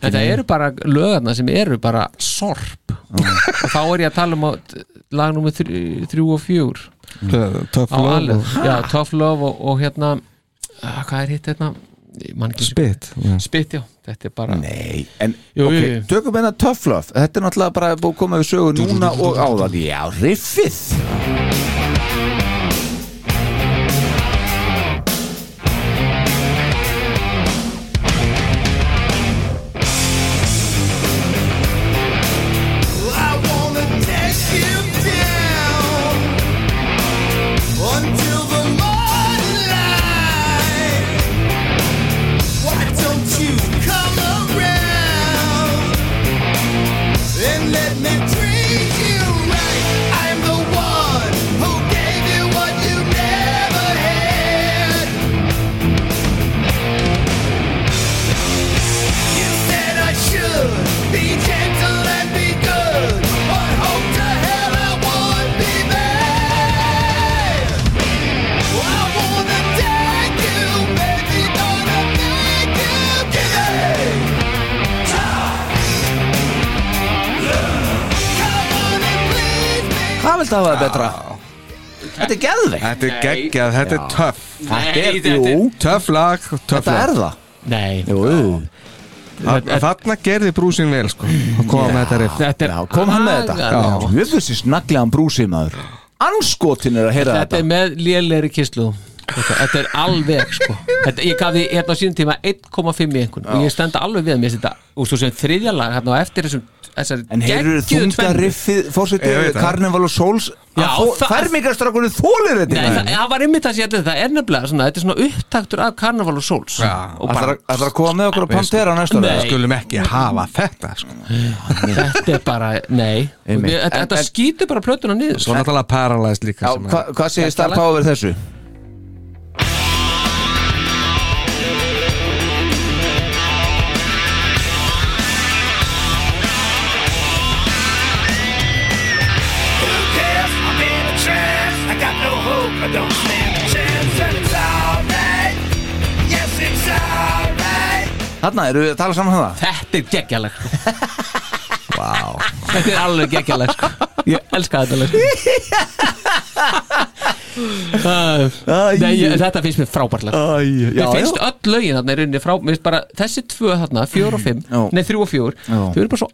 D: en það eru bara lögarna sem eru bara sorp
C: Mhm.
D: og þá er ég að tala um á lag nummer 3 og 4
E: Töff
D: á
E: lög
D: alveg,
E: og
D: já, Tough Love og, og hérna, uh, hvað er hitt hérna Ég man ekki,
E: Spit Já.
D: Spit, já þetta er bara,
C: Nei, en
D: Jú,
C: ok,
D: jú, jú.
C: tökum hérna Tough Love þetta er náttúrulega bara búið að koma við sögu núna og áðan já, riffið
B: I wanna take you down until the morning light. Why don't you come around and let me treat you right? I'm the one who gave you what you never had. You said I should be gentle and be good, but hope to hell I would be bad. I wanna take you, baby, gonna make you give Come on and please me.
C: hvað vilt það hafa það betra? þetta er geðveikt
E: Þetta er geggjað, þetta er töff
C: þetta er, jú,
E: Töff lag, töff
C: þetta
E: lag
C: er það
D: nei
C: jú, jú.
E: Þa- Þarna gerði brúsin vel sko að koma með þetta riff
D: þetta er
C: Já, kom hann með þetta
D: agalega.
C: jöfusins naglegan brúsið maður anskotin er að heyra
D: þetta
C: þetta
D: er með lélegri kyslu þetta, þetta er alveg sko þetta, ég gaf því hérna á sínum tíma 1,5 í einhvern og ég stenda alveg við að mér þetta og svo sem þriðja lag hérna á eftir þessum þessari
C: En heyrðu
D: geggjuðu
C: þungta
D: tvennu.
C: riffið
E: Ég veit
C: Fórsetið
E: það.
C: Carnival og Souls
D: Já, það-
C: Fermingarstrakunni þólir
D: Nei,
C: þetta
D: það, það var einmitt það sem ég ætlaði það er nefnilega svona, þetta er svona upptaktur af Carnival og Souls
E: Já,
D: og
C: Það
D: bara,
C: er að koma með okkur á Pantera næstu ára
D: Nei.
E: Skulum ekki hafa þetta sko
D: þetta er bara, nei
C: Einmitt.
D: þetta,
C: En-
D: þetta
C: en-
D: skýtur bara plötuna niður
E: Svo náttúrulega Paralyzed líka
C: Já,
E: sem
C: hva- Hvað segir Star
D: Þetta
C: Power þessu?
B: I
C: Þarna eru við að tala saman um það
D: Þetta er geggjaleg sko. Þetta er alveg geggjaleg sko. Ég elska þetta lag sko.
C: Æ,
D: Nei, ég- Þetta finnst mér frábærtlega
C: æ, já,
D: Mér finnst
C: já.
D: öll lögin þarna í rauninni frá mér finnst bara, Þessi tvö þarna, fjör og fimm
C: Já.
D: Nei, þrjú og fjör
C: Já.
D: Þau eru bara svo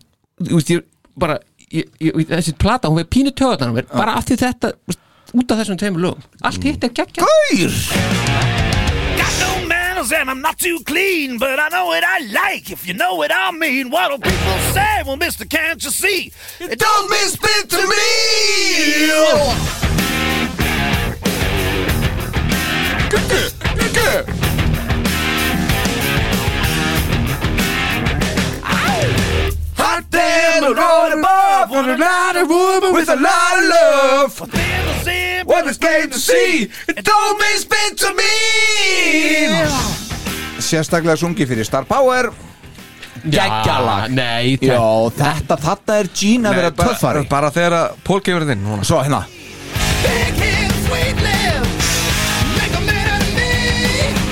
D: þú veist, ég, bara, ég, ég, Þessi plata, hún veið pínu töðarnar á mér Bara af því þetta, þú veist, út af þessum tveimur lögum Allt hitt er geggjað
C: Gaur!
K: Got no manners and I'm not too clean, but I know what I like if you know what I mean. What'll people say? Well, mister, can't you see? It don't mean spit to me!
C: Hot day on the road above Want a lot of woman with a lot of love What is game to see It don't mean spin to me Sérstaklega sungið fyrir Star Power Geggjalag
D: Nei,
C: Já,
D: þetta
C: þetta, þetta er Gene að vera töffari
E: bara þegar að Pól gefur þinn núna
C: Svo hérna
B: Big hips, sweet lips, make a man out of me.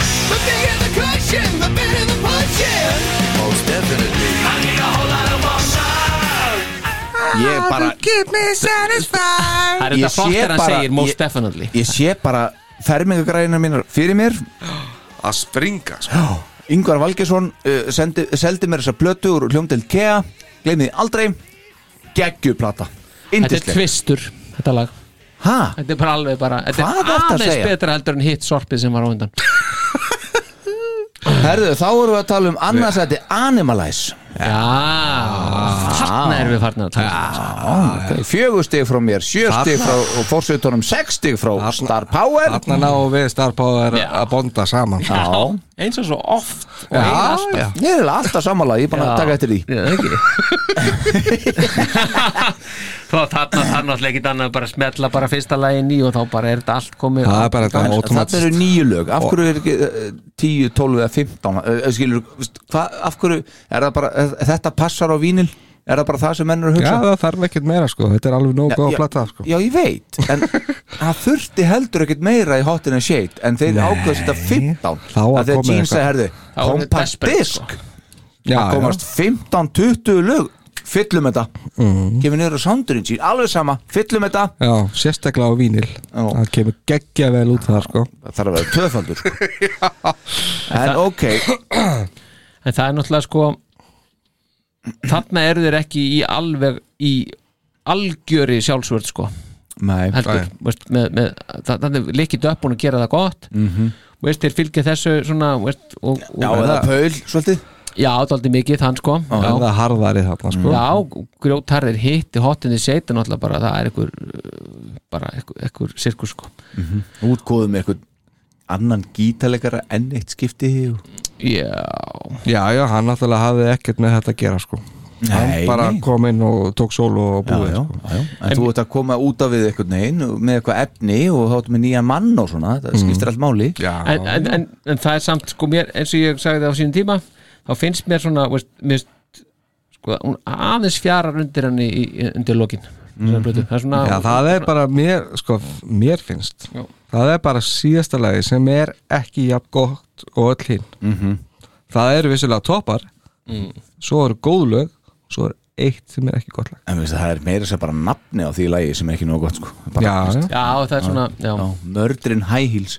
B: The bigger the cushion, the better the punching.
C: Ég bara,
D: Það er
C: Ég
D: þetta flott
C: sé
D: þegar hann
C: bara-
D: segir most
C: ég-
D: definitely
C: ég sé bara fermingagræðina mínar fyrir mér
E: að springa sko.
C: Yngvar Valgesson uh, sendi, seldi mér þessa blötu úr hljómdelt Kea Gleimði aldrei Geggjuplata
D: Þetta er
C: Indisleg
D: tvistur, þetta lag
C: Hæ?
D: Þetta er bara alveg bara Þetta
C: Hvað
D: er
C: ertu að
D: aðeins
C: segja?
D: betra heldur en hitt sorpið sem var á undan
C: Herðu, þá erum við að tala um annars að þetta er Animalize
D: Já Þarna erum við farin að tala um þetta.
C: okay. Fjögur stig frá mér, sjö stig frá fórsetunum, sex stig frá Star Power
E: Þarna ná við starfbáðar að bonda saman
C: Já,
D: Eins og svo oft og
E: Já,
D: eiginlega
E: já.
C: ég er alltaf samanlega, ég er bara að taka eftir því
D: Já, ekki Þá þarna þarf náttúrulega ekkit annað bara að smetla bara fyrsta lagin í og þá bara er þetta allt komið
E: Það er bara
C: En
E: þetta
C: Þetta
E: automatist
C: eru nýju lög, af hverju er ekki eh, 10, 12 eða 15 eh, skilur, veist, hvað, af hverju er það bara, eh, þetta passar á vínil er það bara það sem menn eru að
E: Já,
C: hugsa
E: það þarf ekkert meira sko Þetta er alveg nóg góð að platta sko.
C: já, ég veit, en það þurfti heldur ekkit meira í Hot in a Shade en þeir ákvæðast þetta 15
E: þá var
C: að þeir
E: komið
C: jeans að
E: eitthvað.
C: herðu,
D: Þá voru þeir
C: kompakt
D: desperate, sko.
C: disk
E: Já,
C: að komast 15-20 lög fyllum þetta
E: Mhm.
C: mm. gefið niður á soundurinn sín, alveg sama fyllum þetta,
E: já, já, sérstaklega á vínil Það kemur geggja vel út þar sko
C: það þarf að vera töfaldur sko. en ok
D: En það er náttúrulega sko Þarna eru þeir ekki í alveg í algjöri sjálfsvörð sko
C: Nei,
D: heldur, veist, með, með, það, þannig líkit upp búin að gera það gott mm
E: Mhm.
D: veist, þeir fylgja þessu svona veist, og, og,
C: já, eða pöl svolítið
D: já, dálítið mikið þann sko
E: Það er
D: já,
E: það harðari þarna
C: Mm.
E: sko
D: já grjótarðir hitti hotinni seita náttúrulega bara, það er einhver uh, bara einhver, einhver sirkus sko
C: útkóðum með eitthvað annan gítalegara enn eitt skipti og...
D: já,
E: Já, já, hann náttúrulega hafði ekkert með þetta að gera sko
C: Nei,
E: Bara kom inn og tók sól og
C: já,
E: búið
C: já,
E: sko.
C: já, já. En þú ert að koma út af við eitthvað negin með eitthvað efni og þá áttu með nýja mann og svona, það skiptir allt máli
E: Já,
D: en, en, en, en það er samt sko mér, eins og ég sagði það á sínum tíma þá finnst mér svona, veist, mér finnst, sko, hún aðeins fjarar undir hann í, í, undir lokin mm. það er svona
E: Mhm. Já, það er bara mér, sko, mér finnst
D: Já.
E: Það er bara síðasta lagi sem er ekki jafn gott og öll hinn
C: Mhm.
E: Það eru vissulega toppar
C: Mm.
E: Svo eru góð lög Svo er eitt sem er ekki gott lag
C: En veist, það er meira sem bara nafni á því lagi sem er ekki nóg gott sko. bara,
E: Já, já.
D: já, það er svona, já,
C: já, Murdering High Heels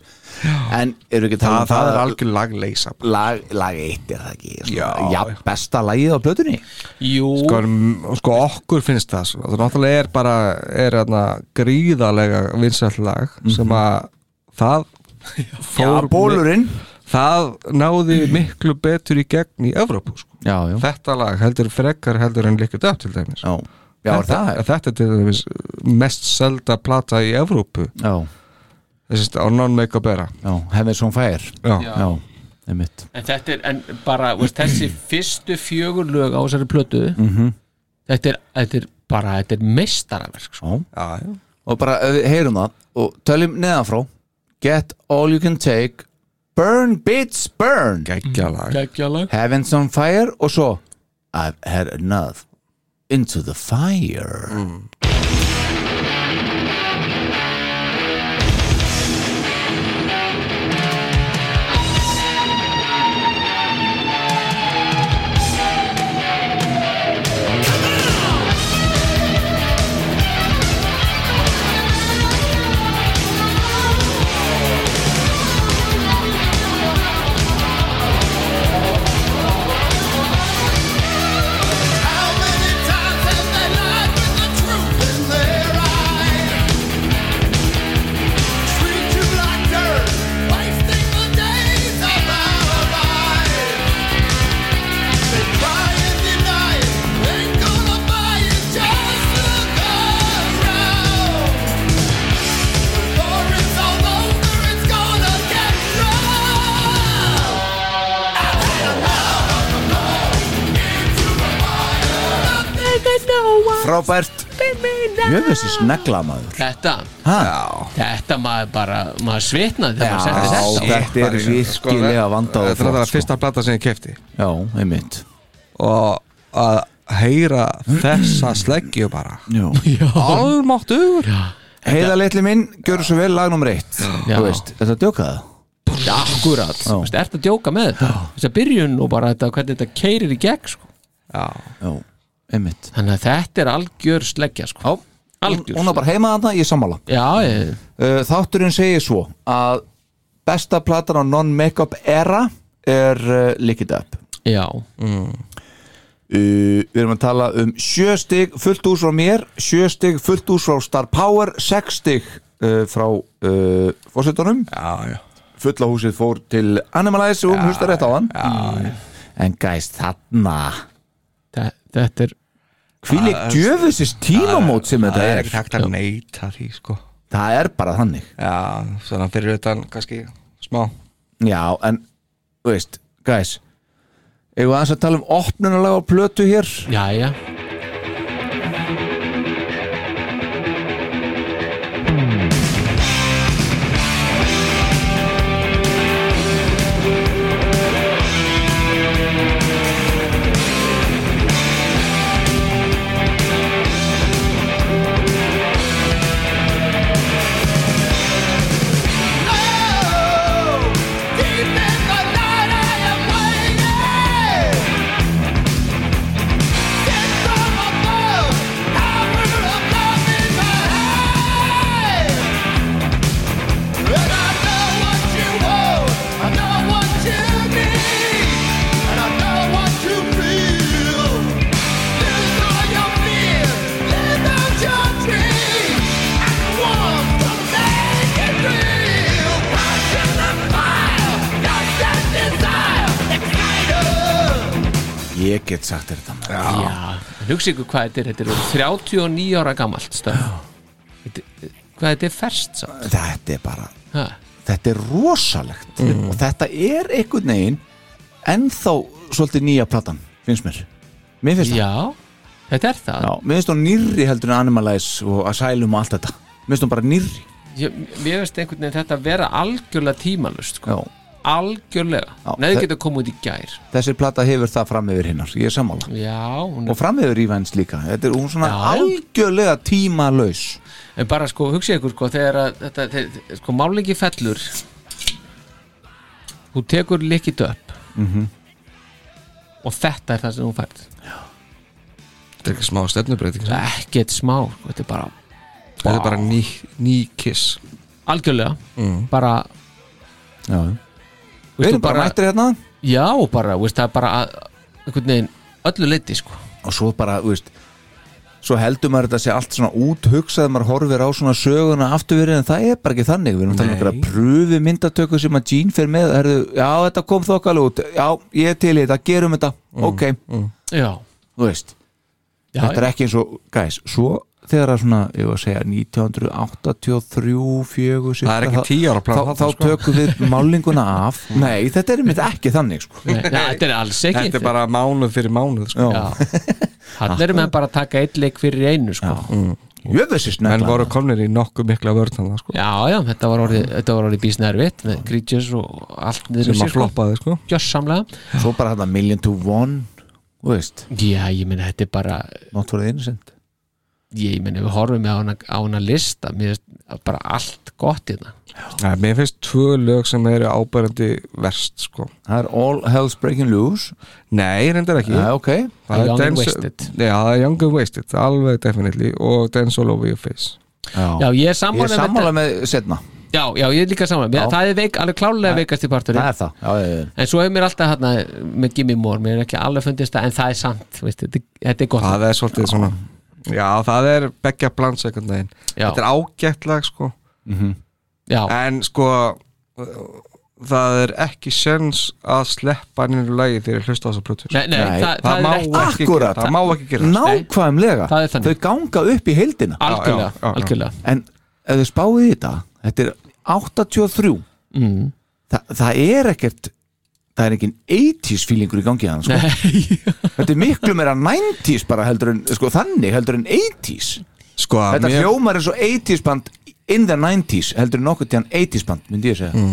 C: En eru ekki að tala
E: Það,
C: um
E: það er
C: að
E: algjör lagleysa
C: lag, lag eitt er það ekki
E: Já.
C: svona, já, besta lagið á plötunni
D: Jú,
E: sko, m- sko okkur finnst það svo. það náttúrulega er bara er hana, gríðalega vinsæll lag
C: Mhm.
E: sem að það fór,
C: bólurinn
E: það náði miklu betur í gegn í Evrópu sko.
C: Já, já,
E: þetta lag heldur frekar heldur en líka döpt til dæmis
C: já, já er
E: þetta,
C: það
E: þetta er til dæmis mest selda plata í Evrópu
C: Já,
E: þessi á non-make-up era
C: já, hefðið svona fær
E: Já.
C: já, einmitt
D: En þetta er, en bara, veist, þessi fyrstu fjögur lög á þessari plötu
C: Mhm.
D: þetta, er, þetta er bara, þetta er meistaraverk sko.
C: Já,
E: já, já.
C: og bara ef við heyrum það og töljum neðanfrá Get all you can take Burn bitch burn
E: geggja lag
D: Gekkjalag
C: Heaven's on fire og svo I've had enough Into the fire
B: I
C: frábært Jöfnir þessi snegla maður
D: Þetta,
C: Ha?
D: þetta maður bara maður svitnaði þegar maður setti
C: Já,
D: þetta á.
C: þetta er virkilega vandað og
E: Þetta er
C: flott,
E: það
C: sko.
E: fyrsta plata sem ég kefti
C: Já, einmitt
E: og að heyra þessa sleggju bara Almáttur
C: Heiða litli minn, gjörðu svo vel lag nummer eitt
D: Já.
C: Þú veist, þetta djókaða
D: Akkurat,
C: Já.
D: þú veist, ertu að djóka með þetta þess að byrjun og bara þetta, hvernig þetta keirir í gegn sko.
C: Já, einmitt
D: þannig að þetta er algjör sleggja sko.
C: Já, hún,
D: Algjör
C: hún er bara heima þarna, ég er sammála
D: Já, ég,
C: Uh, Þátturinn segir svo að besta platan á non-makeup era er uh, Lick It Up
D: já,
C: Uh, við erum að tala um sjö stig fullt úr frá mér, sjö stig fullt úr frá Star Power, sex stig uh, frá uh, fórsetunum
E: Já, já
C: fulla húsið fór til Animalize og hún hlusta rétt á hann já, en gæst þarna
D: þe- þetta er
C: hvílík djöfusist tímamót sem þetta
E: Það er
C: er
E: ekki hægt að neita því sko
C: það er bara þannig
E: Já, svona fyrir utan kannski smá
C: já, en, þú veist, gæs eigum við aðeins að tala um opnunalega plötu hér
D: já, já,
C: ég get sagt þér þetta maður.
D: já hugsa ykkur hvað þetta er, þetta er 39 ára gamalt stöð hvað þetta er ferskt sko. samt
C: þetta er bara
D: ha.
C: þetta er rosalegt og þetta er einhvern veginn ennþá svolítið nýja platan finnst mér, mér finnst það
D: já, þetta er það
C: Já, mér finnst hún nýrri heldur en Animalize og Asylum og allt þetta mér finnst hún bara nýrri
D: ég, mér veist einhvern veginn þetta vera algjörlega tímalust sko.
C: Já.
D: algjörlega,
C: Já,
D: neðu
C: þe-
D: getur komið út í gær
C: þessi plata hefur það fram yfir hinnar, ég er sammála
D: já, hún
C: og fram yfir Ívens líka, þetta er hún svona
D: Já, já.
C: algjörlega tímalaus
D: En bara sko, hugsa ykkur sko, þegar að þetta, þeir, sko, málingi fellur Þú tekur likit upp
C: Mhm.
D: Og þetta er það sem þú fært
E: Þetta er ekki smá stefnubreiting
D: Það
E: Þetta
D: er ekkert smá, sko, þetta er bara
E: er bara ný, ný kiss
D: Algjörlega, bara
C: já. við
D: veistu,
C: Mhm. erum bara mættir hérna
D: Já, bara, veist, það er bara að, einhvern veginn, öllu leiti, sko
C: og svo bara, þú veist svo heldur maður þetta sé allt svona út hugsað maður horfir á svona söguna afturverið en það er bara ekki þannig, við erum talað um einhverja pröfi myndatöku sem að Gene fer með herðu, já, þetta kom þokkal út, já, ég er til í þetta gerum þetta,
E: Mm.
C: ok
D: Já,
C: þú veist,
D: já,
C: þetta er ekki eins og guys, svo þegar að svona ég var að segja 1983 4,
E: Það er ekki 10 ára plan
C: þá, þá
E: þarna, sko. Mm.
C: tökum við málinguna af nei, þetta er mitt ekki þannig sko.
D: nei, nei, þetta er alls ekki
E: Þetta er bara mánuð fyrir mánuð sko.
D: Já, hann er með bara að taka eitt leik fyrir einu, sko
C: jöfessi
E: Menn
C: snegla
E: voru komnir í nokkuð mikla vörð þarna, sko,
D: Já, já, þetta var orðið, þetta var orðið bísnervitt með Creatures og allt niður
E: sem að floppaði sko.
D: Gjössamlega
C: svo bara þetta million to one þú veist,
D: Já, ég meina, þetta er bara
C: not for the innocent
D: ég meina, við horfum með á hana, á hana lista mér er bara allt gott hérna. í það
E: Nei, Mér finnst tvö lög sem eru ábærandi verst sko.
C: það er all hell's breaking loose
E: Nei, reyndar ekki
C: yeah. ok,
E: Það
D: Young
E: er
D: and
E: Dance-
D: Wasted.
E: Já, það er Young and Wasted, alveg definitely og Dance All Over Your Face
D: Já,
C: já.
D: ég er
C: ég er
D: sammála
C: sammála með setna,
D: þetta Já, já, ég er líka sammála
C: Já.
D: mér, Það er veik, alveg klálega veikast í parturinn
C: það er það já, já, já.
D: En svo hefur mér alltaf hérna með Gimme Moore mér er ekki alveg fundist það, en það er sant veist, þetta, þetta er gott
E: Það er svolítið svona Já, það er begja blans einhvern veginn
D: Já.
E: Þetta er ágætt lag sko
D: Já,
E: En sko Það er ekki sens að sleppa nýru lagi þegar ég hlusta á þessa plötu sko.
D: nei, nei,
C: Nei,
D: það,
E: það
D: það,
E: má
D: er rétt
E: ekki gera,
C: Akkúrat.
E: það má ekki gera
C: nákvæmlega,
D: Það er þannig.
C: þau ganga upp í heildina
D: Algjörlega,
E: Já, já, já, já.
D: algjörlega
C: en ef þið spáið í þetta þetta er 83
D: mm.
C: Þa, það er ekkert það er engin 80s fílingur í gangi hann sko. þetta er miklu meira 90s bara heldur en sko, þannig heldur en 80s
E: sko,
C: þetta
E: mér-
C: hljómar eins og 80s band in the 90s heldur en nokkuð tíðan 80s band myndi ég segja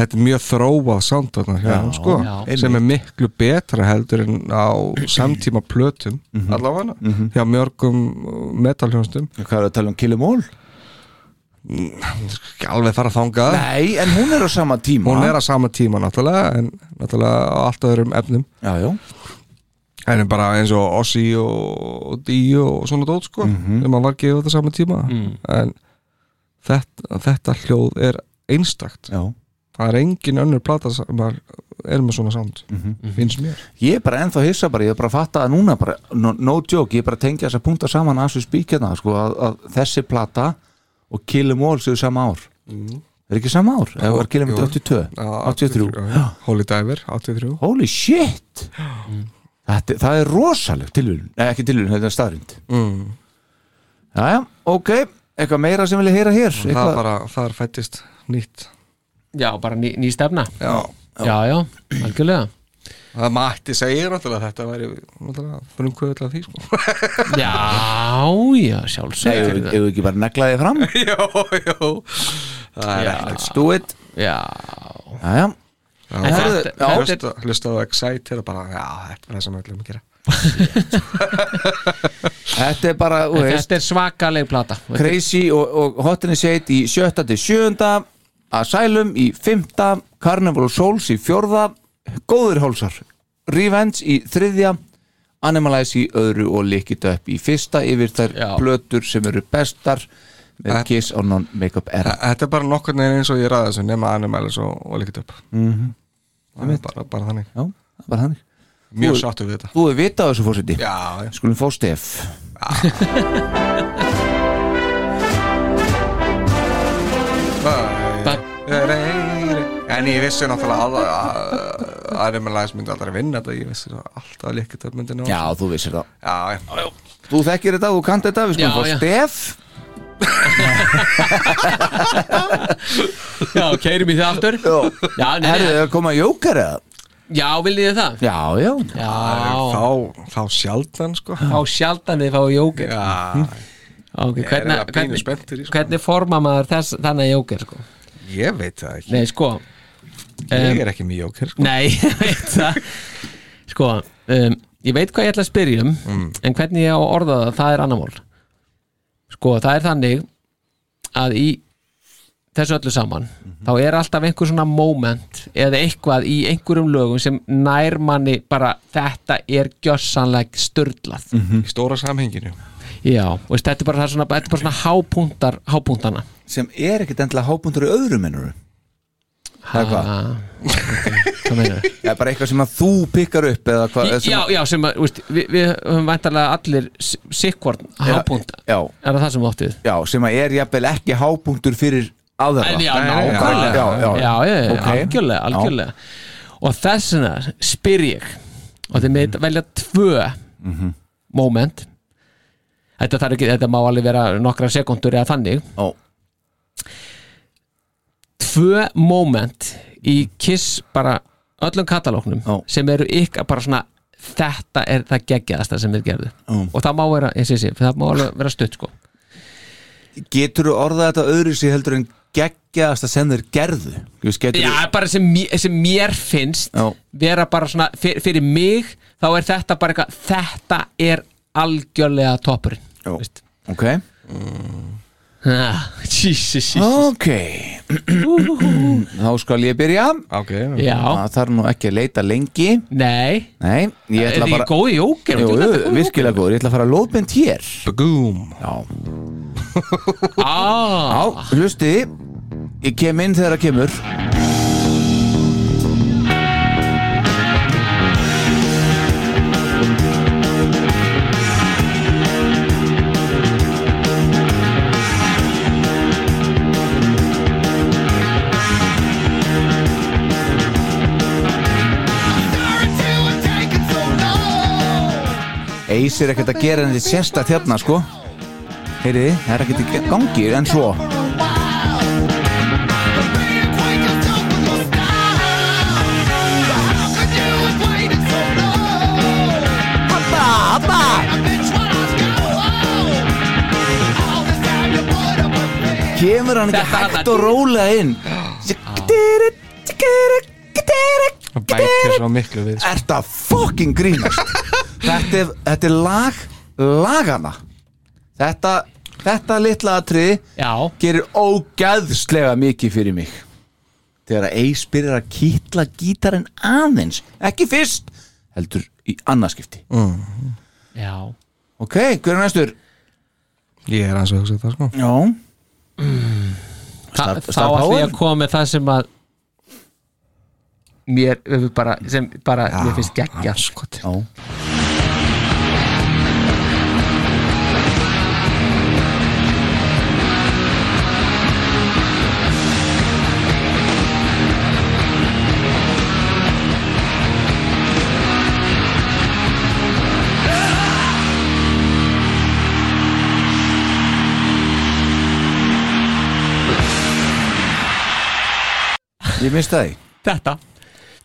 E: þetta er mjög þróað sound þarna hjá honum, sko,
F: já.
E: sem er miklu betra heldur en á samtíma plötum
C: Mhm.
E: allavega hjá mjörgum metalhjónstum
C: hvað er að tala um Killemól?
E: ekki alveg fara að þanga
C: Nei, en hún er á sama tíma
E: Ah. hún er á sama tíma náttúrulega en náttúrulega á allt öðrum efnum
C: já, já.
E: en er bara eins og Ossi og Díu og svona dót sko þegar maður var gefið þetta sama tíma en þetta, þetta hljóð er einstakt
C: Já.
E: það er engin önnur plata sem maður er með svona sound finnst mér
C: Ég er bara ennþá hissa bara, ég er bara að fatta að núna bara, no, no joke, ég er bara að tengja þess að punta saman að þessu spíkjarna, sko, að, að þessi plata og Kill 'Em All séu sama ár Er ekki sama ár? Eða var Kill 'Em All
E: Mhm. jú.
C: 82?
E: Já,
C: 83
E: já. Holy Diver, 83
C: Holy shit! Þetta, það er rosaleg tilvílun, nei ekki tilvílun, þetta er staðrind
E: mm.
C: Jæja, ok, eitthvað meira sem vilja heyra hér
E: það
C: eitthvað,
E: bara, það er fættist nýtt
D: já, bara ný, ný stefna
E: já.
D: já, já, algjörlega
E: það mætti segja náttúrulega að þetta væri náttúrulega frumkvöðu til að því sko.
D: já, já, sjálfsög
C: Ef ef við ekki bara neglaði fram
E: já, já það er ekki
C: Let's do it
D: já,
C: Jæja,
D: En
E: Hlusta-
D: þetta- þetta er-
E: hlusta- Hlustaðu á Exciter og bara, já, þetta er það sem við ætlum að gera
C: þetta er bara, þú
D: en
C: veist
D: þetta er svakaleg plata
C: Crazy og, og Hotinni Seit í sjötta til sjöunda Asylum í fymta Carnival of Souls í fjórða Góður hálsar Revenge í þriðja Animalize í öðru og Lickit Up í fyrsta yfir þær
D: Já.
C: plötur sem eru bestar með
E: Þetta-
C: Kiss og Non-Makeup Era
E: þetta er bara nokkur neginn eins og ég ræði þessu nema animælis og, og líkit upp mm -hmm. bara, bara þannig,
C: Já, það var þannig
E: mjög
C: Þú-
E: sáttu við þetta
C: Þú hefur vitað þessu fórseti
E: já, já.
C: Skulum fá stef
E: en ég vissi náttúrulega að, að, að animælis myndi aldrei vinna þetta ég vissi það alltaf líkit upp myndi ná
C: Já, þú vissir það
E: já, já.
C: Þú þekkir þetta, þú kannt þetta, við skulum
D: Já,
C: fá
D: já.
C: stef
D: já, keirum í það aftur
C: Já.
D: já, nei,
C: Herðu,
D: nei,
C: er að koma jókar eða?
D: já, viljið þið það
C: Já, já,
D: já,
E: þá, þá sjaldan sko
D: þá sjaldan þið fáið jóker
E: já,
D: Ok,
E: er
D: hvernig,
E: eiginlega pínu
D: hvernig,
E: spenntur í, sko.
D: hvernig forma maður þess, þannig jóker sko?
E: ég veit það ekki
D: Nei, sko
E: ég er ekki mjög jóker sko.
D: Nei, ég veit það Sko, um, ég veit hvað ég ætla að spyrja um En hvernig ég á að orða það, það er annar mál Sko, það er þannig Að í þessu öllu saman Þá er alltaf einhver svona moment Eða eitthvað í einhverjum lögum Sem nær manni bara Þetta er gjössanleg störlað
E: í stóra samhenginu
D: Já, og veist, þetta er bara, það er svona, þetta er bara svona hápuntar, hápuntana
C: sem er ekkert endilega hábundur í öðrum ennur Það er hvað?
D: Hvað meinar
C: Það er bara eitthvað sem að þú pikkar upp eða hvað eða sem
D: Já, já, sem að, veist, við, við höfum væntalega allir sikkvorn hápunta
C: já.
D: Er það það sem áttið?
C: Já, sem að er jafnvel ekki hápunktur fyrir aðra
D: En já,
E: Nei, nei,
D: nákvæmlega
C: já, já,
D: já, já, já,
C: Ok.
D: algjörlega, algjörlega Og þess vegna spyr ég Og þið
C: Mhm.
D: með velja tvö moment Þetta þarf ekki, þetta má alveg vera nokkra sekundur eða þannig
C: Já.
D: Tvö moment í Kiss bara öllum katalóknum
C: Já.
D: sem eru ykkar bara svona þetta er það geggjaðasta sem við gerðu
C: Já.
D: og það má vera, ég sé sér, það má alveg vera stutt sko
C: Getur þú orðað þetta öðru sér heldur en geggjaðasta sem þeir gerðu? Þú veist, getur
D: Já, bara sem, mér- sem mér finnst
C: Já.
D: vera bara svona, fyrir, fyrir mig þá er þetta bara eitthvað, þetta er algjörlega toppurinn
C: Já.
D: veist.
C: Ok
D: Ah, Jesus, Jesus
C: Ok Þá skal ég byrja
E: ok,
D: Já,
C: Það þarf nú ekki að leita lengi
D: nei
C: Nei, ég
D: Er
C: ætla bara
D: þið bara... góði jóker?
C: Jú,
D: Þú ert
C: jú,
D: alltaf góð í
C: virkilega góður, ég ætla að fara að lóðbend hér
E: boom
C: Já,
D: jóker. ah,
C: Já, hlusti Ég kem inn þegar það kemur Eis er ekkert að gera en þið sérsta þérna sko Heyriði, það er ekkert í gangi en svo
B: Style.
C: Kemur hann ekki
D: Þetta er
C: hægt
D: þarna.
C: og rólega inn
E: Það bætir svo miklu við sko.
C: Er það fucking grínast þetta, er, þetta er lag lagana Þetta, þetta litla atriði
D: Já,
C: gerir ógæðslega mikið fyrir mig Þegar að Ace byrjar að kýtla gítarinn aðeins Ekki fyrst, heldur í annarskipti
D: já
C: Ok, hver er næstur?
E: Ég er aðeins að hugsa þetta sko
C: Já
D: Þa,
C: Star-
D: Þá
C: Star
D: ætlum ég
C: Power?
D: að koma með það sem að mér eh, bara, sem bara, mér finnst geggja sko til
C: Já Ég misti það í
D: þetta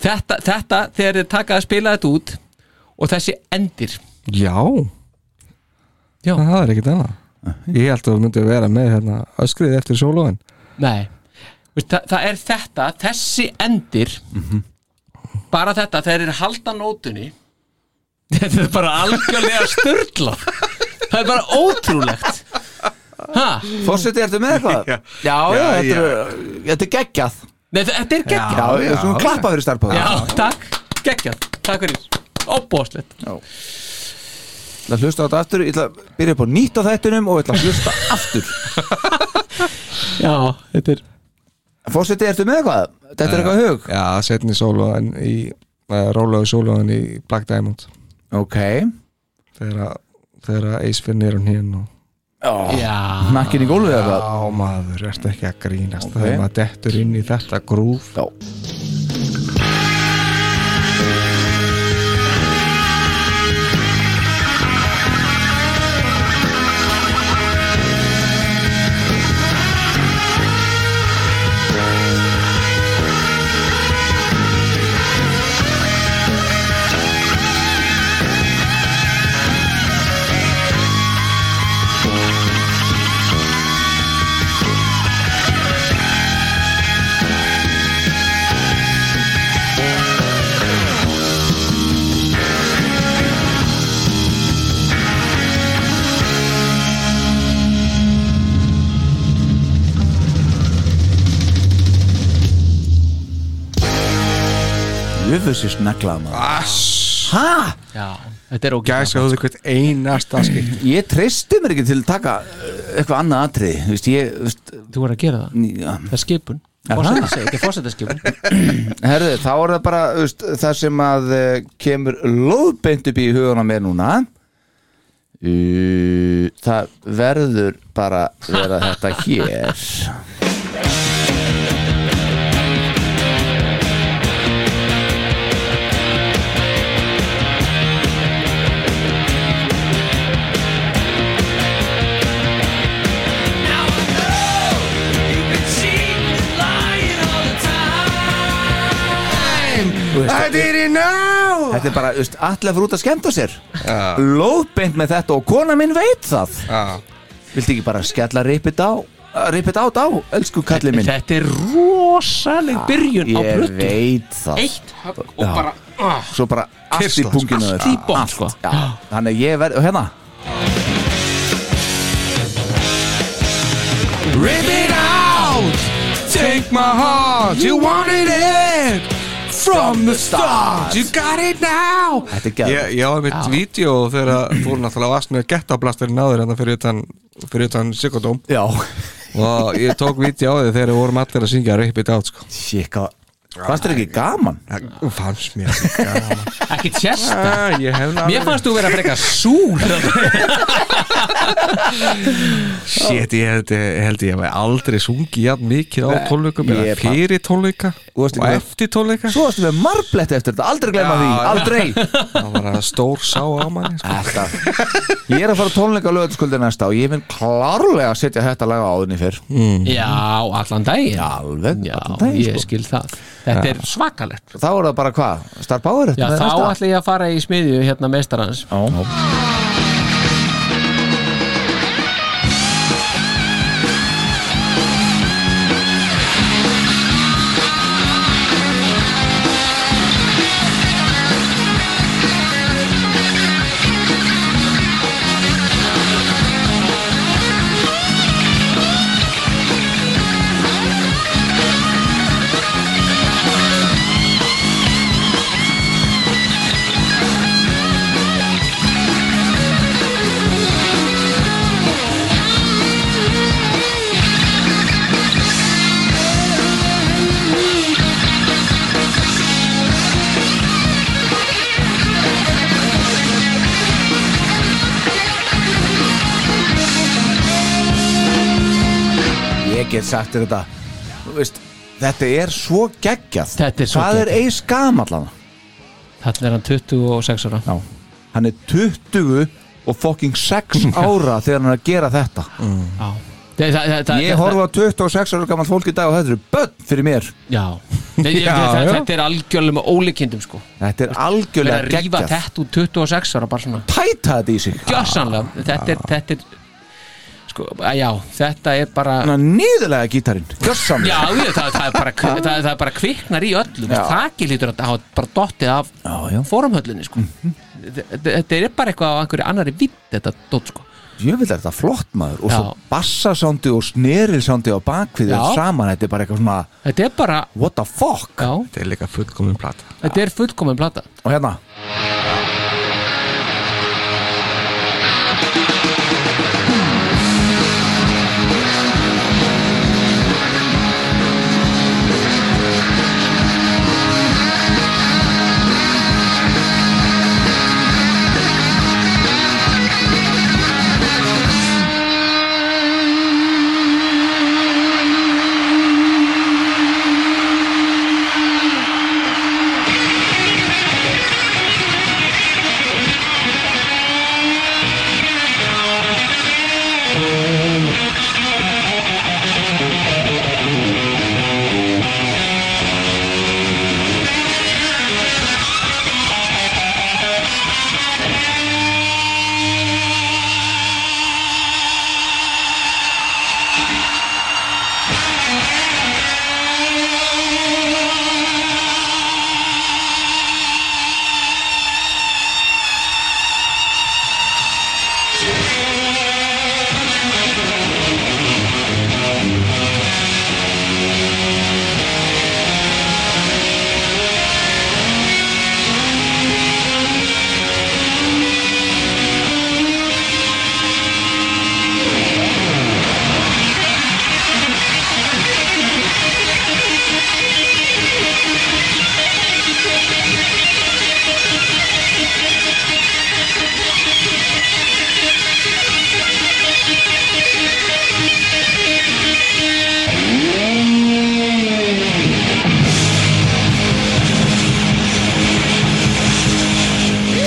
D: þetta, þetta þegar þið taka að spila þetta út og þessi endir
E: Já
D: Já.
E: Það er ekkert annað Ég held að þú myndi vera með hérna, öskrið eftir sólóin
D: nei, Veist, það, það er þetta þessi endir
C: Mhm.
D: bara þetta, þegar þið halda nótunni þetta er bara algjörlega störtla það er bara ótrúlegt ha,
C: Fórseti, ertu með eitthvað? Já, já, þetta er, þetta er geggjað
D: nei, þe- þetta er geggjað
C: Já, já, já svona klappa fyrir starfbáð
D: Já, takk, geggjað, takk fyrir Óbóðslegt
C: ætla að hlusta á þetta aftur, ég ætla að byrja upp á nýtt á þættinum og ég ætla að hlusta aftur
D: Já, þetta er
C: Fórseti, ertu með eitthvað? Þetta er eitthvað í hug
E: Já, setni sólóin í uh, Rólaðu sólóin í Black Diamond
C: Ok,
E: Þegar að- þegar að Ace fyrir nýrun hinn og
D: Já,
C: nakkin í gólfið eða eitthvað
E: Já maður, ertu ekki að grínast
C: Ok.
E: Þegar maður dettur inn í þetta grúf
C: Já, jöfusir sneglaða maður
E: Ass
C: Ha?
D: já, þetta er ógæð
E: Gæsa þú eitthvað einasta skil
C: Ég treysti mér ekki til að taka uh, eitthvað annað atrið, þú veist, ég, þú veist
D: Þú er að gera það,
C: ný- já.
D: það er skipun
C: Mm. Er það?
D: Forseti segi, Þetta er fórsetaskipun
C: Herðu, þá er það bara þú veist, það sem að eh, kemur lóðbeint upp í huguna mér núna Uh, Það verður bara vera þetta hér
E: I didn't know
C: Þetta er bara, þú veist, allir fyrir út að skemmta sér Lóðbeint með þetta og kona minn veit það
E: Já.
C: Viltu ekki bara skella ripið á Ripið át á, elsku kalli minn
D: Þetta er rosaleg byrjun á
C: Ég
D: plötu
C: veit það
D: Eitt högg og
C: Já.
D: bara ah,
C: Svo bara allt í
E: Kyrrsla,
C: punginu
D: allt í botn, sko.
C: já. Þannig að ég verð, og hérna
E: Rip it out Take my heart You wanted it From the start You got it now
C: Þetta er
E: Ég,
C: gæður
E: ég var mitt vídeo þegar að þú voru náttúrulega vast með gettablasturinn áður en það fyrir utan, fyrir utan Sikkodóm
C: Já,
E: og ég tók vídeo á því þegar við vorum allir að syngja Rip it out sko
C: síkka Fannst þér ekki gaman?
E: Það fannst mér ekki gaman.
D: Ekki tjesta
E: Ah, Ég hef náttúrulega
D: Mér fannst þú vera frekar súr
E: Shit, ég held, ég held ég hef aldrei sungið jafn mikið á tónleikum
C: ég
E: eða
C: er bara-
E: fyrir tónleika
C: varst ekki
E: og
C: með-
E: eftir tónleika
C: Svo varstu með marbletti eftir þetta, aldrei glemma
E: Já,
C: því,
E: já.
C: aldrei
E: það var að stór sá á manni sko.
C: Þetta Ég er að fara á tónleika lögatiskvöldi næsta og ég finn klárlega að setja þetta laga áðinni fyrr
D: Já, allan daginn
C: Mm. Alveg,
D: Já,
C: allan daginn,
D: ég
C: sko.
D: skil það þetta er svakalegt
C: Þá er það bara hvað? Star Power
D: Já, þá ætla ég að fara í smiðju hérna meistarans
C: Ég get sagt þér þetta Þú veist, Þetta er svo geggjað
D: Þetta er svo
C: Það er eis gamallan
D: Þannig er hann 26 ára
C: Hann er 20 og fucking 6 ára þegar hann er að gera þetta
D: Já Þa, það, það, það,
C: Ég horfa á 26 ára gammal fólk í dag og þetta eru börn fyrir mér
D: Já, Nei, ég-
C: Já,
D: þetta,
C: já.
D: þetta er algjörlega með ólíkindum sko
C: Þetta er
D: Verið að
C: algjörlega
D: rífa
C: geggjað
D: þetta úr 26 ára bara svona
C: Tæta þetta í sig
D: Gjörsanlega, þetta er, þetta er Sko, að já, þetta er bara
C: Svona Nýðulega gítarinn Gjörsamlega
D: Já, ég, það, það, er bara, það, það er bara kviknar í öllu
C: Já.
D: Þakið lítur að hafa bara dottið af
C: Já, Mhm. já.
D: fórumhöllinni sko. þetta, þetta er bara eitthvað á einhverju annari vitt þetta dótt sko.
C: Ég vil þetta flott maður Og
D: Já.
C: svo bassasándi og snerilsándi á bakvið
D: Já.
C: saman Þetta er bara eitthvað svona
D: Þetta er bara
C: What the fuck
D: já,
E: Þetta er líka fullkomin plata
D: Þetta er fullkomin plata
C: Og hérna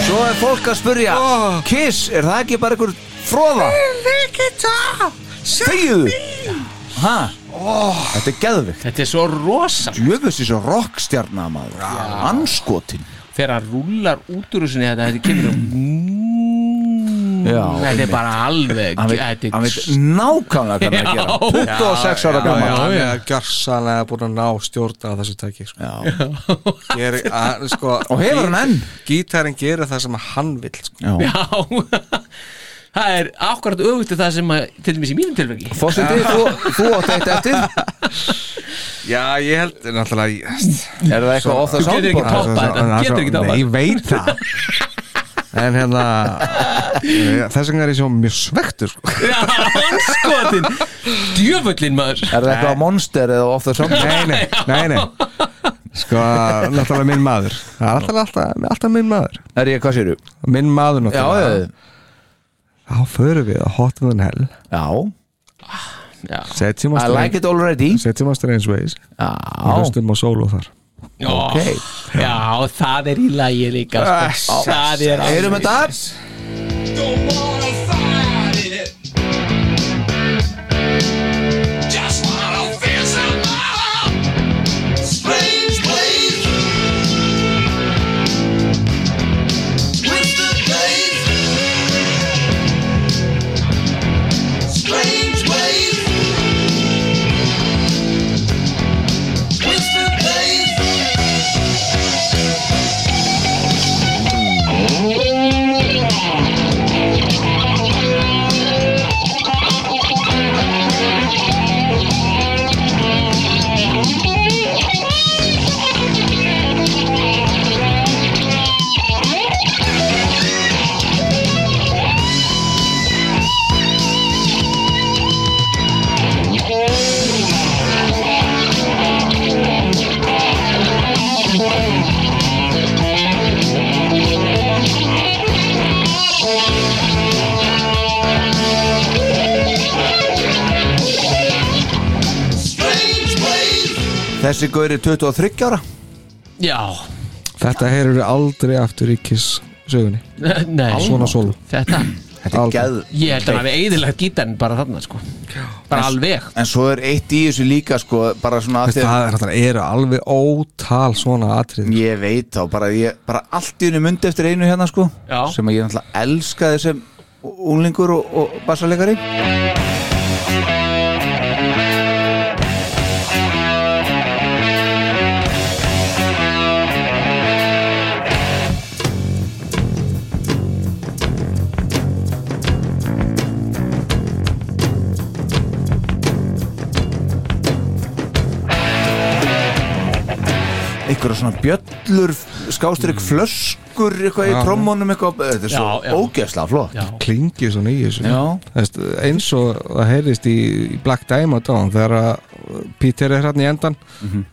C: Svo er fólk að spurja Kiss, er það ekki bara einhver fróða? Þegiðu Hæ? Þetta er geðvikt
D: Þetta er svo rosa
C: Jöfus í svo rockstjarna maður Anskotin
D: Þegar hann rúlar út úr þessunni þetta, þetta kemur
C: Já,
D: Þetta er bara alveg
C: Hann veit,
D: þetta er-
C: hann veit nákvæmlega hvað hann er að gera 26 ára gammal
E: Hann er gjörsanlega búin að ná stjórna á þessu tæki sko. Gerir, að, sko,
C: Og hefur hann enn
E: Gítarinn gerir það sem hann vill sko.
D: Já Það er akkurat öfugt af það sem að, til dæmis í mínum tilfengi
C: Fósiti, þú, þú átt eitt eftir
E: Já, ég held náttúrulega ég-
C: Er það eitthvað off the
D: Þú getur ekki
C: soundboard?
D: toppað þetta,
E: Það er
D: getur
E: svo-
D: ekki toppað
E: Nei, ég veit það En hérna eh, Þess vegna er ég svo mjög svektur sko.
D: Já, anskotin Djöfullin maður
C: Er það eitthvað monster eða off the soundboard?
E: Nei, nei, nei, nei Sko, náttúrulega minn maður Það er alltaf, alltaf, alltaf minn maður
C: Er ég, hvað séru?
E: Minn maður
C: Já,
E: náttúrulega
C: já,
E: Þá förum við að hot than hell
C: já
E: Setjum á
C: I like
E: strange
C: it already
E: Setjum á strange ways
C: Já,
E: Og hlustum á solo þar
D: Ok Já, það er í lagi líka sko. Það er
C: Heyrum
D: alveg
C: þetta
B: Don't wanna fight it. Just wanna feel some love. Strange way.
C: Þessi gaur er 23 ára
D: Já,
E: Þetta heyrur við aldrei aftur í Kiss sögunni
D: nei
E: Svona solo
D: Þetta,
C: Þetta er
E: Aldrei.
C: geð
D: ég held að hann hafi eiðilegt gítarinn bara þarna sko Bara alveg
C: En svo er eitt í þessu líka sko Bara svona að
E: Þetta
C: þegar
E: er, þetta eru alveg ótal svona atrið
C: Ég veit þá, bara, ég, bara allt í henni myndi eftir einu hérna sko
D: Já.
C: sem að ég náttúrulega elskaði sem unglingur og, og bassalegari einhverja svona bjöllur skástrík flöskur eitthvað í
E: Mm. Já.
C: trommunum eitthvað þetta er svo
D: Já, já.
C: ógeðslega flott
D: Já,
E: Klingið svona í þessu
C: Já.
E: Þess, Eins og það heyrðist í í Black Diamond á hann Þegar að Peter er hérna í endan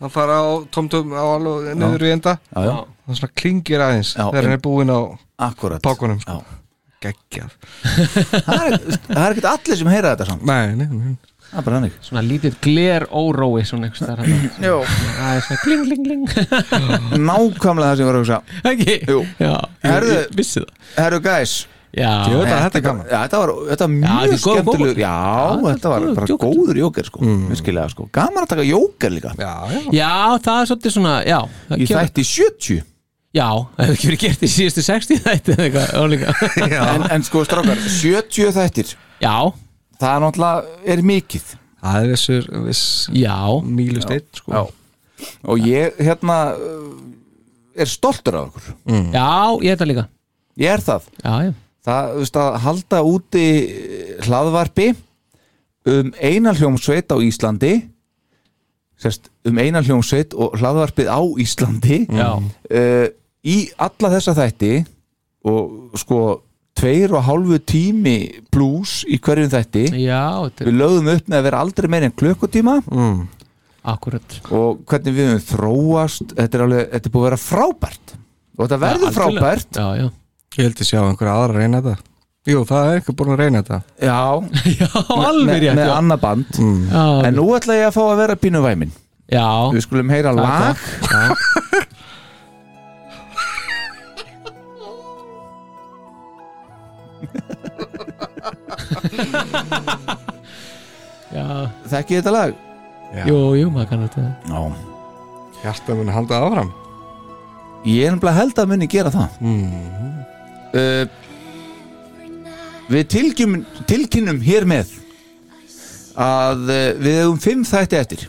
E: Hann fara á tomtum á alveg niður í enda
C: Já, já.
E: Það svona klingir aðeins
C: Já.
E: Þegar hann er búinn á
C: Akkurat
E: Pákunum,
C: Já.
E: sko. geggjað
C: Það er, það er ekkert allir sem heyra þetta samt
E: Nei, nei, nei
C: Það er bara hannig
D: svona lítið gler órói svona einhvers þar Já Það er svona kling, kling, kling
C: Nákvæmlega það sem ég var að hugsa
D: Ekki?
C: Jú.
D: Já,
C: Herðu.
D: ég vissi það
C: Herru guys
D: Já,
E: Jú, þetta-
C: eh,
E: þetta er gaman.
C: Já, þetta var, þetta var
D: þetta
C: mjög
D: er góður
C: skemmtileg
D: bókur.
C: Já,
D: Já,
C: þetta var
D: góður
C: bara
D: jóker.
C: góður jóker sko Virkilega sko Gaman að taka jóker líka
E: Já, já
D: já, það er svolítið svona, já það
C: Í
D: kemur-
C: þætti 70
D: Já, það hefur ekki verið gert í síðustu 60 þætti eða eitthvað, álíka
C: en, en sko strákar, 70 þættir
D: Já,
C: Það er náttúrulega er mikið
E: Það er þessur viss
D: já,
E: mílust einn sko
C: Já. Og ég hérna eh, er stoltur af okkur
D: já, ég held að líka
C: Ég er það
D: Já, já,
C: það, þú veist, að halda úti eh, hlaðvarpi um eina hljómsveit á Íslandi sérst, um eina hljómsveit og hlaðvarpið á Íslandi
D: já,
C: uh, í alla þessa þætti og sko tveir og hálfu tími blues í hverjum þætti
D: já, þetta er
C: við lögðum upp með að vera aldrei meir en klukkutíma
E: Mm.
D: akkurat
C: og hvernig við höfum þróast þetta er, alveg, þetta er búið að vera frábært og þetta verður
D: Algjörlega.
C: frábært
D: Já, já,
E: Ég held að sjá einhverja aðra að reyna þetta Jú, það er eitthvað búin að reyna þetta
C: já,
D: já, alveg
C: með,
D: rétt
C: með
D: já.
C: annað band
E: Mm.
D: Já,
C: En nú ætla ég að fá að vera pínu væmin
D: já,
C: Við skulum heyra lag
D: já,
C: Þekki þetta lag?
D: jú, jú, maður kannar þetta
C: Já
E: Hjarta mun halda áfram
C: Ég er nefnilega held að muni gera það uh, Við tilkynum, tilkynum hér með að uh, við hefum fimm þætti eftir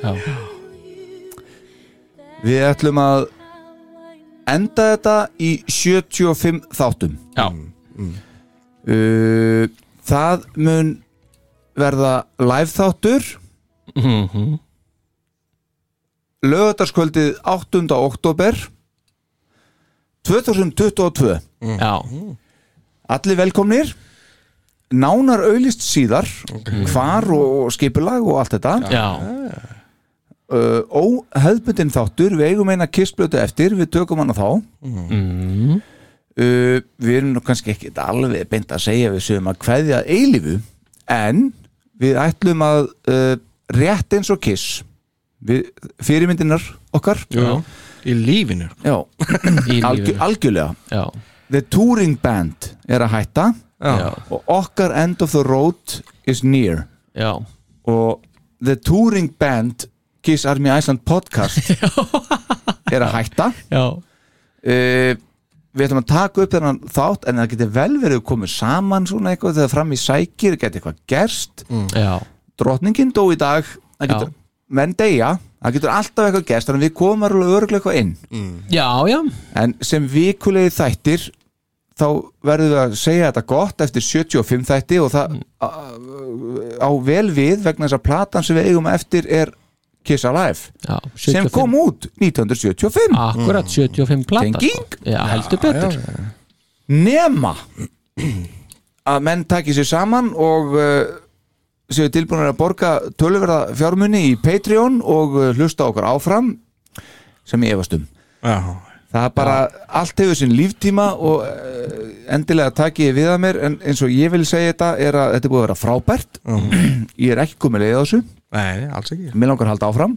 D: Já,
C: Við ætlum að enda þetta í 75 þáttum
D: já,
C: Mm. uh, Það mun verða live þáttur
D: mhm,
C: lögataskvöldið 8. oktober 2022
D: já,
C: Allir velkomnir Nánar auðlist síðar hvar og skipulag og allt þetta
D: já,
C: Mm. uh, Óhefbundin þáttur við eigum eina kissblötu eftir við tökum hana þá uh, Við erum nú kannski ekki alveg beint að segja við séum að kveðja eilífu en við ætlum að uh, rétt eins og kiss við, fyrirmyndinar okkar
D: já,
E: Í lífinu
C: Já,
D: í
C: algjör,
D: lífinu
C: algjörlega
D: Já,
C: The Touring Band er að hætta
D: já,
C: og okkar End of the Road is near
D: já,
C: og The Touring Band Kiss Army Iceland podcast er að hætta
D: já,
C: uh, við ætlum að taka upp þennan þátt en það getur vel verið komið saman svona eitthvað þegar fram í sækir getur eitthvað gerst,
D: já,
C: drottningin dó í dag það getur,
D: Já.
C: menn deyja það getur alltaf eitthvað gerst, þannig að við komum alveg örglega eitthvað inn
D: já, já,
C: En sem vikulegi þættir þá verðum við að segja þetta gott eftir 75 þætti og það á, á vel við vegna þess að platan sem við eigum eftir er Kiss Alive
D: já,
C: sem
D: 75.
C: kom út 1975
D: Akkurat 75 plata
C: Tenging?
D: sko. Já, heldur betur
C: nema að menn taki sér saman og uh, séu tilbúinir að borga töluverða fjármunni í Patreon og uh, hlusta á okkur áfram sem ég efast um
E: Já,
C: Það er bara, allt hefur sinn líftíma og uh, endilega taki ég við að mér en eins og ég vil segja þetta er að þetta er búið að vera frábært ég er ekki komið leið á þessu
E: nei, alls ekki
C: mér langar að halda áfram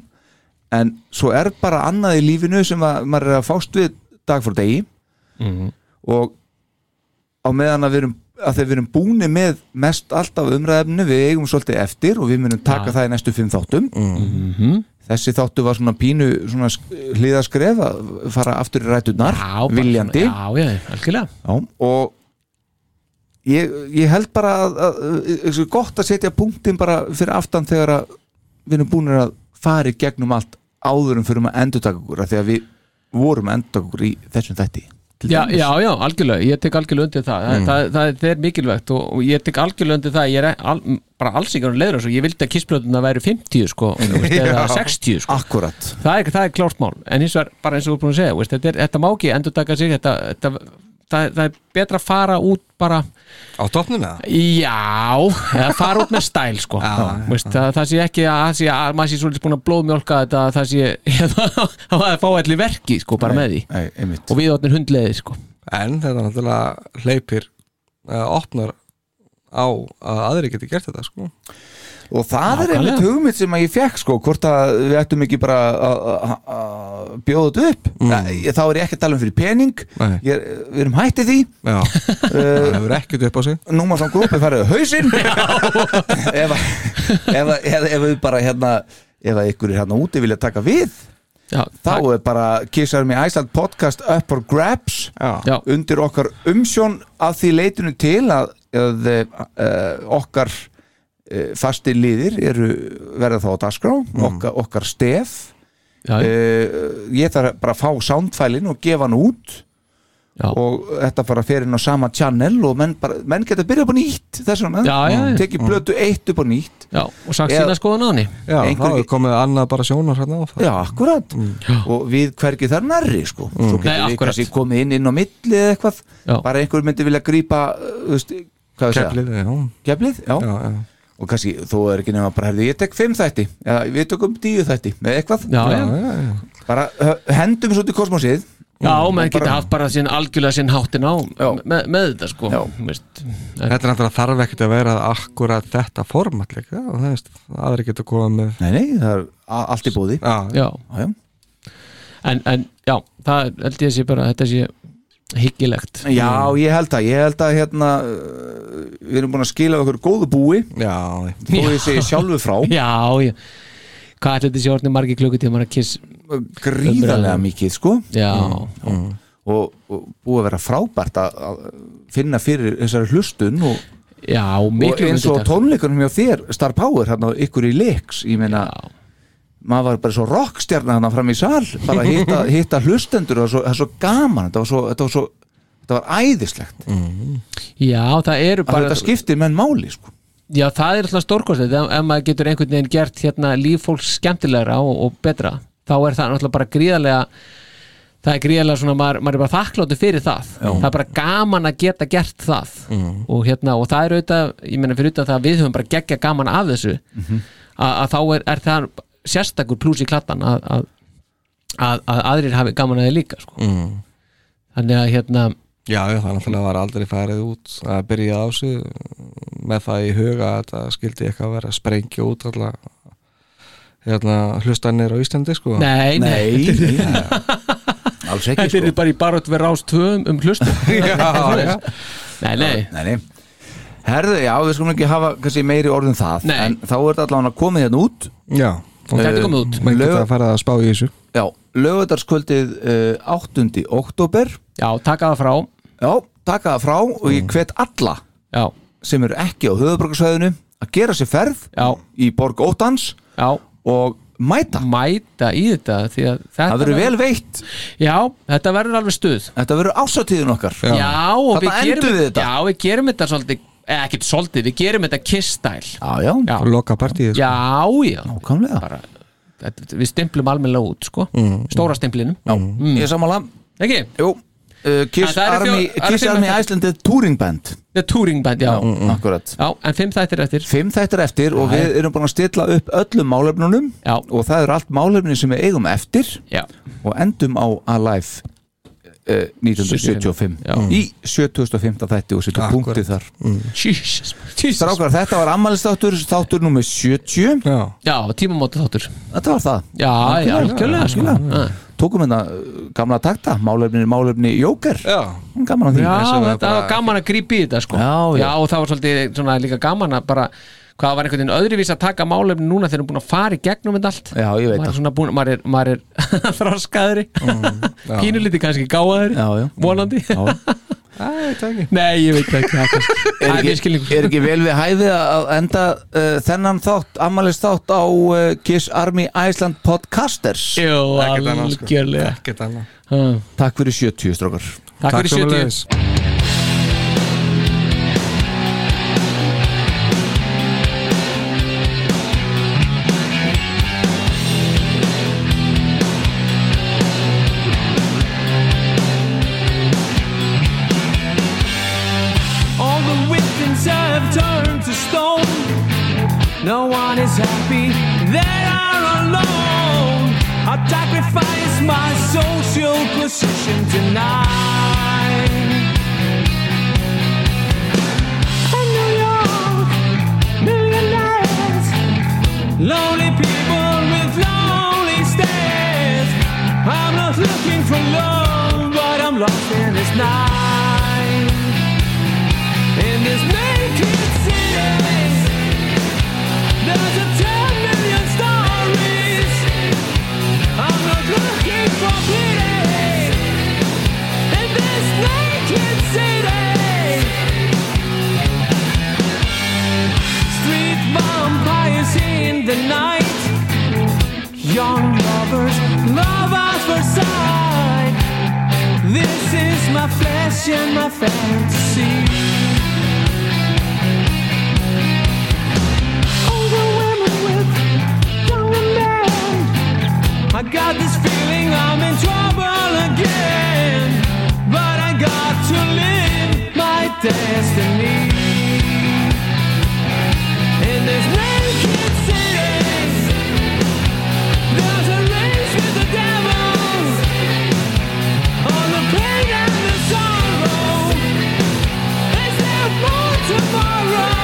C: en svo er bara annað í lífinu sem að, maður er að fást við dag frá degi
D: Mhm.
C: og á meðan að við erum að þegar við erum búni með mest allt af umræðefnu við eigum svolítið eftir og við munum taka það í næstu fimm þáttum
D: Mhm.
C: þessi þáttu var svona pínu svona sk- hliðaskref að fara aftur í ræturnar
D: Já, bara
C: viljandi
D: svona- Já, já, algjörlega
C: Já, og ég, ég held bara að, að, að, að gott að setja punktin bara fyrir aftan þegar að við erum búinir að fara í gegnum allt áður en fyrir að endurtaka okkur af því að við vorum að endurtaka okkur í þessum þætti til
D: Já,
C: dæmis.
D: já, já, algjörlega, ég tek algjörlega undir það mm. það, það, það er mikilvægt og, og ég tek algjörlega undir það ég er al, bara alls ekki að leiður þessu ég vildi að kissblöðuna væri 50 sko, þú veist, eða 60 sko.
C: Akkúrat.
D: það er, það er klárt mál, en hins vegar bara eins og þú er búin að segja, veist, þetta, er, þetta má ekki endur taka sig þetta, þetta, það, það er betra að fara út bara,
E: Á topnuna?
D: já eða fara út með stæl sko
E: Já,
D: veist, það, það sé ekki að, það sé að maður sé svolítið búin að blóðmjólka þetta, það sé að fá allir verki sko, bara með því
C: Nei, e, einmitt.
D: og við átnir hundleiði sko
E: En þetta náttúrulega hleypir uh, opnar á að aðri geti gert þetta sko
C: og það er
D: Nákvæmlega.
C: einmitt hugmynd sem að ég fekk sko, hvort að við ættum ekki bara að- að að bjóða þetta upp Nei, þá er ég ekki að tala um fyrir pening
E: Nei.
C: ég, er- við erum hættið því Eh,
E: Já, það hefur ekkert upp á sig
C: núma svona grúpi farið á hausinn ef, að- ef, að- ef, ef við bara hérna ef að ykkur er hérna úti vilja taka við
D: Já,
C: þá er bara Kissar Me Iceland podcast up for grabs
D: Já.
C: undir okkar umsjón af því leitinu til að, að uh, okkar uh, fasti liðir eru verða þá á dagskrá okkar, okkar stef
D: já, já.
C: uh, ég þarf bara að fá soundfælin og gefa hann út
D: Já.
C: og þetta bara fer inn á sama channel og menn, bara, menn geta byrjað upp á nýtt þess vegna,
D: Já, já, já.
C: tekið blötu eitt upp á nýtt
D: Já, og sagt
C: Eða-
D: sína skoðan á henni
E: Já,
C: Einhver-
E: þá hefur komið annað bara sjónar hérna á það
C: já, akkurat
E: Mm.
C: og við hvergi þar nærri sko. svo
D: Nei,
C: getur við
D: akkurat.
C: kannski komið inn inn á milli eða eitthvað,
D: Já.
C: bara einhver myndi vilja grípa uh, þú veist, hvað við segja,
E: Keflið, já,
C: keflið já.
E: já, já.
C: og kannski þú er ekki nefn að bara herði, ég tek fimm þætti, já, við tökum tíu þætti eða eitthvað,
D: Já, já,
E: Já, já, já.
C: bara uh, hendum svo til kosmosið
D: já menn
C: bara-
D: geta haft bara sinn algjörlega sinn háttin á með, með þetta sko
C: Já.
D: veist.
E: Þetta er náttúrulega þarf ekkert að vera akkurat þetta format líka og það veist, aðri geta komið með
C: nei, nei, það er a- allt í búði
E: Já,
D: Já,
C: já, já.
D: en, en já, það er- held ég sé bara þetta sé hyggilegt
C: Já, ég held að, ég held að hérna uh, við erum búin að skila okkur góðu búi
E: já,
C: þó ég segi sjálfu frá
D: Já, já Hvað ætli þetta sé orðni margi klukkutímar að kiss
C: gríðarlega mikið sko
D: Já,
C: og, og búið að vera frábært að, að finna fyrir þessari hlustun og,
D: já,
C: og
D: miklu
C: eins og
D: undir þetta.
C: tónleikunum hjá þér Star Power, hérna ykkur í leiks ég meina,
D: Já.
C: maður var bara svo rockstjarna hérna fram í sal, bara að hitta, hitta hlustendur og það var svo gaman þetta var svo, þetta var svo Þetta var æðislegt að
D: já, það eru bara
C: þetta skiptir menn máli sko.
D: Já, það er alltaf stórkostið ef, ef maður getur einhvern veginn gert hérna, líf fólks skemmtilegra og, og betra þá er það náttúrulega bara gríðarlega það er gríðarlega svona, maður, maður er bara þakkláttu fyrir það það er bara gaman að geta gert það og, hérna, og það er auðvitað, ég meina fyrir auðvitað það að við höfum bara geggja gaman af þessu að, að þá er, er það sérstakur plús í klattan að, að, að, að aðrir hafi gaman að þið líka sko. þannig að hérna
E: Mm. já, já, það náttúrulega var aldrei farið út að byrja á sig með það í huga að þetta skildi ekki að vera að sprengja út alltaf hérna, hlustanir á Íslandi sko
D: nei, nei,
C: Alls ekki sko.
D: þetta er bara í barótt við rást tvöum um hlustum
E: já, já.
D: nei, nei,
C: Nei, nei. Herðu, já, við skulum ekki hafa kannski, meiri orðum það
D: Nei.
C: En þá er þetta allan að komið hérna út
E: já.
D: þetta
E: Þetta
D: er komið út
E: Menn geta
C: lög-
E: að fara að spá í þessu
C: Já, lögutarskvöldið uh, 8. oktober
D: Já, taka það frá
C: Já, taka það frá og ég hvet alla
D: Já,
C: sem eru ekki á höfuðborgarsvæðinu að gera sér ferð
D: Já.
C: í borg óttans
D: já,
C: og mæta
D: mæta í þetta því að þetta
C: Það verður vel veitt
D: Já, þetta verður alveg stuð
C: Þetta verður ásatíðin okkar
D: Já, og
C: Þarna
D: gerum
C: endum við þetta.
D: Já, við gerum þetta svolítið eða ekkert svolítið, við gerum þetta kiss-stæl
C: Já, já,
D: Já,
E: og loka partíð sko.
D: já, já
C: nákvæmlega
D: Bara, þetta, Við stimplum almennilega út, sko Stóra stimplinum
C: Mm.
D: Mm.
C: Já, ég er sammála
D: Ekki?
C: Jú, uh, Kiss
D: En það eru
C: Army,
D: fjó- það eru
C: Kiss
D: fimm
C: Army
D: eftir. Mm.
C: Iceland er touring band
D: The Touring Band, já Já,
C: Akkurat
D: en fimm þættir eftir
C: Fimm þættir eftir og við erum búin að stilla upp öllum málefnunum
D: Já.
C: og það eru allt málefni sem við eigum eftir
D: Já,
C: og endum á Alive eh, 1975 í 75. þætti og setja
E: Akkurat.
C: punktið þar
L: Jesus, Jesus.
C: Strákar, þetta var ammælistáttur þáttur nummer 70
E: Já,
L: Já, tímamóta þáttur
C: Þetta var það
L: Já, já, algjörlega sko.
D: Ah.
L: Já.
C: Tókum hérna uh, gamla takta, málefni, málefni Jóker
E: já,
C: Gaman að því
L: Já,
E: sem var
L: þetta
E: bara-
L: var gaman að grípa í þetta sko
C: Já, já.
L: og það var svolítið svona, líka gaman að bara hvað það var einhvern veginn öðruvís að taka málefni núna þegar við erum búin að fara í gegnum þetta allt
C: Já, ég veit
L: maður
C: það. Mm.
L: er, svona búin, maður er, maður er þroskaðri pínuliti kannski gáðaðri
C: Já, já.
L: vonandi
E: þetta ekki
L: Nei, ég veit það ekki það er kannski- það er miskilningur
C: er ekki vel við hæði að enda uh, þennan þátt, ammælist þátt á uh, Kiss Army Iceland Podcasters
L: Jú,
E: Ekkert annað, sko.
L: algjörlega
E: Ekkert annað
L: Ha.
C: Takk fyrir 70 strókar
L: Takk fyrir 70
E: sömuleiðis.
D: All the victims have turned to stone. No one is happy, they are alone. I sacrifice my social position tonight. In New York, millionaires, lonely people with lonely stares. I'm not looking for love, but I'm lost in this night in this naked city. There's a ten million stories. I'm not looking for pity in this naked city. Street vampires in the night. Young lovers, lovers for sight. This is my flesh and my fantasy. older women with younger men. I got this feeling I'm in trouble again, but I got to live my destiny. In this naked city, there's a race with the devil. On the pain and the sorrow. Is there more tomorrow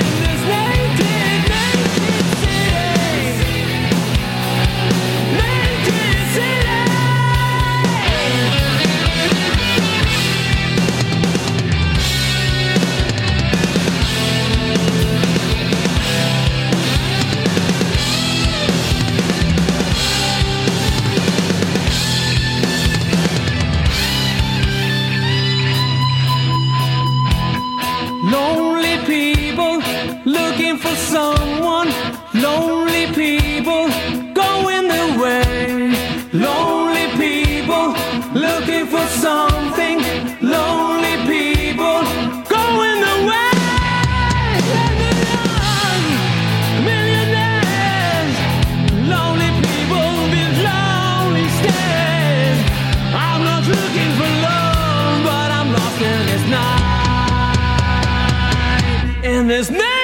D: in this naked, naked city? Naked city. Lonely people looking for someone. Lonely people going their way. Lonely people looking for something. Lonely people going their way. And the young millionaires, lonely people with lonely stares. I'm not looking for love, but I'm lost in this night in this name.